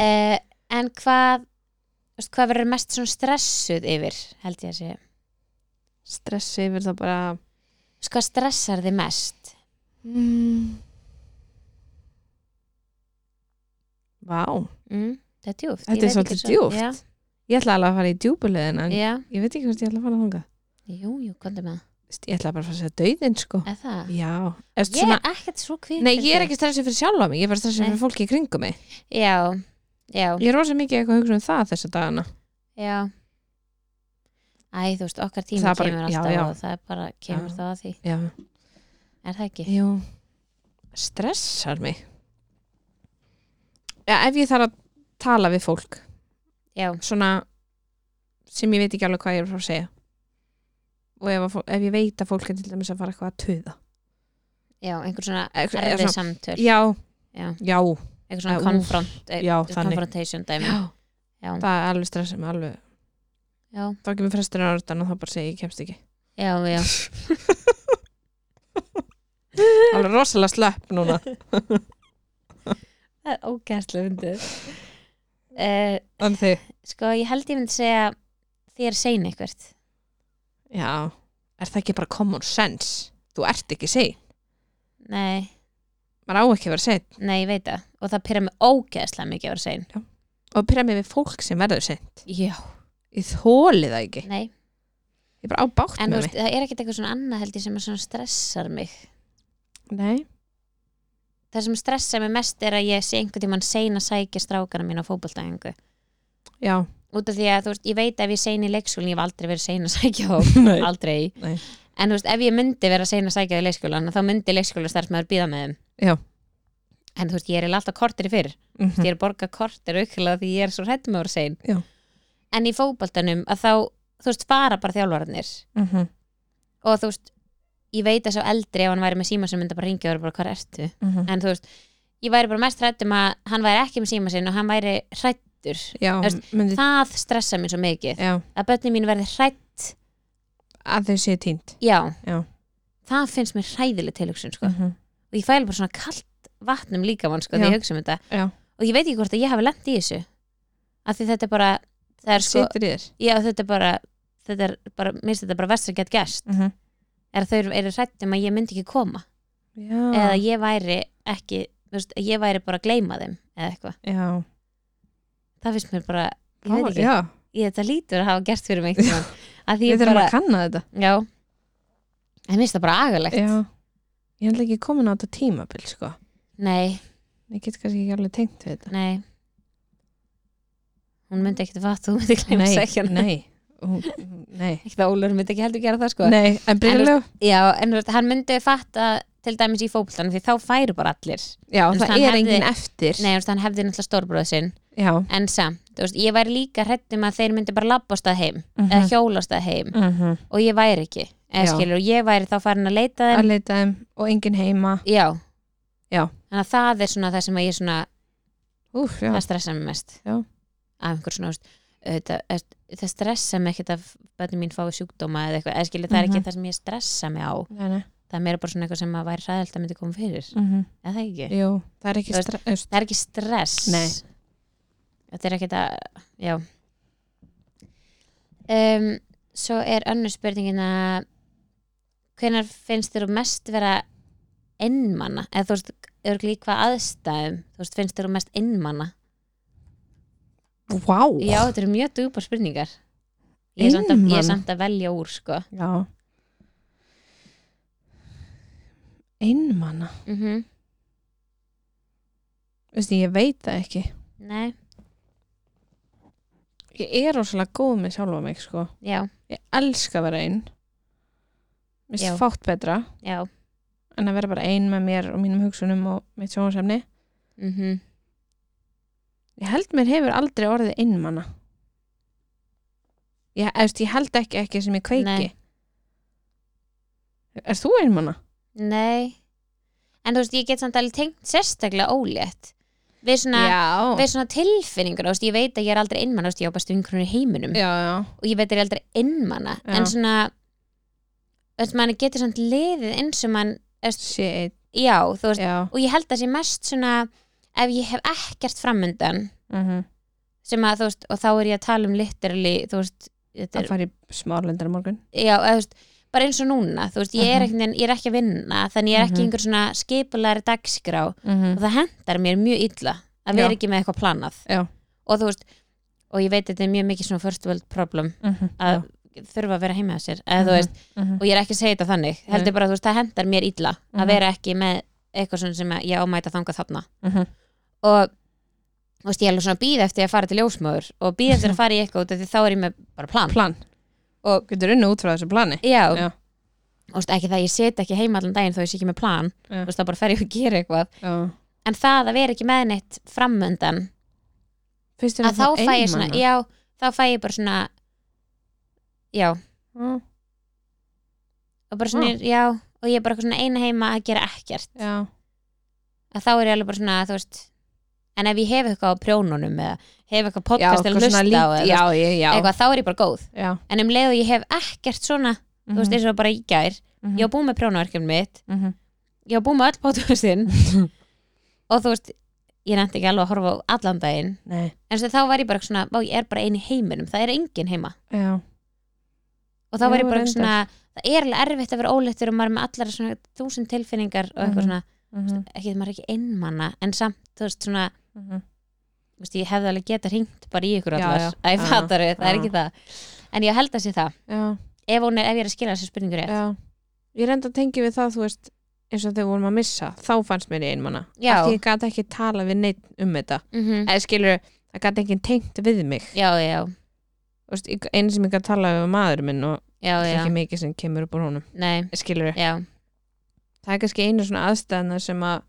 [SPEAKER 1] uh, En hvað þú veist, hvað verður mest svona stressuð yfir held ég að sé
[SPEAKER 2] Stressi yfir það bara
[SPEAKER 1] Þú veist, Sko, Hvað stressar þið mest?
[SPEAKER 2] mm. Vá,
[SPEAKER 1] Mm, þetta er djúft
[SPEAKER 2] þetta er svolítið djúft
[SPEAKER 1] Já,
[SPEAKER 2] Ég ætla alveg að fara í djúpulegin en
[SPEAKER 1] já,
[SPEAKER 2] ég veit ekki hvort ég ætla að fara þangað
[SPEAKER 1] jú, jú, komdu með
[SPEAKER 2] Vist, Ég ætla bara að fara að segja döiðin, sko
[SPEAKER 1] það Er það?
[SPEAKER 2] Já, eftir
[SPEAKER 1] Ég
[SPEAKER 2] svona
[SPEAKER 1] er ekkert svo kvíð
[SPEAKER 2] Nei, ég er ekki stressið fyrir sjálfa mig, ég er bara stressið
[SPEAKER 1] Nei.
[SPEAKER 2] fyrir fólki í kringum mig
[SPEAKER 1] Já, já,
[SPEAKER 2] Ég er rosa mikið eitthvað að hugsa um það þessa dagana
[SPEAKER 1] já Æ, þú veist, okkar tíma
[SPEAKER 2] Það bara-
[SPEAKER 1] kemur
[SPEAKER 2] já,
[SPEAKER 1] alltaf
[SPEAKER 2] já.
[SPEAKER 1] og það er bara kemur
[SPEAKER 2] Já.
[SPEAKER 1] þá að því
[SPEAKER 2] Já,
[SPEAKER 1] Er það ekki?
[SPEAKER 2] jú Stressar mig Já, ef ég þarf að tala við fólk
[SPEAKER 1] Já,
[SPEAKER 2] Svona sem ég veit ekki alveg hvað ég er frá að segja Og ef, að fó- ef ég veit að fólk er til dæmis að fara eitthvað að tuða
[SPEAKER 1] já, einhver svona
[SPEAKER 2] Eitthvað- eða
[SPEAKER 1] erfið
[SPEAKER 2] svona-
[SPEAKER 1] samtöl
[SPEAKER 2] Já,
[SPEAKER 1] Já,
[SPEAKER 2] já,
[SPEAKER 1] einhver svona
[SPEAKER 2] Æ, úff,
[SPEAKER 1] konfront eh,
[SPEAKER 2] já, þannig.
[SPEAKER 1] Confrontation dæmi
[SPEAKER 2] já
[SPEAKER 1] Já.
[SPEAKER 2] Það er alveg stressar mig alveg
[SPEAKER 1] Já,
[SPEAKER 2] Þá kemur fresturinn á röttan og þá bara segi ég kemst ekki
[SPEAKER 1] já, já,
[SPEAKER 2] Alveg rosalega slepp núna
[SPEAKER 1] það er ógæslega undir uh,
[SPEAKER 2] En þig
[SPEAKER 1] Sko, ég held ég myndi segja þér sein eitthvert
[SPEAKER 2] Já, er það ekki bara common sense? Þú ert ekki segið
[SPEAKER 1] Nei,
[SPEAKER 2] maður á ekki að vera seinn
[SPEAKER 1] nei, ég veit það og það pyrra mig ógæslega mikið að vera sein
[SPEAKER 2] og pyrra mig við fólk sem verður seinn
[SPEAKER 1] Já,
[SPEAKER 2] ég þóli það ekki,
[SPEAKER 1] nei,
[SPEAKER 2] ég er bara á bátt
[SPEAKER 1] en þú
[SPEAKER 2] með mig
[SPEAKER 1] veist, það er ekkert eitthvað svona annað held ég sem að svona stressar mig
[SPEAKER 2] Nei.
[SPEAKER 1] Það sem stressar mig mest er að ég sé einhvern tímann sein að sækja strákana mín á fótboltæðingu
[SPEAKER 2] já,
[SPEAKER 1] Út af því að, þú veist, ég veit ef ég sein í leikskólan ég hef aldrei verið sein að sækja þá
[SPEAKER 2] Nei.
[SPEAKER 1] aldrei
[SPEAKER 2] Nei.
[SPEAKER 1] en þú veist, ef ég myndi vera sein að sækja í leikskólan þá myndi leikskólastarfsmæður býða með þeim
[SPEAKER 2] Já.
[SPEAKER 1] en þú veist, ég er eiginlega alltaf kortir fyrr mm.
[SPEAKER 2] Mm
[SPEAKER 1] ég er að borga kortir aukveðlega því ég er svo hrætt með að vera sein
[SPEAKER 2] Já.
[SPEAKER 1] en í fótboltanum að þá, þú veist, fara bara þjálfararnir
[SPEAKER 2] mhm,
[SPEAKER 1] og þú veist, ég veit að svo eldri ef hann væri með síma sem myndi bara ringja og vera bara hvað ertu
[SPEAKER 2] mhm.
[SPEAKER 1] en þú veist, ég væri bara mest hrætt um að hann væri ekki með síma sinn og hann væri hrættur
[SPEAKER 2] já,
[SPEAKER 1] Veist,
[SPEAKER 2] myndi,
[SPEAKER 1] það stressa mér svo mikið
[SPEAKER 2] já,
[SPEAKER 1] að börnin mín verði hrætt
[SPEAKER 2] að þau séu týnd
[SPEAKER 1] Já.
[SPEAKER 2] Já.
[SPEAKER 1] Það finnst mér hræðileg tilhugsun sko.
[SPEAKER 2] -hmm.
[SPEAKER 1] og ég fæli bara svona kalt vatnum líka mann sko
[SPEAKER 2] Já.
[SPEAKER 1] þegar ég hugsa um þetta
[SPEAKER 2] Já.
[SPEAKER 1] og ég veit ekki hvort að ég hafi lent í þessu af því þetta er bara það er sko,
[SPEAKER 2] situr í þér
[SPEAKER 1] já þetta er bara þetta er bara, minnst þetta bara verst að geta gæst
[SPEAKER 2] mm -hmm.
[SPEAKER 1] er að þau eru- eru hrætt um að ég myndi ekki koma
[SPEAKER 2] já,
[SPEAKER 1] eða ég væri ekki, þú veist, að ég væri bara að gleyma þeim eða eitthvað
[SPEAKER 2] já
[SPEAKER 1] það finnst mér bara ég veit ekki,
[SPEAKER 2] já,
[SPEAKER 1] ég þetta lítur að hafa gert fyrir mig einhvern tímann. að því
[SPEAKER 2] við
[SPEAKER 1] ég
[SPEAKER 2] þurfum
[SPEAKER 1] bara,
[SPEAKER 2] að kanna þetta
[SPEAKER 1] já en mér finnst það bara agalegt
[SPEAKER 2] já. ég held ekki komin á þetta tímabil sko.
[SPEAKER 1] nei,
[SPEAKER 2] ég get kannski ekki alveg tengt við þetta
[SPEAKER 1] nei hún myndi ekkit fatt þú myndi glemma að segja hana
[SPEAKER 2] nei, hún- hún- nei.
[SPEAKER 1] ekkit að Ólur myndi ekki heldur gera það sko
[SPEAKER 2] nei en brilljó
[SPEAKER 1] já, en þú veist, hann myndi fatta til dæmis í fótboltanum því þá færu bara allir
[SPEAKER 2] já,
[SPEAKER 1] En
[SPEAKER 2] það
[SPEAKER 1] hann
[SPEAKER 2] er
[SPEAKER 1] hefði-
[SPEAKER 2] enginn eftir
[SPEAKER 1] nei, þú veist, hann hefði náttúrulega stórbróð sinn
[SPEAKER 2] já,
[SPEAKER 1] en samt, þú veist, ég væri líka hrettum að þeir myndi bara labba á stað heim
[SPEAKER 2] Mhm.
[SPEAKER 1] eða hjóla á stað heim
[SPEAKER 2] -huh.
[SPEAKER 1] og ég væri ekki eða
[SPEAKER 2] Já.
[SPEAKER 1] skilur, og ég væri þá farin að leita þeim
[SPEAKER 2] Mhm. að leita þeim og enginn heima
[SPEAKER 1] já.
[SPEAKER 2] Já.
[SPEAKER 1] þannig að það er svona það sem að ég svona
[SPEAKER 2] Úf, já,
[SPEAKER 1] það stressa mig mest
[SPEAKER 2] Já.
[SPEAKER 1] af einhver svona, þú veist, auðvitað, þú veist, það stressa mig ekkert að bönni mín fái sjúkdóma eða eitthvað, eða skilur, það er
[SPEAKER 2] Mhm.
[SPEAKER 1] ekki það sem ég stressa mig á
[SPEAKER 2] nei, nei.
[SPEAKER 1] það er meira bara svona eitthvað sem að væri hræðilt að myndi koma fyrir
[SPEAKER 2] Mm
[SPEAKER 1] eða það ekki,
[SPEAKER 2] Jú, það er ekki
[SPEAKER 1] Þú veist-
[SPEAKER 2] stress
[SPEAKER 1] það er ekki stress
[SPEAKER 2] Nei.
[SPEAKER 1] þetta er ekkert að já um, svo er önnur spurningin að hvenær finnst þér þú mest vera innmanna, eða þú veist örgli í hvað aðstæðum, þú veist finnst þér þú mest innmanna,
[SPEAKER 2] Vá
[SPEAKER 1] já þetta eru mjög djúpar spurningar ég er, samt að, ég
[SPEAKER 2] Einmana?
[SPEAKER 1] er samt að velja úr sko
[SPEAKER 2] Já. Einmana
[SPEAKER 1] mm
[SPEAKER 2] Mhm. Veistu, ég veit það ekki
[SPEAKER 1] nei,
[SPEAKER 2] Ég er rosalega góð með sjálfa mig sko.
[SPEAKER 1] já,
[SPEAKER 2] Ég elska að vera ein Mér
[SPEAKER 1] Já.
[SPEAKER 2] finnst fátt betra
[SPEAKER 1] já
[SPEAKER 2] en að vera bara ein með mér og mínum hugsunum og mitt sjónasefni
[SPEAKER 1] mm
[SPEAKER 2] Ég held mér hefur aldrei orðið einmana Ég, eftir, ég held ekki ekki sem ég kveiki
[SPEAKER 1] Nei.
[SPEAKER 2] Er þú einmana?
[SPEAKER 1] nei en þú veist ég get samt alveg tengt sérstaklega ólétt við svona
[SPEAKER 2] Já
[SPEAKER 1] við svona tilfinningur, þú veist, ég veit að ég er aldrei einmann, þú veist, ég á bara stungrunni í heiminum
[SPEAKER 2] Já, já,
[SPEAKER 1] og ég veit að ég er aldrei einmanna
[SPEAKER 2] Já.
[SPEAKER 1] en svona, þú veist, mann getur svona liðið eins og mann, þú veist,
[SPEAKER 2] sé einn
[SPEAKER 1] já, þú veist,
[SPEAKER 2] Já,
[SPEAKER 1] og ég held að sé mest svona, ef ég hef ekkert framundan,
[SPEAKER 2] mhm
[SPEAKER 1] sem að, þú veist, og þá er ég að tala um literally, þú veist, þetta
[SPEAKER 2] að
[SPEAKER 1] er,
[SPEAKER 2] fara í smálendar morgun
[SPEAKER 1] já, eða, þú veist, bara eins og núna, þú veist, ég er,
[SPEAKER 2] Mhm.
[SPEAKER 1] ekki, ég er ekki að vinna, þannig ég er ekki
[SPEAKER 2] Mhm.
[SPEAKER 1] einhver svona skipulari dagskrá
[SPEAKER 2] mm
[SPEAKER 1] og það hendar mér mjög illa að
[SPEAKER 2] Já.
[SPEAKER 1] vera ekki með eitthvað planað
[SPEAKER 2] Já.
[SPEAKER 1] og þú veist og ég veit að þetta er mjög mikið svona first world problem að þurfa að vera heima á sér eða, þú
[SPEAKER 2] Mhm.
[SPEAKER 1] veist, og ég er ekki að segja þetta þannig
[SPEAKER 2] Nei.
[SPEAKER 1] heldur bara að þú veist, það hendar mér illa
[SPEAKER 2] Mhm.
[SPEAKER 1] að vera ekki með eitthvað svona sem að ég ámæta þangað þarna og þú veist, ég er alveg svona býð eftir að fara til ljósmöður og býð eftir að fara í eitthvað út af því þá er ég með bara plan
[SPEAKER 2] plan og getur unni út frá þessu plani
[SPEAKER 1] já,
[SPEAKER 2] Já.
[SPEAKER 1] Þú veist, ekki það ég set ekki heima allan daginn þó ég sé ekki með plan Þú
[SPEAKER 2] Já.
[SPEAKER 1] veist, þá bara fer ég að gera eitthvað en það að vera ekki með neitt framöndan
[SPEAKER 2] finnst þér
[SPEAKER 1] að þá fæ ég svona, e-
[SPEAKER 2] já.
[SPEAKER 1] já, þá fæ ég bara svona já, og bara svona, já og ég er bara eitthvað svona eina heima að gera ekkert
[SPEAKER 2] já
[SPEAKER 1] að þá er ég alveg bara svona, þú veist en ef ég hef eitthvað á prjónunum eða hef eitthvað
[SPEAKER 2] já,
[SPEAKER 1] podcast til að hlusta á eða,
[SPEAKER 2] já, já, já,
[SPEAKER 1] eitthvað, þá er ég bara góð
[SPEAKER 2] já.
[SPEAKER 1] en um leið og ég hef ekkert svona þú veist, eins og bara í gær
[SPEAKER 2] Mhm.
[SPEAKER 1] ég á búið með prjónaverkjum mitt
[SPEAKER 2] Mhm. Mhm.
[SPEAKER 1] ég á búið með öll podcastin og þú veist, ég nefndi ekki alveg að horfa á allan daginn
[SPEAKER 2] nei,
[SPEAKER 1] en svo þá var ég bara eitthvað svona, vá, ég er bara ein í heiminum það er engin heima
[SPEAKER 2] já,
[SPEAKER 1] og þá
[SPEAKER 2] Já,
[SPEAKER 1] var ég bara
[SPEAKER 2] reyndar.
[SPEAKER 1] svona það er alveg erfitt að vera óléttur og maður er með allar svona þúsund tilfinningar og eitthvað
[SPEAKER 2] Mhm.
[SPEAKER 1] svona,
[SPEAKER 2] Mhm.
[SPEAKER 1] ekki maður er ekki einmanna en samt, þú veist svona
[SPEAKER 2] Mhm.
[SPEAKER 1] þú veist, ég hefði alveg geta hringt bara í ykkur
[SPEAKER 2] Já,
[SPEAKER 1] allar
[SPEAKER 2] já.
[SPEAKER 1] Æ,
[SPEAKER 2] Já,
[SPEAKER 1] fattar, það er
[SPEAKER 2] já.
[SPEAKER 1] ekki það en ég held að sé það,
[SPEAKER 2] já,
[SPEAKER 1] ef, hún er, ef ég er að skila þessu spurningu rétt
[SPEAKER 2] já ég reynda að tengja við það, þú veist eins og þegar við vorum að missa, þá fannst mér ég einmana
[SPEAKER 1] Já.
[SPEAKER 2] af því ég gat ekki tala við neitt um þetta
[SPEAKER 1] Mhm.
[SPEAKER 2] eða skilur, það gat ekki tengt við mig
[SPEAKER 1] já, já,
[SPEAKER 2] Þú veist, ég- einu sem ég gat tala við var maður minn og
[SPEAKER 1] já, já,
[SPEAKER 2] ekki mikið sem kemur upp úr honum
[SPEAKER 1] nei
[SPEAKER 2] skilur,
[SPEAKER 1] já,
[SPEAKER 2] það er kannski einu svona aðstæðna sem að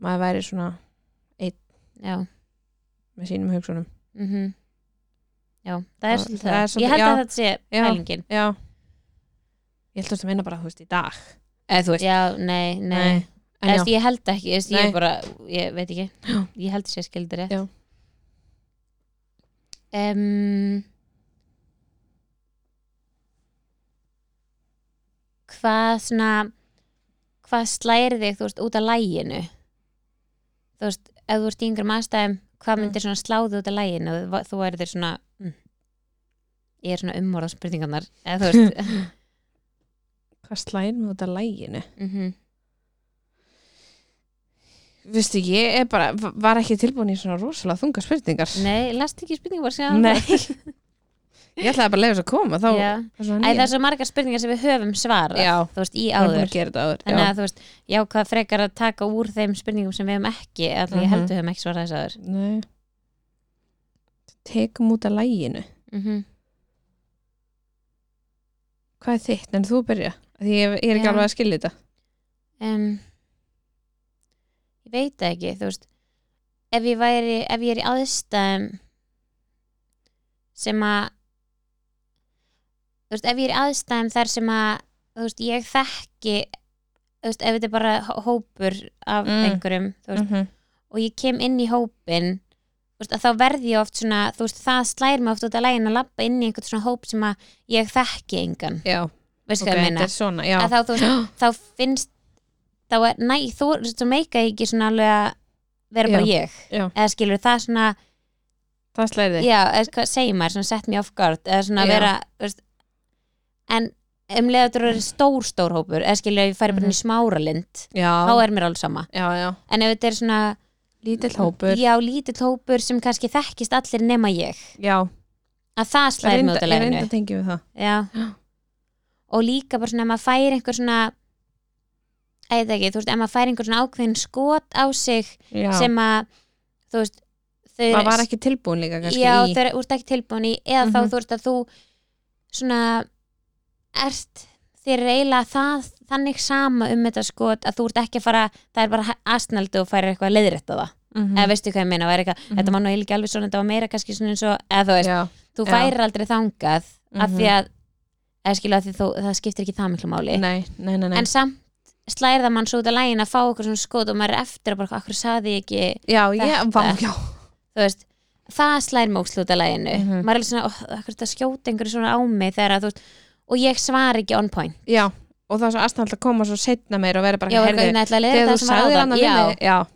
[SPEAKER 2] maður væri svona
[SPEAKER 1] já
[SPEAKER 2] með sínum hugsunum
[SPEAKER 1] mm já, það er
[SPEAKER 2] Það-
[SPEAKER 1] svolítið
[SPEAKER 2] það er
[SPEAKER 1] það
[SPEAKER 2] svolítið-
[SPEAKER 1] ég held að
[SPEAKER 2] já.
[SPEAKER 1] þetta sé
[SPEAKER 2] Já.
[SPEAKER 1] pælingin
[SPEAKER 2] já, ég held að þú meina bara þú veist í dag eða þú veist,
[SPEAKER 1] já, nei, nei
[SPEAKER 2] en
[SPEAKER 1] Eðast,
[SPEAKER 2] já,
[SPEAKER 1] ég held ekki, eðast, ég,
[SPEAKER 2] Nei.
[SPEAKER 1] bara, ég veit ekki ég held þess að ég skildi rétt
[SPEAKER 2] Já.
[SPEAKER 1] um, hvað svona hvað slæri þig þú veist út af læginu þú veist, ef þú ert í yngur maðstæðum hvað
[SPEAKER 2] Mm.
[SPEAKER 1] myndir svona sláði út af læginu þú, þú er þér svona mm, ég er svona umorða spurningarnar eða þú veist
[SPEAKER 2] Mhm. hvað slæðir með þetta læginu
[SPEAKER 1] mhm,
[SPEAKER 2] Vistu, ég er bara, var ekki tilbúin í svona rosalega þunga spurningar
[SPEAKER 1] Nei, last ekki spurningar bara síðan
[SPEAKER 2] Nei Ég ætlaði bara að leiða þess að koma þá
[SPEAKER 1] Já. Æ, það er svo margar spurningar sem við höfum svarað
[SPEAKER 2] Já,
[SPEAKER 1] þú veist, í
[SPEAKER 2] við erum búin
[SPEAKER 1] áður
[SPEAKER 2] að gera þetta áður
[SPEAKER 1] þannig
[SPEAKER 2] já.
[SPEAKER 1] að þú veist, já hvað frekar að taka úr þeim spurningum sem við hefum ekki eða því ég held
[SPEAKER 2] Mhm.
[SPEAKER 1] við hefum ekki svarað þess aður
[SPEAKER 2] Nei Tekum út af læginu
[SPEAKER 1] mm
[SPEAKER 2] Mhm.
[SPEAKER 1] -hmm.
[SPEAKER 2] Hvað er þitt? En þú byrja Af Því ég, ég er ekki
[SPEAKER 1] Já.
[SPEAKER 2] alveg að skilja þetta
[SPEAKER 1] ég veit það ekki, þú veist ef ég væri, ef ég er í aðstæðum sem að þú veist, ef ég er í aðstæðum þar sem að þú veist, ég þekki þú veist, ef þetta er bara hó- hópur af
[SPEAKER 2] Mm.
[SPEAKER 1] einhverjum, þú veist
[SPEAKER 2] mm -hmm.
[SPEAKER 1] og ég kem inn í hópin þú veist, að þá verð ég oft svona þú veist, það slær mig oft út af lægin að lappa inn í einhvern svona hóp sem að ég þekki engan,
[SPEAKER 2] Já,
[SPEAKER 1] veist
[SPEAKER 2] ok,
[SPEAKER 1] hvað ég
[SPEAKER 2] þetta
[SPEAKER 1] meina
[SPEAKER 2] er svona Já,
[SPEAKER 1] að þá, þú veist, þá finnst þá er, næ, þú þú veist, þú meika ekki svona alveg að vera bara ég
[SPEAKER 2] Já.
[SPEAKER 1] eða skilur það svona,
[SPEAKER 2] það slæði
[SPEAKER 1] já, eða hvað segir maður svona set me off guard, eða svona
[SPEAKER 2] Já.
[SPEAKER 1] vera þú veist, en um leiða þú eru stór stór hópur, eða skilur ef ég færi bara inn í smáralind, þá
[SPEAKER 2] Mhm. Já,
[SPEAKER 1] er mér alveg sama
[SPEAKER 2] já, já
[SPEAKER 1] en ef þetta er svona
[SPEAKER 2] Lítill hópur
[SPEAKER 1] já, lítill hópur sem kannski þekkist allir nema ég
[SPEAKER 2] Já,
[SPEAKER 1] að það
[SPEAKER 2] ég
[SPEAKER 1] slæðir mig
[SPEAKER 2] reynda,
[SPEAKER 1] út af
[SPEAKER 2] ég reynda
[SPEAKER 1] leginu
[SPEAKER 2] að tengja við það Já.
[SPEAKER 1] og líka bara svona ef maður fær einhver svona að ég veit ekki, þú veist, ef maður fær einhver svona ákveðin skot á sig
[SPEAKER 2] Já,
[SPEAKER 1] sem að þú veist, þau
[SPEAKER 2] maður var ekki tilbúin líka kannski
[SPEAKER 1] já,
[SPEAKER 2] í
[SPEAKER 1] þau eru- þú ert ekki tilbúin í eða
[SPEAKER 2] Mhm.
[SPEAKER 1] þá þú veist að þú svona ert þér er eiginlega það þannig sama um þetta skot að þú ert ekki að fara það er bara astnaldi og færir eitthvað leiðrétt á það
[SPEAKER 2] Mhm.
[SPEAKER 1] eða veistu hvað ég meina, var eitthvað,
[SPEAKER 2] Mhm.
[SPEAKER 1] þetta var nú ekki alveg svona, þetta var meira kannski svona eins og eða þú veist,
[SPEAKER 2] Já,
[SPEAKER 1] þú
[SPEAKER 2] Já.
[SPEAKER 1] færir aldrei þangað af því
[SPEAKER 2] Mhm.
[SPEAKER 1] að, eða skilja af því þú, það skiptir ekki það miklu máli,
[SPEAKER 2] nei, nei, nei, nei.
[SPEAKER 1] en samt slæðir það mann svo út af lægin að fá okkur svona skot og maður er eftir og bara, akkur saði ég ekki
[SPEAKER 2] Já, ég,
[SPEAKER 1] Þetta.
[SPEAKER 2] vá, já
[SPEAKER 1] þú veist, það slæðir mig úr slúta læginu
[SPEAKER 2] Mhm.
[SPEAKER 1] maður er alveg svona, "Oh, akkur þetta skjóta einhverju svona á mig þegar að þú veist, og ég svar ekki on point,
[SPEAKER 2] Já, og það er svo aðstæðan að koma svo setna meir og vera bara,
[SPEAKER 1] já, er
[SPEAKER 2] herðu,
[SPEAKER 1] eitthvað nætla að leiða
[SPEAKER 2] þegar
[SPEAKER 1] það
[SPEAKER 2] þú
[SPEAKER 1] sem var
[SPEAKER 2] sagðir hann
[SPEAKER 1] áðan,
[SPEAKER 2] að
[SPEAKER 1] já,
[SPEAKER 2] vinni Já,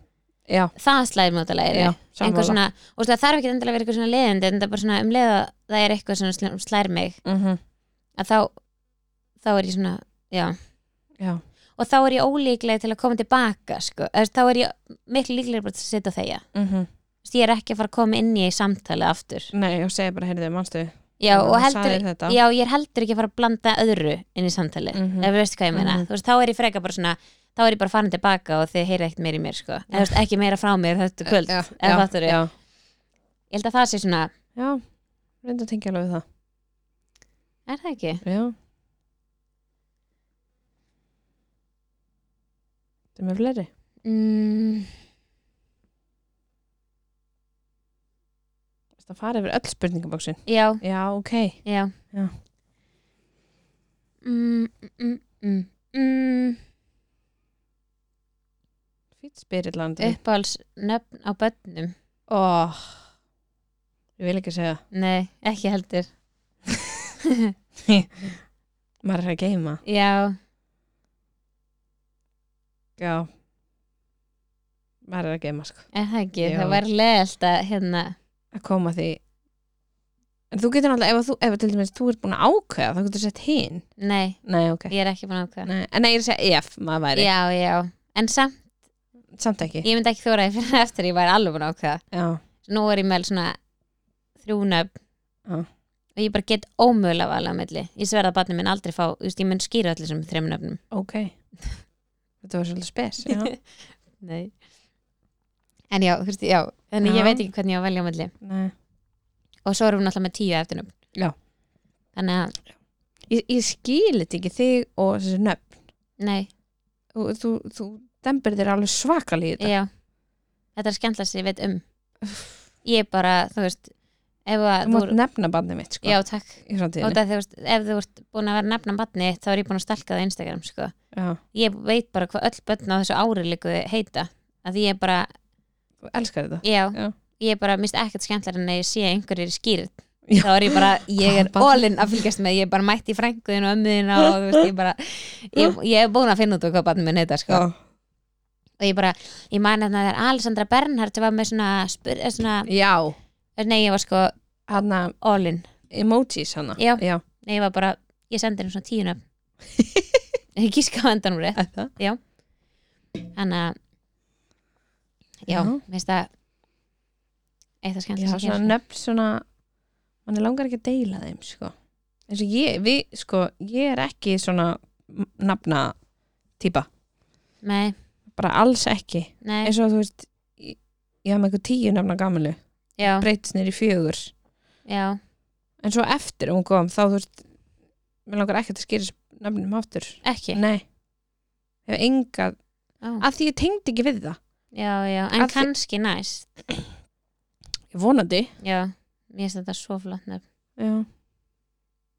[SPEAKER 2] já,
[SPEAKER 1] það slæðir mig út af læginu
[SPEAKER 2] já,
[SPEAKER 1] einhver
[SPEAKER 2] sammála.
[SPEAKER 1] svona, og það þarf ekki endilega að vera eitthvað svona leiðindi, en það er bara svona um leiða það er eitthvað sem sl- slær mig
[SPEAKER 2] Mhm,
[SPEAKER 1] að þá þá er ég svona, já
[SPEAKER 2] Já,
[SPEAKER 1] og þá er ég ólíklega til að koma tilbaka sko. Eða, þá er ég miklu líklega bara til að setja þegja
[SPEAKER 2] mhm,
[SPEAKER 1] Þú veist, ég er ekki að fara að koma inn í samtali aftur
[SPEAKER 2] nei, og segja bara, heyrðu, manstu
[SPEAKER 1] já, og
[SPEAKER 2] þú
[SPEAKER 1] heldur,
[SPEAKER 2] sagðir þetta.
[SPEAKER 1] já, ég er heldur ekki að fara að blanda öðru inn í samtali
[SPEAKER 2] Mhm.
[SPEAKER 1] ef þú veist hvað ég meina,
[SPEAKER 2] Mhm.
[SPEAKER 1] þú veist, þá er ég freka bara svona þá er ég bara farin tilbaka og þið heyrið ekkert meir í mér sko. eða þú veist, ekki meira frá mér þetta kvöld
[SPEAKER 2] Já,
[SPEAKER 1] eða
[SPEAKER 2] já,
[SPEAKER 1] fattarðu.
[SPEAKER 2] já,
[SPEAKER 1] ég held að það sé svona,
[SPEAKER 2] já, reynda að tengja alveg við það
[SPEAKER 1] er það ekki?
[SPEAKER 2] Já Það er með fleiri
[SPEAKER 1] Mm,
[SPEAKER 2] Það fara yfir öll spurningabóksin
[SPEAKER 1] já,
[SPEAKER 2] Já, ok
[SPEAKER 1] Já.
[SPEAKER 2] Já.
[SPEAKER 1] Mm, mm, mm, mm.
[SPEAKER 2] Fýtt spyrillandi
[SPEAKER 1] Uppáhalds nöfn á bönnum.
[SPEAKER 2] Ó, ég vil ekki segja
[SPEAKER 1] Nei, ekki heldur.
[SPEAKER 2] Maður er að geima
[SPEAKER 1] Já,
[SPEAKER 2] Já Maður er að geima sko
[SPEAKER 1] er það ekki.
[SPEAKER 2] Já.
[SPEAKER 1] Það var leðalt að hérna.
[SPEAKER 2] að koma því En þú getur náttúrulega, ef að þú, ef að til dæmis þú ert búin að ákveða, þá getur þú sett hinn
[SPEAKER 1] Nei,
[SPEAKER 2] Nei, ok
[SPEAKER 1] ég er ekki búin að ákvæða.
[SPEAKER 2] Nei, En nei, ég er að segja ef maður væri,
[SPEAKER 1] Já, já. En samt,
[SPEAKER 2] samt ekki
[SPEAKER 1] ég myndi ekki þóra fyrir eftir ég væri alveg búin að ákvæða.
[SPEAKER 2] Já,
[SPEAKER 1] Nú er ég með svona þrjú nöfn
[SPEAKER 2] Já.
[SPEAKER 1] og ég bara get ómögulega vala á milli. Ég sverða að barnið minn aldrei fá, þú veist, ég mun skýra allir sem þrejum nöfnum.
[SPEAKER 2] ok Þetta var svolítið spes Já,
[SPEAKER 1] Nei. En já, þú veist, já. Þannig
[SPEAKER 2] Já.
[SPEAKER 1] ég veit ekki hvernig ég á að velja á milli.
[SPEAKER 2] nei
[SPEAKER 1] og svo erum við náttúrulega með tíu eftirnum
[SPEAKER 2] Já.
[SPEAKER 1] þannig að,
[SPEAKER 2] Ég, ég skil þetta ekki þig og þessi nöfn
[SPEAKER 1] nei,
[SPEAKER 2] Þú, þú, þú dembir þér alveg svakal í þetta
[SPEAKER 1] já þetta er skemmtilega sem ég veit um ég er bara, þú veist ef að
[SPEAKER 2] Þú
[SPEAKER 1] þú,
[SPEAKER 2] mátt nefna bandið mitt sko
[SPEAKER 1] já takk
[SPEAKER 2] Í
[SPEAKER 1] og
[SPEAKER 2] framtíðinni
[SPEAKER 1] það, þú veist, ef þú ert búin að vera nefna batni þá er ég búin að stalka það á Instagram sko.
[SPEAKER 2] Já,
[SPEAKER 1] ég veit bara hvað öll börn á þessu ári líku heita, að ég er bara
[SPEAKER 2] þú elskar þetta
[SPEAKER 1] já,
[SPEAKER 2] Já.
[SPEAKER 1] ég er bara mist ekkert skemmtilega en að ég sé að einhverjir skýrð
[SPEAKER 2] Já.
[SPEAKER 1] þá er ég bara, ég er
[SPEAKER 2] Hvað barn?
[SPEAKER 1] ólinn að fylgjast með, ég er bara mætt í frænguðin og ömmuðina og þú veist, ég bara ég, ég er búin að finna út á hvað barnum minn heita sko. og ég bara, ég man að það er Alessandra Bernhardt var með svona, spyr, eh, svona
[SPEAKER 2] Já,
[SPEAKER 1] nei, ég var sko
[SPEAKER 2] hann
[SPEAKER 1] all in
[SPEAKER 2] emojis hana
[SPEAKER 1] Já.
[SPEAKER 2] Já.
[SPEAKER 1] nei, ég var bara, ég sendi henni svona tíu nöfn ég gíska á endanum rétt
[SPEAKER 2] Er það?
[SPEAKER 1] þannig að já,
[SPEAKER 2] Já.
[SPEAKER 1] mér finnst það eitthvað
[SPEAKER 2] Já,
[SPEAKER 1] skemmtilegt að
[SPEAKER 2] svona
[SPEAKER 1] gera
[SPEAKER 2] nöfn svona mann er langar ekki að deila þeim sko. eins og ég, við, sko ég er ekki svona m- nafna típa,
[SPEAKER 1] nei,
[SPEAKER 2] bara alls ekki
[SPEAKER 1] nei,
[SPEAKER 2] eins og þú veist ég, ég hef með eitthvað tíu nafna gamlu
[SPEAKER 1] já,
[SPEAKER 2] breytist nýr í fjögur
[SPEAKER 1] já
[SPEAKER 2] en svo eftir hún kom þá þú veist mér langar ekki að skýra þessu nafnum aftur
[SPEAKER 1] ekki,
[SPEAKER 2] nei, hef enga
[SPEAKER 1] Ó,
[SPEAKER 2] að því ég tengdi ekki við það
[SPEAKER 1] já, já en
[SPEAKER 2] Af því-
[SPEAKER 1] kannski næst
[SPEAKER 2] ég vonandi
[SPEAKER 1] já, mér finnst þetta svo flott nöfn
[SPEAKER 2] já,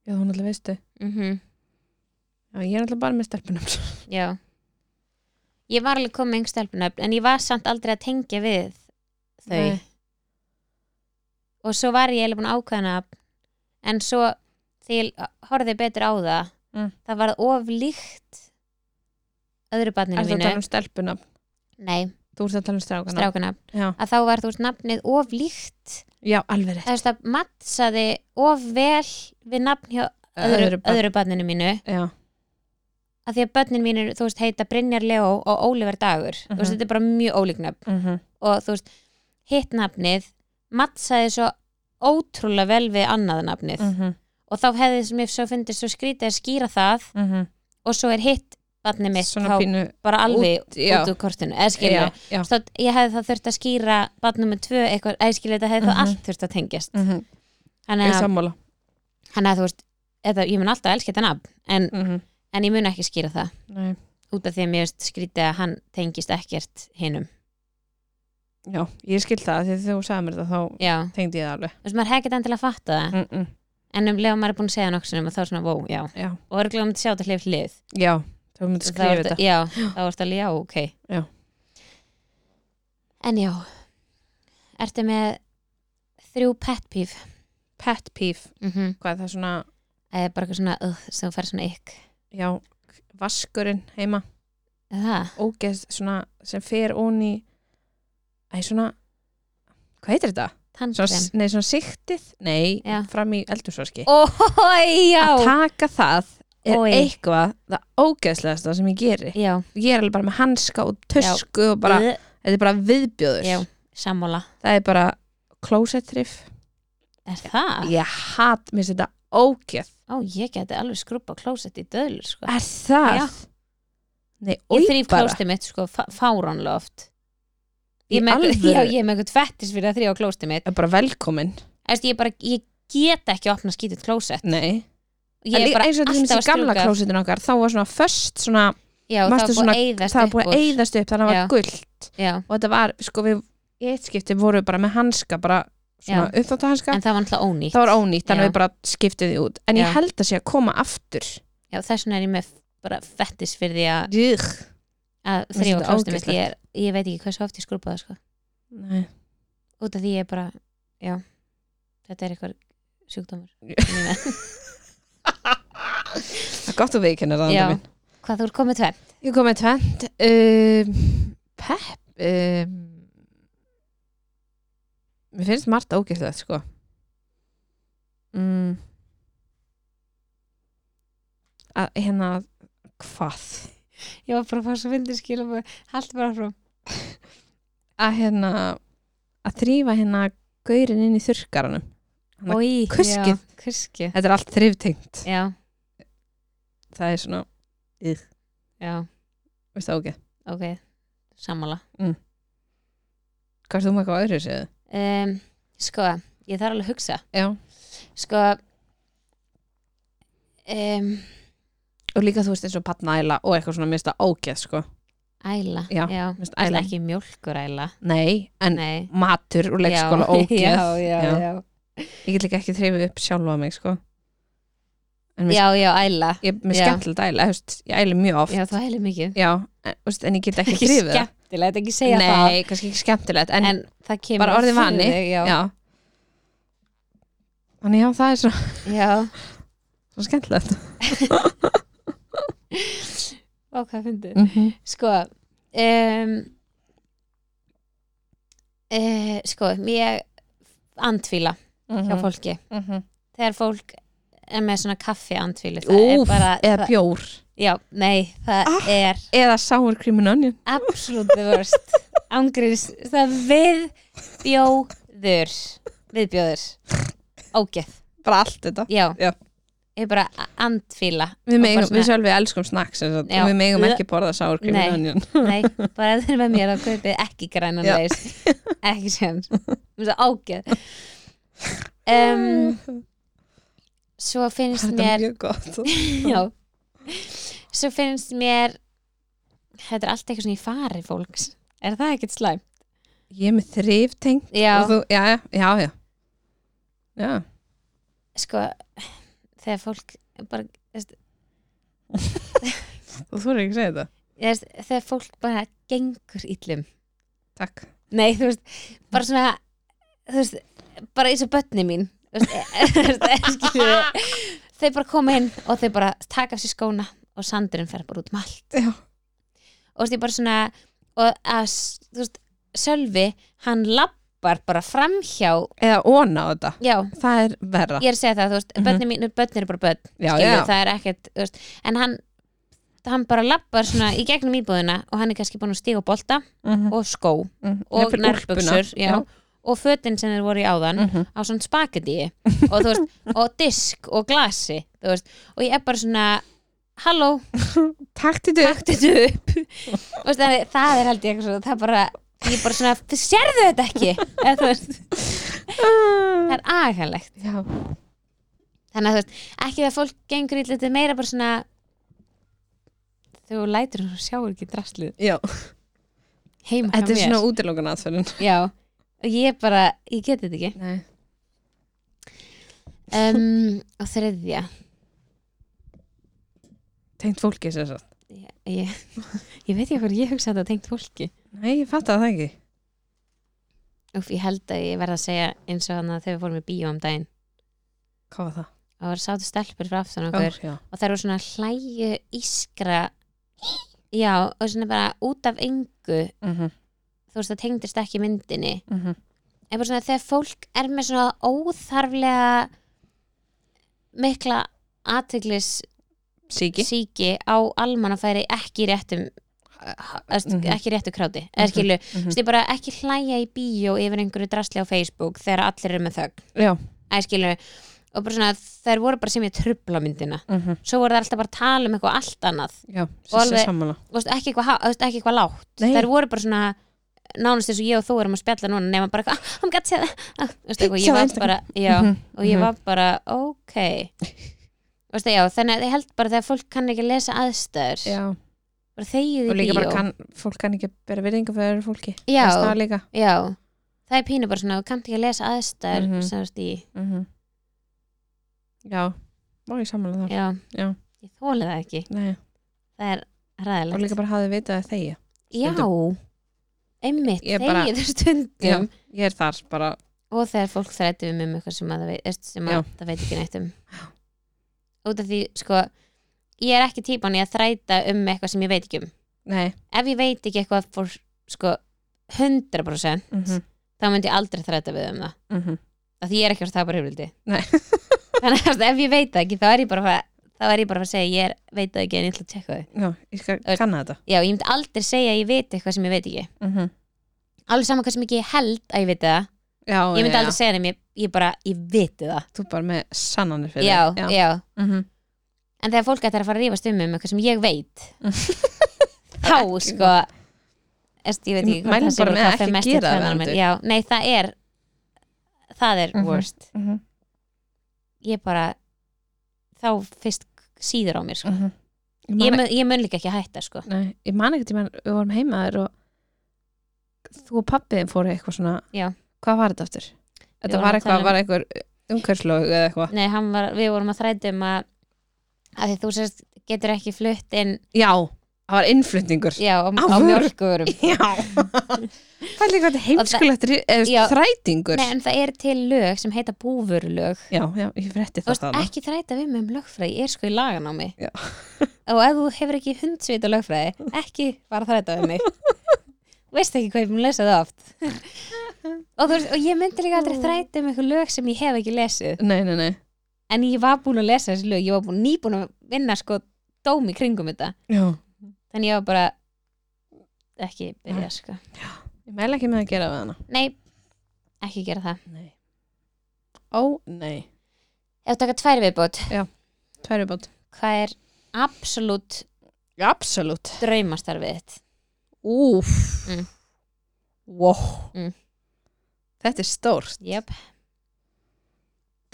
[SPEAKER 2] já hún alltaf veistu
[SPEAKER 1] mhm
[SPEAKER 2] já, ég er alltaf bara með stelpunum
[SPEAKER 1] Já Ég var alveg komið með stelpunöfn en ég var samt aldrei að tengja við þau
[SPEAKER 2] Nei.
[SPEAKER 1] og svo var ég eiginlega búin að ákveðna en svo þegar ég horfði betur á það
[SPEAKER 2] Mm.
[SPEAKER 1] það var of líkt öðru barninu
[SPEAKER 2] er það að
[SPEAKER 1] mínu
[SPEAKER 2] tala um stelpunum
[SPEAKER 1] Nei,
[SPEAKER 2] Þú ert að tala um strákana
[SPEAKER 1] strákana
[SPEAKER 2] Já.
[SPEAKER 1] að þá var þú veist nafnið of líkt
[SPEAKER 2] Já, alveg
[SPEAKER 1] eða
[SPEAKER 2] rétt
[SPEAKER 1] þú veist að mattsaði of vel við nafn hjá öðru, öðru,
[SPEAKER 2] barn-
[SPEAKER 1] barninu mínu
[SPEAKER 2] Já,
[SPEAKER 1] að því að börnin mínu, þú veist, heita Brynjar Leó og Ólífer Dagur, þú veist,
[SPEAKER 2] Mhm.
[SPEAKER 1] þetta er bara mjög ólíknöfn
[SPEAKER 2] mm
[SPEAKER 1] og þú veist, hitt nafnið mattsaði svo ótrúlega vel við annað nafnið
[SPEAKER 2] -hmm.
[SPEAKER 1] og þá hefði sem ég svo fundist svo skrítið að skýra það og svo er hitt barnið mitt
[SPEAKER 2] mhm. Svona
[SPEAKER 1] þá
[SPEAKER 2] pínu
[SPEAKER 1] bara alveg út,
[SPEAKER 2] já.
[SPEAKER 1] úr kortinu eða skilja
[SPEAKER 2] Já, já
[SPEAKER 1] ég hefði þá þurft að skýra barnum með tvö eitthvað, eða skilja þetta hefði
[SPEAKER 2] Mhm.
[SPEAKER 1] þá allt þurft að tengjast
[SPEAKER 2] mm -hmm.
[SPEAKER 1] þannig
[SPEAKER 2] Ég
[SPEAKER 1] að,
[SPEAKER 2] sammála
[SPEAKER 1] þannig að þú veist eða, ég mun alltaf elska þetta nafn en,
[SPEAKER 2] mm -hmm.
[SPEAKER 1] en ég mun ekki skýra það
[SPEAKER 2] Nei,
[SPEAKER 1] út af því að mér veist skrítið að hann tengist ekkert hinum
[SPEAKER 2] já, ég skil það Þegar þú sagði mér þetta þá
[SPEAKER 1] já,
[SPEAKER 2] tengdi ég það alveg
[SPEAKER 1] þú veist maður hefði ekki endilega að fatta það
[SPEAKER 2] mm -mm.
[SPEAKER 1] en um leið og maður er búin að segja nokksunum og þá er svona, wow, já
[SPEAKER 2] Já,
[SPEAKER 1] og örgulega um að sjá þetta hlif hlið
[SPEAKER 2] já, þá myndi
[SPEAKER 1] Og
[SPEAKER 2] skrifa
[SPEAKER 1] þá ertu-
[SPEAKER 2] þetta
[SPEAKER 1] já, þá er þetta, já, ok
[SPEAKER 2] Já.
[SPEAKER 1] en já ertu með þrjú pet peeve
[SPEAKER 2] Pet peeve,
[SPEAKER 1] mm
[SPEAKER 2] hvað er það svona
[SPEAKER 1] eða bara eitthvað svona, uh, sem fær svona ykk
[SPEAKER 2] Já, vaskurinn heima
[SPEAKER 1] Er það,
[SPEAKER 2] Ógeð svona sem fer ón í Æ, svona Hvað heitir þetta? Svona,
[SPEAKER 1] tannkrem
[SPEAKER 2] s- nei, svona siktið Nei,
[SPEAKER 1] Já.
[SPEAKER 2] fram í eldursvarski
[SPEAKER 1] ói, já
[SPEAKER 2] að taka það er
[SPEAKER 1] Oj.
[SPEAKER 2] eitthvað það ógeðslegasta sem ég geri
[SPEAKER 1] já,
[SPEAKER 2] ég er alveg bara með hanska og tösku og bara,
[SPEAKER 1] Ugh,
[SPEAKER 2] þetta er bara viðbjöður
[SPEAKER 1] Mm. já, sammála
[SPEAKER 2] það er bara closet riff
[SPEAKER 1] er það,
[SPEAKER 2] ég hat, mér finnst þetta ógeð
[SPEAKER 1] ó, ég geti alveg skrúpa klósett í döðlur, sko
[SPEAKER 2] er það?
[SPEAKER 1] Já.
[SPEAKER 2] nei,
[SPEAKER 1] ég
[SPEAKER 2] oj
[SPEAKER 1] þrýf
[SPEAKER 2] bara
[SPEAKER 1] klóstið mitt, sko, fá- fáránlega oft
[SPEAKER 2] Í
[SPEAKER 1] ég er með
[SPEAKER 2] alvöru?
[SPEAKER 1] já, ég er með eitthvað fettis fyrir að þrýfa klóstið mitt
[SPEAKER 2] er bara velkomin
[SPEAKER 1] Æst, ég, bara, ég get ekki opna skítið klósett
[SPEAKER 2] nei.
[SPEAKER 1] ég
[SPEAKER 2] En
[SPEAKER 1] er bara
[SPEAKER 2] eins og
[SPEAKER 1] alltaf
[SPEAKER 2] þetta finnst
[SPEAKER 1] að
[SPEAKER 2] í gamla
[SPEAKER 1] strjúka
[SPEAKER 2] klósetin okkar þá var svona föst svona,
[SPEAKER 1] já, það var
[SPEAKER 2] manstu
[SPEAKER 1] búið
[SPEAKER 2] svona-
[SPEAKER 1] að eyðast
[SPEAKER 2] það var búið
[SPEAKER 1] upp
[SPEAKER 2] að
[SPEAKER 1] úr.
[SPEAKER 2] eyðast upp þannig að það
[SPEAKER 1] Já.
[SPEAKER 2] var gullt
[SPEAKER 1] já,
[SPEAKER 2] og þetta var, sko við í eitt skipti voru við bara með hanska bara svona uppþáttahanska
[SPEAKER 1] en það var náttúrulega ónýtt
[SPEAKER 2] það var ónýtt, þannig
[SPEAKER 1] Já.
[SPEAKER 2] að við bara skiptum því út en
[SPEAKER 1] Já.
[SPEAKER 2] ég held að sé að koma aftur
[SPEAKER 1] já, þess vegna er ég með bara fettis fyrir því að-
[SPEAKER 2] Júg.
[SPEAKER 1] að
[SPEAKER 2] finnst
[SPEAKER 1] þrjá
[SPEAKER 2] þetta
[SPEAKER 1] klóstum
[SPEAKER 2] ógeðslegt.
[SPEAKER 1] ég, er- ég veit ekki hversu oft ég skrúpa það sko. út af því ég er bara já, þetta er eitthvað sjúkdómur sem ég er með.
[SPEAKER 2] það er gott að viðkynna það
[SPEAKER 1] Já.
[SPEAKER 2] Andri minn.
[SPEAKER 1] hvað þú er komið tvenn
[SPEAKER 2] ég kom með tvent um, pepp um, mér finnst margt ógæslegt sko mm. að hérna hvað
[SPEAKER 1] ég var bara að fara svo vindur skil og haldi bara frá
[SPEAKER 2] að hérna að þrýfa hérna gaurin inn í þurrkaranum Þannig að
[SPEAKER 1] Í,
[SPEAKER 2] kuskið.
[SPEAKER 1] já, kuskið
[SPEAKER 2] þetta er allt þriftengt
[SPEAKER 1] já,
[SPEAKER 2] það er svona,
[SPEAKER 1] já,
[SPEAKER 2] veist það ógæ
[SPEAKER 1] ok, sammála
[SPEAKER 2] hvað er þú með eitthvað öðru séð?
[SPEAKER 1] um, sko, ég þarf alveg að hugsa
[SPEAKER 2] já
[SPEAKER 1] sko um,
[SPEAKER 2] og líka þú veist eins og patnæla og eitthvað svona mista ógeð sko
[SPEAKER 1] æla
[SPEAKER 2] Já,
[SPEAKER 1] já.
[SPEAKER 2] mista
[SPEAKER 1] Æla.
[SPEAKER 2] æla
[SPEAKER 1] ekki mjólkuræla
[SPEAKER 2] nei en
[SPEAKER 1] Nei.
[SPEAKER 2] matur og leikskóla ógeð
[SPEAKER 1] já, já,
[SPEAKER 2] Já.
[SPEAKER 1] já.
[SPEAKER 2] ég get líka ekki þreifið upp sjálfa mig sko en mér,
[SPEAKER 1] já, já, æla
[SPEAKER 2] ég, mér
[SPEAKER 1] já.
[SPEAKER 2] skemmtilegt að æla þú veist, ég æli mjög oft
[SPEAKER 1] já, það heilir mikið
[SPEAKER 2] Já, en, þú veist, en ég get ekki
[SPEAKER 1] ekki
[SPEAKER 2] þreifið það
[SPEAKER 1] skemmtilegt, ekki segja það
[SPEAKER 2] nei, kannski ekki skemmtilegt en,
[SPEAKER 1] en það kemur
[SPEAKER 2] bara
[SPEAKER 1] oft
[SPEAKER 2] orðið
[SPEAKER 1] fyrir
[SPEAKER 2] vani
[SPEAKER 1] þig, já. Já.
[SPEAKER 2] já þannig já, það er svona, svona skemmtilegt
[SPEAKER 1] Ó, hvað fyndið
[SPEAKER 2] mm -hmm.
[SPEAKER 1] sko um, uh, sko, ég andfíla hjá
[SPEAKER 2] Mhm.
[SPEAKER 1] fólki
[SPEAKER 2] mm -hmm.
[SPEAKER 1] þegar fólk er með svona kaffi andfílu
[SPEAKER 2] Úf, eða bjór
[SPEAKER 1] já, nei, það
[SPEAKER 2] Ah.
[SPEAKER 1] er
[SPEAKER 2] eða sour cream and onion
[SPEAKER 1] absolutt the worst ángriðs, það viðbjóður viðbjóður ógeð,
[SPEAKER 2] bara allt þetta
[SPEAKER 1] já
[SPEAKER 2] Já.
[SPEAKER 1] ég er bara a- andfíla
[SPEAKER 2] við,
[SPEAKER 1] Og
[SPEAKER 2] megum,
[SPEAKER 1] bara svona-
[SPEAKER 2] við sjálfi elskum snacks sem sagt,
[SPEAKER 1] Já.
[SPEAKER 2] og við megum ekki borða sour cream
[SPEAKER 1] Nei.
[SPEAKER 2] and onion
[SPEAKER 1] Nei, bara ef þeir eru með mér þá kaupið ekki grænan
[SPEAKER 2] Já.
[SPEAKER 1] leis ekki séns Mér finnst það ágæð um, Svo finnst
[SPEAKER 2] þetta er
[SPEAKER 1] mér
[SPEAKER 2] mjög gott
[SPEAKER 1] já, Svo finnst mér Þetta er allt eitthvað svona í fari fólks Er það ekkert slæm?
[SPEAKER 2] ég er með þriftengt
[SPEAKER 1] Já,
[SPEAKER 2] og þú, já, já, já, já. já.
[SPEAKER 1] sko þegar fólk bara,
[SPEAKER 2] og þú er ekki að segja þetta
[SPEAKER 1] ég veist, þegar fólk bara gengur illum
[SPEAKER 2] takk
[SPEAKER 1] Nei, þú veist, bara svona þú veist, bara eins og börni mín þú veist, eh, skilurðu. þau bara koma inn og þau bara taka af sér skóna og sandurinn fer bara út um allt
[SPEAKER 2] Já.
[SPEAKER 1] og þú veist, ég bara svona og að, s- þú veist, Sölvi hann labbar bara framhjá
[SPEAKER 2] eða óna á þetta,
[SPEAKER 1] já,
[SPEAKER 2] það er verra
[SPEAKER 1] ég er að segja það, þú veist,
[SPEAKER 2] Mhm.
[SPEAKER 1] börni mín börn eru bara börn,
[SPEAKER 2] já,
[SPEAKER 1] skilur,
[SPEAKER 2] já,
[SPEAKER 1] það er ekkert þú veist, en hann hann bara labbar svona í gegnum íbúðina og hann er kannski búin að stíga á bolta
[SPEAKER 2] Mhm,
[SPEAKER 1] og skó
[SPEAKER 2] mhm.
[SPEAKER 1] og
[SPEAKER 2] Jafnvel úlpuna.
[SPEAKER 1] nærbuksur já,
[SPEAKER 2] já.
[SPEAKER 1] og fötin sem þeir voru í áðan
[SPEAKER 2] Mhm.
[SPEAKER 1] á svona spagetti og, þú veist, og disk og glasi þú veist, og ég er bara svona halló,
[SPEAKER 2] takk til þau
[SPEAKER 1] taktu þetta upp Þú veist, það, er- það er held ég eitthvað svo, það er bara ég er bara svona, "Þið sérðu þetta ekki Eða, þú veist,
[SPEAKER 2] Ah.
[SPEAKER 1] það er agalegt
[SPEAKER 2] já,
[SPEAKER 1] þannig að þú veist, ekki það fólk gengur í lítið meira bara svona þú lætur og sjáur ekki draslið
[SPEAKER 2] já.
[SPEAKER 1] heima hjá
[SPEAKER 2] þetta er
[SPEAKER 1] mér
[SPEAKER 2] svona útilókan aðferðin
[SPEAKER 1] já, og ég bara, ég get þetta ekki
[SPEAKER 2] nei,
[SPEAKER 1] um, og þriðja
[SPEAKER 2] tengt fólki sér satt
[SPEAKER 1] ég, ég, ég veit ekki hvað ég hugsa þetta tengt fólki
[SPEAKER 2] nei, ég fatt að það ekki
[SPEAKER 1] Úf, ég held að ég verð að segja eins og þannig að þegar við fórum í bíó um daginn
[SPEAKER 2] hvað var það?
[SPEAKER 1] og það sátu stelpur frá aftan okkur
[SPEAKER 2] já.
[SPEAKER 1] og þær voru svona hlæju ískra já og svona bara út af engu
[SPEAKER 2] Mm -hmm.
[SPEAKER 1] þú veist það tengdist ekki myndinni
[SPEAKER 2] Mm -hmm.
[SPEAKER 1] en bara svona þegar fólk er með svona óþarflega mikla aðteglis
[SPEAKER 2] síki
[SPEAKER 1] síki á almannafæri ekki í réttum mm
[SPEAKER 2] Mhm.
[SPEAKER 1] ekki í réttu kráti eða
[SPEAKER 2] Mhm.
[SPEAKER 1] skilu
[SPEAKER 2] Mhm.
[SPEAKER 1] Þú veist, ég bara ekki hlæja í bíó yfir einhverju drasli á Facebook þegar allir eru með þögn.
[SPEAKER 2] já,
[SPEAKER 1] Æ, skilu, og bara svona, þær voru bara sem ég trubla myndina.
[SPEAKER 2] mm -hmm.
[SPEAKER 1] Svo voru þær alltaf bara að tala um eitthvað allt annað.
[SPEAKER 2] já,
[SPEAKER 1] Og
[SPEAKER 2] sér
[SPEAKER 1] alveg-
[SPEAKER 2] sammála
[SPEAKER 1] Þú veist, ekki eitthvað, há- þú veist, ekki eitthvað lágt.
[SPEAKER 2] Nei.
[SPEAKER 1] Þær voru bara svona, nánast eins og ég og þú erum að spjalla núna, nema bara eitthvað, ah, hann gæti séð það. ah, Þú veist, eitthvað,
[SPEAKER 2] Sjá
[SPEAKER 1] ég var
[SPEAKER 2] Instagram.
[SPEAKER 1] bara, já,
[SPEAKER 2] Mhm,
[SPEAKER 1] og ég
[SPEAKER 2] mhm.
[SPEAKER 1] var bara, ok. Þú veist, já, þannig að ég held bara þegar fólk kann ekki að lesa aðstæður,
[SPEAKER 2] já.
[SPEAKER 1] bara þegið í
[SPEAKER 2] og líka bara
[SPEAKER 1] bíó.
[SPEAKER 2] kann, fólk kann ekki bera virðinga fyrir öðru fólki
[SPEAKER 1] Já.
[SPEAKER 2] Finnst það líka
[SPEAKER 1] Já, það er pínu bara svona, þú kann ekki að lesa aðstæður, mm
[SPEAKER 2] Mhm.
[SPEAKER 1] -hmm. semst í,
[SPEAKER 2] mm já, má ég sammála þar
[SPEAKER 1] já,
[SPEAKER 2] Já.
[SPEAKER 1] ég þóli það ekki
[SPEAKER 2] Nei.
[SPEAKER 1] það er
[SPEAKER 2] og
[SPEAKER 1] ræðilegt
[SPEAKER 2] líka bara hafði vitað að þegja
[SPEAKER 1] já, einmitt,
[SPEAKER 2] Ég
[SPEAKER 1] bara,
[SPEAKER 2] bara-
[SPEAKER 1] þegið stundum
[SPEAKER 2] ég er þar bara
[SPEAKER 1] og þegar fólk þrætti við mig um eitthvað sem, að, það veit- veist, sem
[SPEAKER 2] Já.
[SPEAKER 1] að, það veit ekki neitt um út af því, sko ég er ekki típan í að þræta um eitthvað sem ég veit ekki um
[SPEAKER 2] nei,
[SPEAKER 1] ef ég veit ekki eitthvað fór, sko, 100%
[SPEAKER 2] mm -hmm.
[SPEAKER 1] þá myndi ég aldrei þræta við um það
[SPEAKER 2] Mm -hmm.
[SPEAKER 1] af því ég er ekki að það bara hefrildi
[SPEAKER 2] Nei.
[SPEAKER 1] þannig að ef ég veit það ekki þá er ég bara að fara- þá er ég bara að fara að segja ég er, veit það ekki en ég ætla að tjekka það
[SPEAKER 2] já, ég skal
[SPEAKER 1] Öll-
[SPEAKER 2] kanna þetta
[SPEAKER 1] já, ég myndi aldrei segja að ég veit eitthvað sem ég veit ekki
[SPEAKER 2] mm -hmm.
[SPEAKER 1] alveg saman hversu mikið ég held að ég veit það
[SPEAKER 2] já,
[SPEAKER 1] ég myndi
[SPEAKER 2] já,
[SPEAKER 1] aldrei segja þeim, ég, ég bara, ég veit það
[SPEAKER 2] þú bara með sannanir fyrir
[SPEAKER 1] já,
[SPEAKER 2] þig.
[SPEAKER 1] já,
[SPEAKER 2] Mm -hmm.
[SPEAKER 1] en þegar fólk ætlar að fara að rífast um um eitthvað sem ég veit þá sko est, ég veit ekki
[SPEAKER 2] Ég mæli bara með að ekki gera það
[SPEAKER 1] það
[SPEAKER 2] heldur.
[SPEAKER 1] já, nei, það er það er
[SPEAKER 2] Mhm.
[SPEAKER 1] worst
[SPEAKER 2] Mm -hmm.
[SPEAKER 1] ég bara, þá fyrst síður á mér, sko
[SPEAKER 2] Ég,
[SPEAKER 1] ég,
[SPEAKER 2] man,
[SPEAKER 1] mun- ég mun líka ekki að hætta, sko
[SPEAKER 2] nei, ég man ekkert tímann, við vorum heima þér og þú og pappiðin fóru eitthvað svona
[SPEAKER 1] Já.
[SPEAKER 2] hvað var þetta aftur? þetta
[SPEAKER 1] vorum
[SPEAKER 2] var
[SPEAKER 1] að tala
[SPEAKER 2] eitthvað,
[SPEAKER 1] um-
[SPEAKER 2] var eitthvað umhverslóg eða eitthvað
[SPEAKER 1] nei, hann var, við vorum að þrætum að að því þú sérst getur ekki flutt inn
[SPEAKER 2] já, það var innflutningur
[SPEAKER 1] já, á, á
[SPEAKER 2] vöru.
[SPEAKER 1] mjölkurum
[SPEAKER 2] já það er líka þetta heimskulegt ri- eða
[SPEAKER 1] Já.
[SPEAKER 2] þrætingur
[SPEAKER 1] Nei, en það er til lög sem heita búvörulög
[SPEAKER 2] já, já, ég frétti
[SPEAKER 1] Þú
[SPEAKER 2] það
[SPEAKER 1] veist,
[SPEAKER 2] þarna.
[SPEAKER 1] ekki þræta við mig um lögfræði, ég er sko í lagan á mig
[SPEAKER 2] Já.
[SPEAKER 1] og ef þú hefur ekki hundsvit á lögfræði, ekki bara þræta við mig Þú veist ekki hvað ég mun lesa það oft og, þú veist, og ég myndi líka aldrei þræta um eitthvað lög sem ég hef ekki lesið
[SPEAKER 2] nei, nei, nei
[SPEAKER 1] en ég var búin að lesa þessi lög, ég var búin, nýbúin að vinna sko dóm í kringum þetta
[SPEAKER 2] já.
[SPEAKER 1] þannig ég var bara ekki byrja sko
[SPEAKER 2] Ég mæla ekki með að gera við hana
[SPEAKER 1] nei, ekki gera það
[SPEAKER 2] Nei Ó, nei
[SPEAKER 1] ef þú taka tvær viðbót,
[SPEAKER 2] Tværubátt
[SPEAKER 1] hvað er absolutt
[SPEAKER 2] Absolutt
[SPEAKER 1] draumastarfið þitt
[SPEAKER 2] Úf
[SPEAKER 1] Mm.
[SPEAKER 2] Wow
[SPEAKER 1] Mm.
[SPEAKER 2] Þetta er stórt
[SPEAKER 1] yep.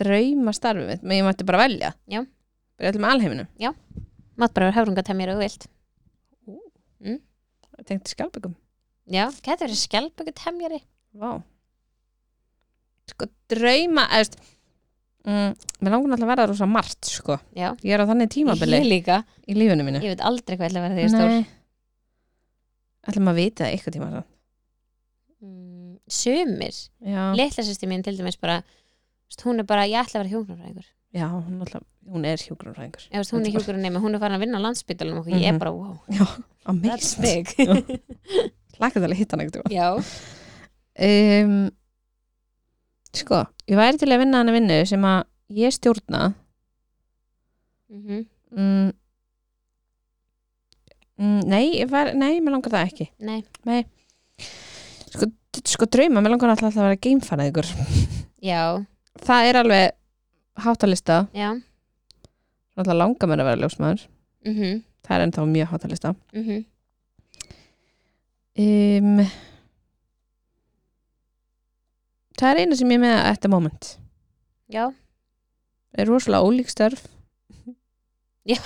[SPEAKER 2] Drauma starfið mitt Men ég mætti bara velja
[SPEAKER 1] Já.
[SPEAKER 2] Bara öllum alheiminum
[SPEAKER 1] mátt bara vera höfrungatemjur og þú vilt
[SPEAKER 2] Tengt skjálpingum
[SPEAKER 1] já, getur verið skjálpökutemjari
[SPEAKER 2] Vá Sko drauma eðst, mm, Mér langar náttúrulega að verða rosa margt sko
[SPEAKER 1] já,
[SPEAKER 2] Ég er á þannig tímabili
[SPEAKER 1] ég líka
[SPEAKER 2] í lífinu mínu
[SPEAKER 1] ég veit aldrei hvað ég ætla að vera þegar ég er stór
[SPEAKER 2] Ætlum að vita það eitthvað tíma samt.
[SPEAKER 1] Mm, sumir,
[SPEAKER 2] Já,
[SPEAKER 1] litla sýsti mín til dæmis bara þú veist, hún er bara, ég ætla að vera hjóknarfræðingur
[SPEAKER 2] já hún, alltaf, hún er hjúgrunfræðingur
[SPEAKER 1] ef þú veist, hún er hjóknarfræðingur nema, hún er farin að vinna á landsbytalum og ég er
[SPEAKER 2] Mhm.
[SPEAKER 1] bara, wow, that's
[SPEAKER 2] Amazing
[SPEAKER 1] big
[SPEAKER 2] Laka það að hitta hann eitthvað
[SPEAKER 1] já,
[SPEAKER 2] um, Sko, ég væri til að vinna hana vinnu sem að ég stjórna
[SPEAKER 1] mhm
[SPEAKER 2] mm, mm, Nei, ég var, nei, mér langar það ekki
[SPEAKER 1] Nei,
[SPEAKER 2] Sko, sko drauma, mér langar alltaf að vera geimfæraðingur
[SPEAKER 1] já,
[SPEAKER 2] Það er alveg hátalista
[SPEAKER 1] já
[SPEAKER 2] Alltaf langar mér að vera ljósmaður
[SPEAKER 1] mm -hmm,
[SPEAKER 2] Það er ennþá mjög hátalista
[SPEAKER 1] Mhm.
[SPEAKER 2] um, Það er eina sem ég er með at the moment
[SPEAKER 1] Já,
[SPEAKER 2] er rosalega ólík störf
[SPEAKER 1] já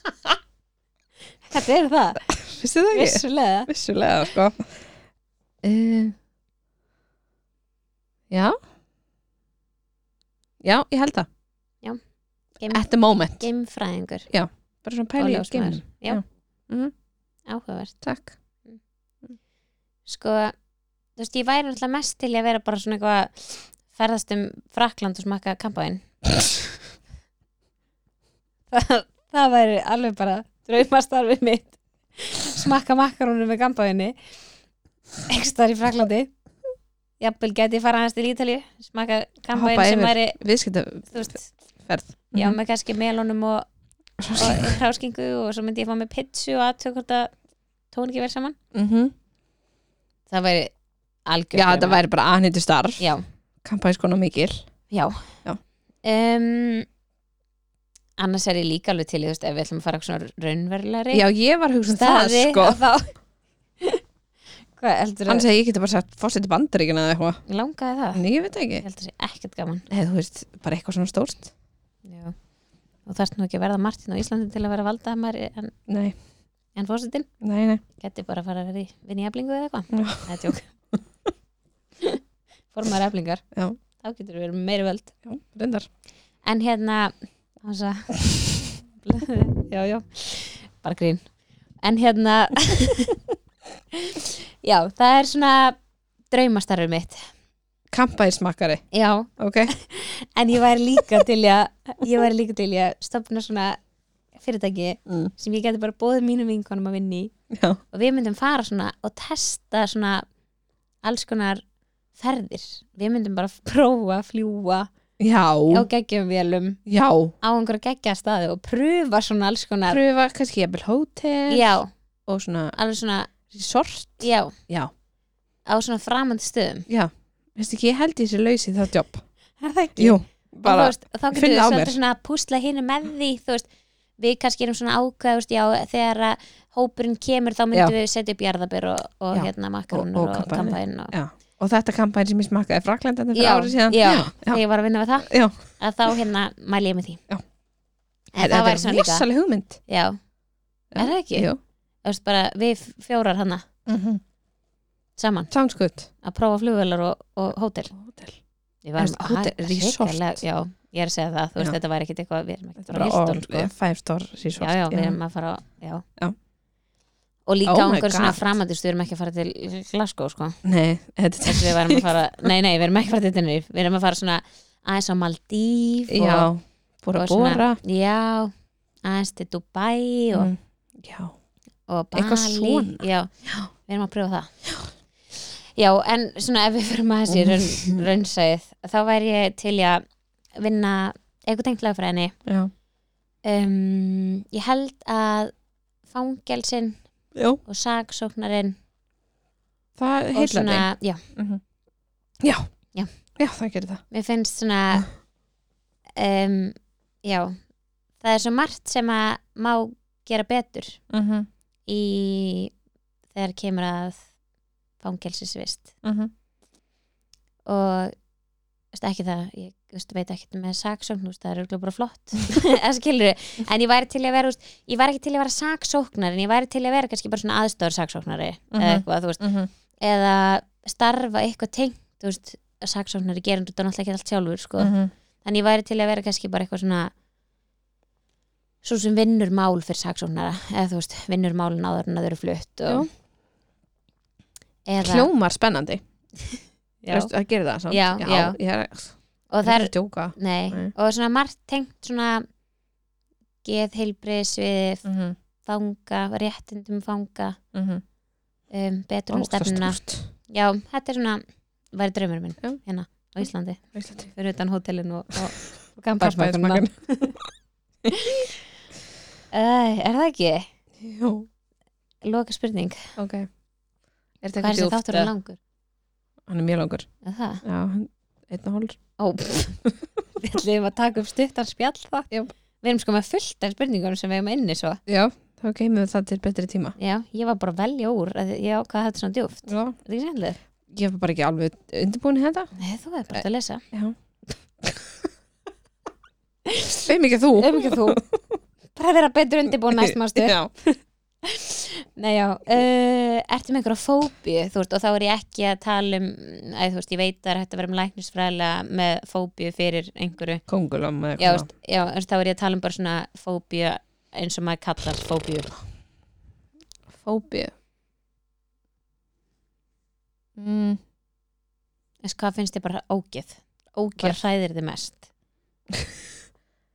[SPEAKER 1] Þetta er það
[SPEAKER 2] Vistu það
[SPEAKER 1] Vissulega
[SPEAKER 2] Vissulega, sko uh, Já Já, ég held það
[SPEAKER 1] Já. Geim-
[SPEAKER 2] At the moment
[SPEAKER 1] Geimfræðingur
[SPEAKER 2] Bara svona
[SPEAKER 1] og
[SPEAKER 2] pæli í
[SPEAKER 1] ljósmaður.
[SPEAKER 2] geimnum
[SPEAKER 1] Já,
[SPEAKER 2] Já. Mhm.
[SPEAKER 1] áhugavert
[SPEAKER 2] Takk
[SPEAKER 1] Sko, þú veist, ég væri náttúrulega mest til í að vera bara svona eitthvað ferðast um Frakland og smakka kampaðin það, það væri alveg bara draumastarfið mitt smakka makkarónu með kampaðinni ekstar í Fraklandi jafnvel geti ég fara hans til Ítalju smakka kampaðin
[SPEAKER 2] Hoppa
[SPEAKER 1] sem
[SPEAKER 2] yfir.
[SPEAKER 1] væri
[SPEAKER 2] Viðskipta
[SPEAKER 1] þú veist,
[SPEAKER 2] ferð
[SPEAKER 1] já með kannski melónum og, og hráskingu og svo myndi ég fá með pitsu og aðtöku hvort að tóniki verið saman
[SPEAKER 2] Mhm.
[SPEAKER 1] það væri algjörn
[SPEAKER 2] Já, þetta væri bara aðnýttu starf
[SPEAKER 1] já,
[SPEAKER 2] Kampæskona mikil
[SPEAKER 1] já,
[SPEAKER 2] Já.
[SPEAKER 1] Um, annars er ég líka alveg til í, þú veist, ef við ætlum að fara eitthvað svona raunverulegri
[SPEAKER 2] Já, ég var hugsun það,
[SPEAKER 1] staði
[SPEAKER 2] sko
[SPEAKER 1] að þá hvað heldur
[SPEAKER 2] Hann segi ég geti bara sagt fórsetið bandaríkina eða eitthvað
[SPEAKER 1] að langaði það
[SPEAKER 2] En ég veit það ekki
[SPEAKER 1] ég held að það sé ekkert gaman
[SPEAKER 2] Nei, þú veist, bara eitthvað svona stórt
[SPEAKER 1] já. og þarf nú ekki að verða Martin á Íslandi til að vera valda en,
[SPEAKER 2] Nei,
[SPEAKER 1] en fórsetin
[SPEAKER 2] nei, nei
[SPEAKER 1] geti bara að fara að vera í vinni eflingu eða
[SPEAKER 2] Já.
[SPEAKER 1] eitthvað það er tjók formar eflingar
[SPEAKER 2] Já.
[SPEAKER 1] þá getur við verið meiri völd
[SPEAKER 2] Já, reyndar
[SPEAKER 1] en hérna ása, já, já bara grín en hérna já, það er svona draumastarfið mitt
[SPEAKER 2] Kampæsmakari,
[SPEAKER 1] já,
[SPEAKER 2] ok
[SPEAKER 1] en ég væri líka til í að ég væri líka til í að stopna svona fyrirtæki
[SPEAKER 2] mm.
[SPEAKER 1] sem ég geti bara bóðið mínum vinkonum að vinna í
[SPEAKER 2] Já,
[SPEAKER 1] og við myndum fara svona og testa svona alls konar ferðir við myndum bara prófa að fljúa
[SPEAKER 2] já,
[SPEAKER 1] á geggjum vélum
[SPEAKER 2] já.
[SPEAKER 1] á einhverja geggja staði og pröfa svona alls konar
[SPEAKER 2] Pröfa kannski jafnvel hótel
[SPEAKER 1] já,
[SPEAKER 2] og svona
[SPEAKER 1] alveg svona
[SPEAKER 2] resort
[SPEAKER 1] já,
[SPEAKER 2] Já,
[SPEAKER 1] á svona framandi stöðum
[SPEAKER 2] já, veistu ekki, ég held ég sér laus í það jobb
[SPEAKER 1] er það
[SPEAKER 2] Jú,
[SPEAKER 1] bara,
[SPEAKER 2] bara
[SPEAKER 1] veist, þá getur við
[SPEAKER 2] finna á mér.
[SPEAKER 1] svolítið svona að púsla hinn með því þú veist, við kannski erum svona ákveðust já, þegar að hópurinn kemur þá myndum við setja upp jarðabir og, og
[SPEAKER 2] Já.
[SPEAKER 1] hérna makkarun og,
[SPEAKER 2] Og- og
[SPEAKER 1] og
[SPEAKER 2] kampavín.
[SPEAKER 1] kampaðinn og...
[SPEAKER 2] Já, og þetta kampæn sem ég smakkaði fraklænd þetta
[SPEAKER 1] já,
[SPEAKER 2] fyrir árið
[SPEAKER 1] já,
[SPEAKER 2] síðan já,
[SPEAKER 1] þegar ég var að vinna með það
[SPEAKER 2] já.
[SPEAKER 1] að þá hérna mæli ég með því
[SPEAKER 2] Já.
[SPEAKER 1] en það væri svona líka já,
[SPEAKER 2] rosaleg hugmynd
[SPEAKER 1] er það ekki? Mhm.
[SPEAKER 2] Jú,
[SPEAKER 1] Þú Veist, bara, við f- fjórar hana
[SPEAKER 2] mm -hmm.
[SPEAKER 1] saman
[SPEAKER 2] sounds good
[SPEAKER 1] að prófa flugvelar og, og hótel
[SPEAKER 2] Hótel
[SPEAKER 1] Við
[SPEAKER 2] Þú veist, hótel-
[SPEAKER 1] ha-
[SPEAKER 2] resort.
[SPEAKER 1] hrikalega- já, ég er að segja það, þú veist,
[SPEAKER 2] Já.
[SPEAKER 1] þetta væri ekkit eitthvað við erum ekkit
[SPEAKER 2] Þetta
[SPEAKER 1] frá
[SPEAKER 2] er
[SPEAKER 1] Hilton, sko.
[SPEAKER 2] bara five star resort
[SPEAKER 1] já, já, við erum að fara á, já.
[SPEAKER 2] Já.
[SPEAKER 1] og líka
[SPEAKER 2] Oh
[SPEAKER 1] á
[SPEAKER 2] my
[SPEAKER 1] einhver svona
[SPEAKER 2] God.
[SPEAKER 1] framandist við erum ekki að fara til Glasgow sko.
[SPEAKER 2] Nei, þetta
[SPEAKER 1] þess að við erum að fara, nei nei, við erum ekki að fara til Tenerife við erum að fara svona aðeins á Maldíf og,
[SPEAKER 2] Já, bóra
[SPEAKER 1] og
[SPEAKER 2] bóra
[SPEAKER 1] svona, já, aðeins til Dubai og,
[SPEAKER 2] Mm. Já,
[SPEAKER 1] og Bali
[SPEAKER 2] Eitthvað svona.
[SPEAKER 1] já, við erum að pröfa það já, en svona ef við fyrir maður þessi raun, raunsæð þá væri ég til í að vinna eitthvað tengt lagfræðinni
[SPEAKER 2] já
[SPEAKER 1] um, ég held að fangelsin
[SPEAKER 2] Já.
[SPEAKER 1] og sagsóknarinn
[SPEAKER 2] Það
[SPEAKER 1] og
[SPEAKER 2] heila
[SPEAKER 1] svona,
[SPEAKER 2] þig.
[SPEAKER 1] já,
[SPEAKER 2] Mhm. Já.
[SPEAKER 1] Já.
[SPEAKER 2] Já, það gerir það.
[SPEAKER 1] mér finnst svona um, já það er svo margt sem að má gera betur
[SPEAKER 2] Mm -hmm.
[SPEAKER 1] í þegar kemur að fangelsisvist
[SPEAKER 2] Mm -hmm.
[SPEAKER 1] og veist, ekki það, ég veist, veit ekkert með saksókn, veist, það er örugglega bara flott það skilur, en ég væri til að vera veist, ég væri ekki til að vera saksóknar en ég væri til að vera kannski bara svona aðstóður saksóknari eða
[SPEAKER 2] Mhm.
[SPEAKER 1] eitthvað, þú veist,
[SPEAKER 2] Mm -hmm.
[SPEAKER 1] eða starfa eitthvað tengt, þú veist saksóknari gerum þetta náttúrulega ekki allt sjálfur sko.
[SPEAKER 2] Mhm.
[SPEAKER 1] þannig ég væri til að vera kannski bara eitthvað svona svo sem vinnur mál fyrir saksóknara eða þú veist, vinnur málin áður en að þau eru flutt og, eða,
[SPEAKER 2] Kljómar spennandi.
[SPEAKER 1] Já.
[SPEAKER 2] Veistu, Það gerir það samt.
[SPEAKER 1] Já, já.
[SPEAKER 2] Ég er,
[SPEAKER 1] og það er
[SPEAKER 2] að djóka.
[SPEAKER 1] nei,
[SPEAKER 2] Nei.
[SPEAKER 1] og svona margt tengt svona geð heilbris við
[SPEAKER 2] Mm -hmm.
[SPEAKER 1] fanga, réttindum fanga
[SPEAKER 2] Mm -hmm.
[SPEAKER 1] um, betur um stefnuna já, þetta er svona, væri draumur minn
[SPEAKER 2] Já.
[SPEAKER 1] hérna á Íslandi,
[SPEAKER 2] Íslandi.
[SPEAKER 1] fyrir utan hótelin og, og, og
[SPEAKER 2] Kampaðismakkan.
[SPEAKER 1] kampaðismakkan er það ekki?
[SPEAKER 2] Jú.
[SPEAKER 1] Loka spurning,
[SPEAKER 2] Ok. Er þetta
[SPEAKER 1] hvað er
[SPEAKER 2] ekki
[SPEAKER 1] þessi
[SPEAKER 2] djúpt?
[SPEAKER 1] þáttur
[SPEAKER 2] eða?
[SPEAKER 1] langur?
[SPEAKER 2] Hann er mjög langur.
[SPEAKER 1] Er það?
[SPEAKER 2] Já, einn og hálfur.
[SPEAKER 1] Ó, pff. við ætlum að taka upp stuttan spjall það
[SPEAKER 2] Já.
[SPEAKER 1] Við erum sko með fullt af spurningum sem við erum inni svo
[SPEAKER 2] Já. Þá kemur það til betri tíma.
[SPEAKER 1] Já, ég var bara að velja úr að því- Já, hvað þetta er svona djúft
[SPEAKER 2] Já.
[SPEAKER 1] Er Það ekki sennilegt?
[SPEAKER 2] Ég var bara ekki alveg undirbúin í þetta.
[SPEAKER 1] Nei, þú er bara að lesa
[SPEAKER 2] Já. Veim ekki þú.
[SPEAKER 1] Um ekki þú Bara að vera betur undirbúin næst mástu
[SPEAKER 2] Já.
[SPEAKER 1] Nei, já uh, Ertu með einhverja fóbíu, þú veist Og þá er ég ekki að tala um Æ, þú veist, ég veit að það er hægt að vera um læknisfræðilega með fóbíu fyrir einhverju
[SPEAKER 2] Kongulum eða
[SPEAKER 1] Já, þú veist, já, þú veist, þá er ég að tala um bara svona fóbíu eins og maður kallar fóbíu
[SPEAKER 2] Fóbíu. Mm,
[SPEAKER 1] Þess hvað finnst þið bara ógeð?
[SPEAKER 2] ógjör.
[SPEAKER 1] hvað hræðir þið mest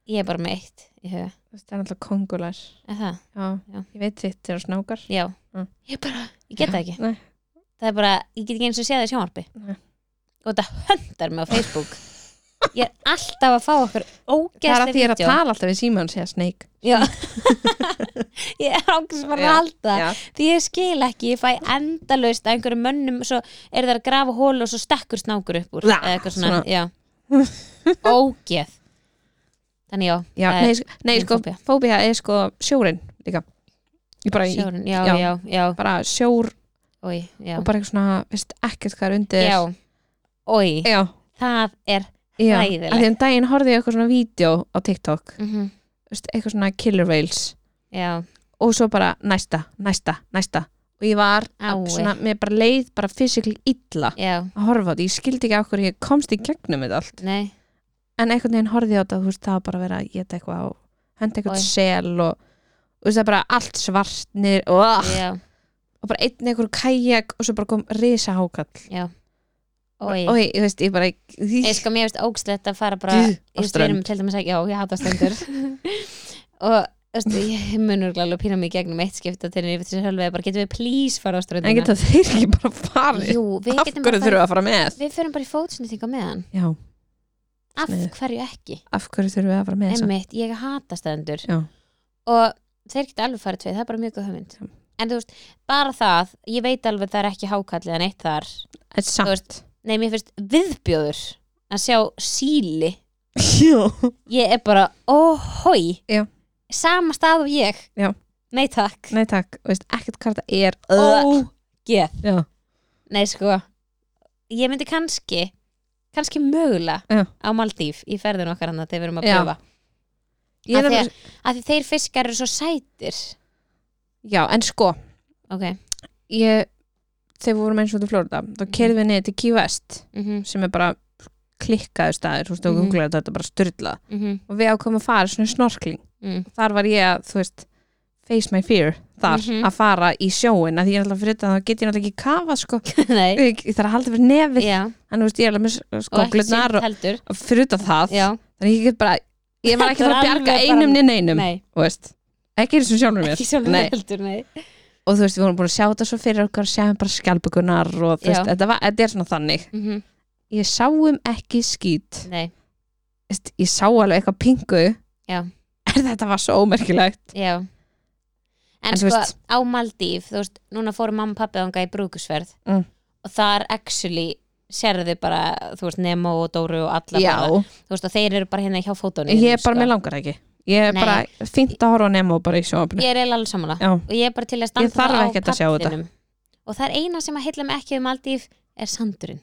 [SPEAKER 1] ég er bara með eitt í huga
[SPEAKER 2] Það er alltaf kongular.
[SPEAKER 1] er það,
[SPEAKER 2] Já.
[SPEAKER 1] Já.
[SPEAKER 2] Ég veit þitt er snákar.
[SPEAKER 1] já
[SPEAKER 2] Mm.
[SPEAKER 1] ég bara, ég get það ekki
[SPEAKER 2] Nei.
[SPEAKER 1] það er bara, ég get ekki eins og séð það í sjónvarpi
[SPEAKER 2] Nei.
[SPEAKER 1] og þetta höndar mig á Facebook ég er alltaf að fá okkur
[SPEAKER 2] Það er að
[SPEAKER 1] ógeðsli
[SPEAKER 2] því ég er að
[SPEAKER 1] vídeo.
[SPEAKER 2] tala alltaf við síma og segja snake.
[SPEAKER 1] Já. ég er ákveðs bara
[SPEAKER 2] Já,
[SPEAKER 1] að halda
[SPEAKER 2] já.
[SPEAKER 1] því ég skil ekki, ég fæ endalaust að einhverjum mönnum, svo er það að grafa hól og svo stekkur snákur upp úr
[SPEAKER 2] Bla,
[SPEAKER 1] eða eitthvað svona,
[SPEAKER 2] svona.
[SPEAKER 1] já ógeð þannig já,
[SPEAKER 2] Já,
[SPEAKER 1] það er-
[SPEAKER 2] nei, sk- nei
[SPEAKER 1] mín
[SPEAKER 2] sko,
[SPEAKER 1] fóbía.
[SPEAKER 2] fóbía er sko sjórin líka. Ég bara, sjórin.
[SPEAKER 1] Sjórinn, já,
[SPEAKER 2] já.
[SPEAKER 1] já, já, já,
[SPEAKER 2] bara sjór
[SPEAKER 1] oi, já.
[SPEAKER 2] og bara eitthvað svona, veist ekkert hvað er Eh. undir.
[SPEAKER 1] já, oi,
[SPEAKER 2] Já.
[SPEAKER 1] það er
[SPEAKER 2] Já.
[SPEAKER 1] Hræðilegt.
[SPEAKER 2] Af Því um daginn horfði ég á eitthvað svona vídeo á TikTok,
[SPEAKER 1] mm
[SPEAKER 2] veist, eitthvað svona killer whales
[SPEAKER 1] já,
[SPEAKER 2] og svo bara næsta, næsta, næsta og ég var að
[SPEAKER 1] Ái.
[SPEAKER 2] svona, mér bara leið bara fysikli illa
[SPEAKER 1] já,
[SPEAKER 2] að horfa á þetta, ég skildi ekki á hverju ég komst í gegnum þetta allt,
[SPEAKER 1] nei,
[SPEAKER 2] en einhvern veginn horfði ég á þetta, þú veist, það var bara að vera að geta eitthvað á henda eitthvað
[SPEAKER 1] Oj.
[SPEAKER 2] sel og þú veist, það er bara allt svartnir og,
[SPEAKER 1] já,
[SPEAKER 2] og bara einn einhver kajak og svo bara kom risa hákall
[SPEAKER 1] oi
[SPEAKER 2] og ég, þú veist, ég bara
[SPEAKER 1] ég sko, mér finnst ógslegt að fara bara
[SPEAKER 2] Dýr,
[SPEAKER 1] ég um
[SPEAKER 2] á
[SPEAKER 1] veist, við erum til dæmis ekki, já, ég hata stendur og, þú veist, ég munur glæðilega pína mig í gegnum eitt skipta til því þessi hölvið, bara getum við please fara á ströndina
[SPEAKER 2] en geta þeir ekki bara farið
[SPEAKER 1] Jú, við
[SPEAKER 2] af
[SPEAKER 1] getum
[SPEAKER 2] hverju þurfum
[SPEAKER 1] bara
[SPEAKER 2] við að fara með
[SPEAKER 1] við förum bara í fótsnýtinga með hann
[SPEAKER 2] já,
[SPEAKER 1] af
[SPEAKER 2] Sniðugt.
[SPEAKER 1] hverju ekki,
[SPEAKER 2] af hverju þurfum við að fara með þessa?
[SPEAKER 1] emmitt, ég hata stendur
[SPEAKER 2] Já.
[SPEAKER 1] og þeir geta alveg farið tveið, það er bara mjög góð hugmynd
[SPEAKER 2] Já.
[SPEAKER 1] en þú veist, bara það, ég veit alveg það er ekki hákall eða neitt þar
[SPEAKER 2] en
[SPEAKER 1] Þú
[SPEAKER 2] samt
[SPEAKER 1] nei, mér finnst viðbjóður að sjá síli
[SPEAKER 2] já
[SPEAKER 1] ég er bara, óhói
[SPEAKER 2] Já.
[SPEAKER 1] sama stað og ég
[SPEAKER 2] Já.
[SPEAKER 1] nei takk,
[SPEAKER 2] Nei takk, veist, ekkert hvað það er
[SPEAKER 1] ógeð
[SPEAKER 2] Já.
[SPEAKER 1] nei sko ég myndi kannski kannski mögulega
[SPEAKER 2] Já.
[SPEAKER 1] á Maldíf í ferðin okkar hann að þeir verum að
[SPEAKER 2] Já.
[SPEAKER 1] pröfa
[SPEAKER 2] Ég er
[SPEAKER 1] Af því
[SPEAKER 2] alveg-
[SPEAKER 1] að því þeir fiskar eru svo sætir
[SPEAKER 2] Já, en sko
[SPEAKER 1] ok,
[SPEAKER 2] ég, Þegar við vorum eins og til Florida þá kerðum við niður til Key West
[SPEAKER 1] mhm,
[SPEAKER 2] sem er bara klikkaður staður þú veist, og
[SPEAKER 1] Mhm.
[SPEAKER 2] googlaði þetta, þetta er bara styrla
[SPEAKER 1] mhm
[SPEAKER 2] og við ákvæmum að fara í svona snorkling
[SPEAKER 1] mm.
[SPEAKER 2] þar var ég að, þú veist face my fear þar
[SPEAKER 1] Mhm.
[SPEAKER 2] að fara í sjóin að því ég er alltaf fyrir þetta, þá get ég náttúrulega ekki kafa sko,
[SPEAKER 1] nei,
[SPEAKER 2] ég, ég þarf að halda fyrir nefið
[SPEAKER 1] já
[SPEAKER 2] en þú veist, ég er alveg með
[SPEAKER 1] og ekki
[SPEAKER 2] skoglunar
[SPEAKER 1] sýnt
[SPEAKER 2] og,
[SPEAKER 1] heldur
[SPEAKER 2] og fyrir þetta það
[SPEAKER 1] já,
[SPEAKER 2] þannig ég get bara, ég var ekki
[SPEAKER 1] Þetta er
[SPEAKER 2] að fara að
[SPEAKER 1] alveg
[SPEAKER 2] bjarga
[SPEAKER 1] bara-
[SPEAKER 2] einum niður neinum
[SPEAKER 1] nei,
[SPEAKER 2] þú veist, ekki eins og sjálfur mér
[SPEAKER 1] ekki sjálfum
[SPEAKER 2] Nei.
[SPEAKER 1] heldur nei.
[SPEAKER 2] og þú veist, við vorum búin að sjá þetta svo fyrir okkar sjáum bara skjálpugunar og
[SPEAKER 1] Já.
[SPEAKER 2] þú veist, þetta, var, þetta er svona þannig
[SPEAKER 1] Mhm.
[SPEAKER 2] ég sáum ekki skýt
[SPEAKER 1] nei,
[SPEAKER 2] Veist, ég sá alveg eitthvað pingu
[SPEAKER 1] Já.
[SPEAKER 2] þetta var svo ómerkilegt
[SPEAKER 1] Já En,
[SPEAKER 2] En þú
[SPEAKER 1] sko,
[SPEAKER 2] veist-
[SPEAKER 1] á Maldíf, þú veist, núna fóru mamma og pappi ánga í brúkusverð
[SPEAKER 2] Mm.
[SPEAKER 1] og þar actually sérðu bara, þú veist, Nemo og Dóru og alla bara,
[SPEAKER 2] Já,
[SPEAKER 1] þú veist, og þeir eru bara hérna hjá fótunni
[SPEAKER 2] ég er bara, mér langar ekki Ég er
[SPEAKER 1] Nei.
[SPEAKER 2] bara fínt að horfa á Nemo bara í sjónvarpinu
[SPEAKER 1] Ég er eiginlega alveg samanlega
[SPEAKER 2] Já,
[SPEAKER 1] og ég er bara til að standa
[SPEAKER 2] Ég þarf
[SPEAKER 1] á
[SPEAKER 2] ekkert að sjá þetta.
[SPEAKER 1] pallinum. Og það er eina sem að heilla mig ekki um Maldíf er sandurinn,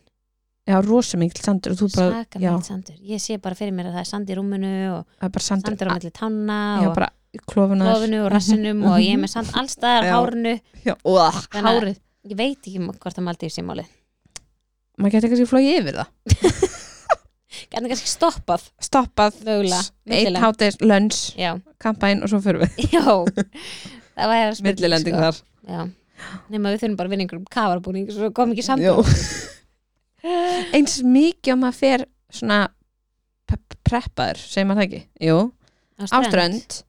[SPEAKER 2] já rosa mikil sandur og þú bara,
[SPEAKER 1] saka
[SPEAKER 2] já,
[SPEAKER 1] sandur Ég sé bara fyrir mér að það er sand í rúminu og
[SPEAKER 2] það er bara sandur
[SPEAKER 1] sandur á milli tanna
[SPEAKER 2] Já,
[SPEAKER 1] og
[SPEAKER 2] bara klofunar
[SPEAKER 1] klofinu og rassinum og ég er með sand allstaðar
[SPEAKER 2] Já.
[SPEAKER 1] hárinu,
[SPEAKER 2] Mhm. Já, og
[SPEAKER 1] Þannig að-
[SPEAKER 2] hárið
[SPEAKER 1] ég veit ekki um hvort að Maldíf sé málið,
[SPEAKER 2] Maður getur kannski flóið yfir það
[SPEAKER 1] en kannski stoppað
[SPEAKER 2] Stoppað,
[SPEAKER 1] Mögulega,
[SPEAKER 2] s-
[SPEAKER 1] millilega.
[SPEAKER 2] einn hátis, lönns,
[SPEAKER 1] Já,
[SPEAKER 2] kampæn og svo fyrir við
[SPEAKER 1] já Það var hefða spurning
[SPEAKER 2] Millilending
[SPEAKER 1] sko.
[SPEAKER 2] þar
[SPEAKER 1] Já, nema við þurfum bara að vinna einhverjum kafarbúning Svo kom ekki samt
[SPEAKER 2] Jó. Eins mikið om maður fer svona pe- preppaður, segir maður það ekki Jú, áströnd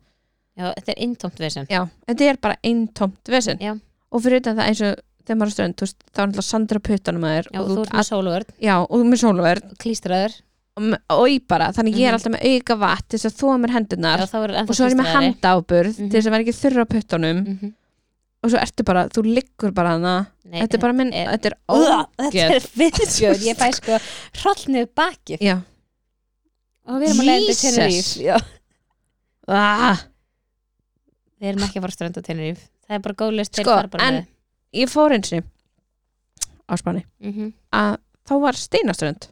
[SPEAKER 1] Já, þetta er intómt vesen
[SPEAKER 2] Já, þetta er bara einn tomt vesen
[SPEAKER 1] Já.
[SPEAKER 2] og fyrir utan það eins og þegar maður er á strönd þú veist, þá er náttúrulega sandur á puttanum að þér
[SPEAKER 1] Já,
[SPEAKER 2] og
[SPEAKER 1] þú
[SPEAKER 2] þú,
[SPEAKER 1] ert með sóluvörn,
[SPEAKER 2] já, og þú er með sólverð
[SPEAKER 1] klístraður
[SPEAKER 2] og í bara, þannig ég er
[SPEAKER 1] Mhm.
[SPEAKER 2] alltaf með auka vatn til þess að þóa mér hendunar
[SPEAKER 1] Já, þá er
[SPEAKER 2] og svo er ég með handáburð
[SPEAKER 1] Mhm.
[SPEAKER 2] til þess að vera ekki þurra á puttanum og svo ertu bara, þú liggur bara hana
[SPEAKER 1] Nei,
[SPEAKER 2] þetta er bara minn,
[SPEAKER 1] er-
[SPEAKER 2] þetta er
[SPEAKER 1] Ó, Þetta
[SPEAKER 2] ógeð
[SPEAKER 1] er viðskjör, ég fæ sko hrollnið bakið
[SPEAKER 2] Já,
[SPEAKER 1] og við erum að leiða
[SPEAKER 2] Jesus.
[SPEAKER 1] tenniríf Já,
[SPEAKER 2] ah,
[SPEAKER 1] við erum ekki að fara strönda tenniríf Það er bara góðlust
[SPEAKER 2] Sko, en- ég fór eins og á Spáni að þá var steinaströnd,
[SPEAKER 1] Mhm.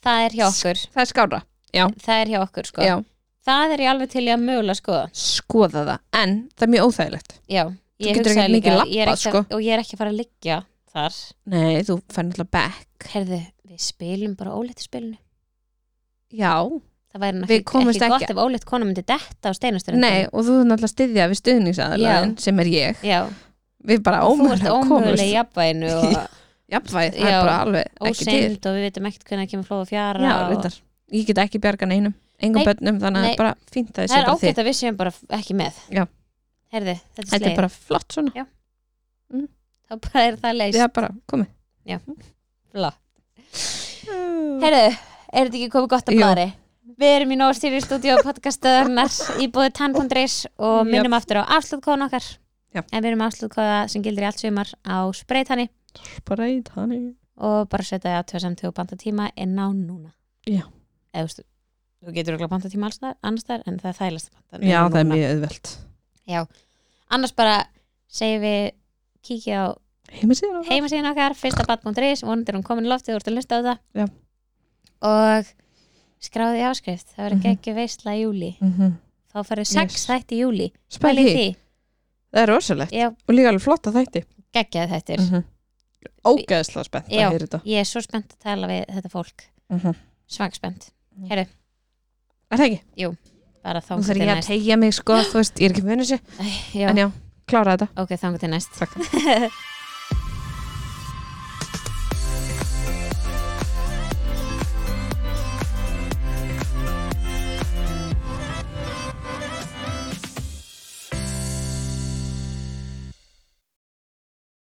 [SPEAKER 1] Það er hjá okkur
[SPEAKER 2] það er skára
[SPEAKER 1] Það er hjá okkur sko
[SPEAKER 2] Já,
[SPEAKER 1] Það er ég alveg til í að mögulega skoða
[SPEAKER 2] skoða það, en það er mjög óþægilegt
[SPEAKER 1] Já, ég
[SPEAKER 2] getur
[SPEAKER 1] hugsaði
[SPEAKER 2] ekkert mikið
[SPEAKER 1] líka ég er
[SPEAKER 2] labbað,
[SPEAKER 1] ekki sko. að, og ég er ekki að fara að liggja þar
[SPEAKER 2] Nei, þú fær náttúrulega back
[SPEAKER 1] Herðu, við spilum bara óléttu spilinu
[SPEAKER 2] Já,
[SPEAKER 1] Það væri
[SPEAKER 2] Við
[SPEAKER 1] nokkuð
[SPEAKER 2] komumst
[SPEAKER 1] ekki,
[SPEAKER 2] ekki-
[SPEAKER 1] gott ef ólétt kona myndi detta á steinasturinn
[SPEAKER 2] Nei, og þú er náttúrulega styðja við stuðningsaðalaðin sem er ég
[SPEAKER 1] Já,
[SPEAKER 2] Við bara
[SPEAKER 1] og þú ert
[SPEAKER 2] ómögulega komumst
[SPEAKER 1] ómögulega í jafnvæginu og
[SPEAKER 2] Jafnvæg, það
[SPEAKER 1] Já,
[SPEAKER 2] er bara alveg ekki til
[SPEAKER 1] ósend og við veitum ekkert hvernig að kemur flóð og fjara
[SPEAKER 2] Já,
[SPEAKER 1] og...
[SPEAKER 2] reyndar Ég get ekki bjarga neinum, engum
[SPEAKER 1] Nei,
[SPEAKER 2] börnum þannig að það
[SPEAKER 1] nei.
[SPEAKER 2] er bara fínt að það
[SPEAKER 1] Það er
[SPEAKER 2] sé bara þig
[SPEAKER 1] ágætt að við séum bara ekki með
[SPEAKER 2] Já.
[SPEAKER 1] Herðu, þetta er
[SPEAKER 2] Þetta er
[SPEAKER 1] sleið
[SPEAKER 2] bara flott svona,
[SPEAKER 1] Þá bara er það leist
[SPEAKER 2] það er bara komið
[SPEAKER 1] Flott. Herðu, er þetta ekki komið gott að
[SPEAKER 2] Jú.
[SPEAKER 1] blari? Við erum í Nóstýri stúdíu podcastöðarnar í búið tann.is og
[SPEAKER 2] Jöp.
[SPEAKER 1] minnum aftur á afslutkóðan okkar
[SPEAKER 2] Já.
[SPEAKER 1] en við erum afslutkóða sem gildir í allt sumar á spreytani
[SPEAKER 2] Breit hann í
[SPEAKER 1] og bara setja að tveið samtögu banta tíma en ná núna
[SPEAKER 2] Já.
[SPEAKER 1] Eða, veistu, þú getur örugglega banta tíma alls þar, annars þar en það er þægilegst að banta
[SPEAKER 2] Já,
[SPEAKER 1] núna.
[SPEAKER 2] það er mjög auðvelt
[SPEAKER 1] annars bara segjum við kíkja á
[SPEAKER 2] Heimasíðan á það
[SPEAKER 1] heimasíðin okkar fyrstabat.is, vonandi er hún komin í loftið þú ert að lusta á það
[SPEAKER 2] Já.
[SPEAKER 1] og skráði áskrift það verður
[SPEAKER 2] Mhm.
[SPEAKER 1] ekki veisla í júli
[SPEAKER 2] Mhm.
[SPEAKER 1] þá farið sex
[SPEAKER 2] Yes.
[SPEAKER 1] þætti í júli Pælið
[SPEAKER 2] Spæli
[SPEAKER 1] í
[SPEAKER 2] því,
[SPEAKER 1] því,
[SPEAKER 2] það er rosalegt
[SPEAKER 1] já,
[SPEAKER 2] og líka alveg flott að þætti
[SPEAKER 1] geggjaði þættir
[SPEAKER 2] Mhm. Ógeðslega spennt
[SPEAKER 1] Já.
[SPEAKER 2] að heyra þetta
[SPEAKER 1] ég er svo spennt að tala við þetta fólk
[SPEAKER 2] Mhm.
[SPEAKER 1] svagspennt,
[SPEAKER 2] Er það ekki?
[SPEAKER 1] bara þá
[SPEAKER 2] Nú þarf ég að tegja mig sko, þú veist, ég er ekki munið sér
[SPEAKER 1] já,
[SPEAKER 2] En já, klára þetta
[SPEAKER 1] ok, þá til næst
[SPEAKER 2] Takk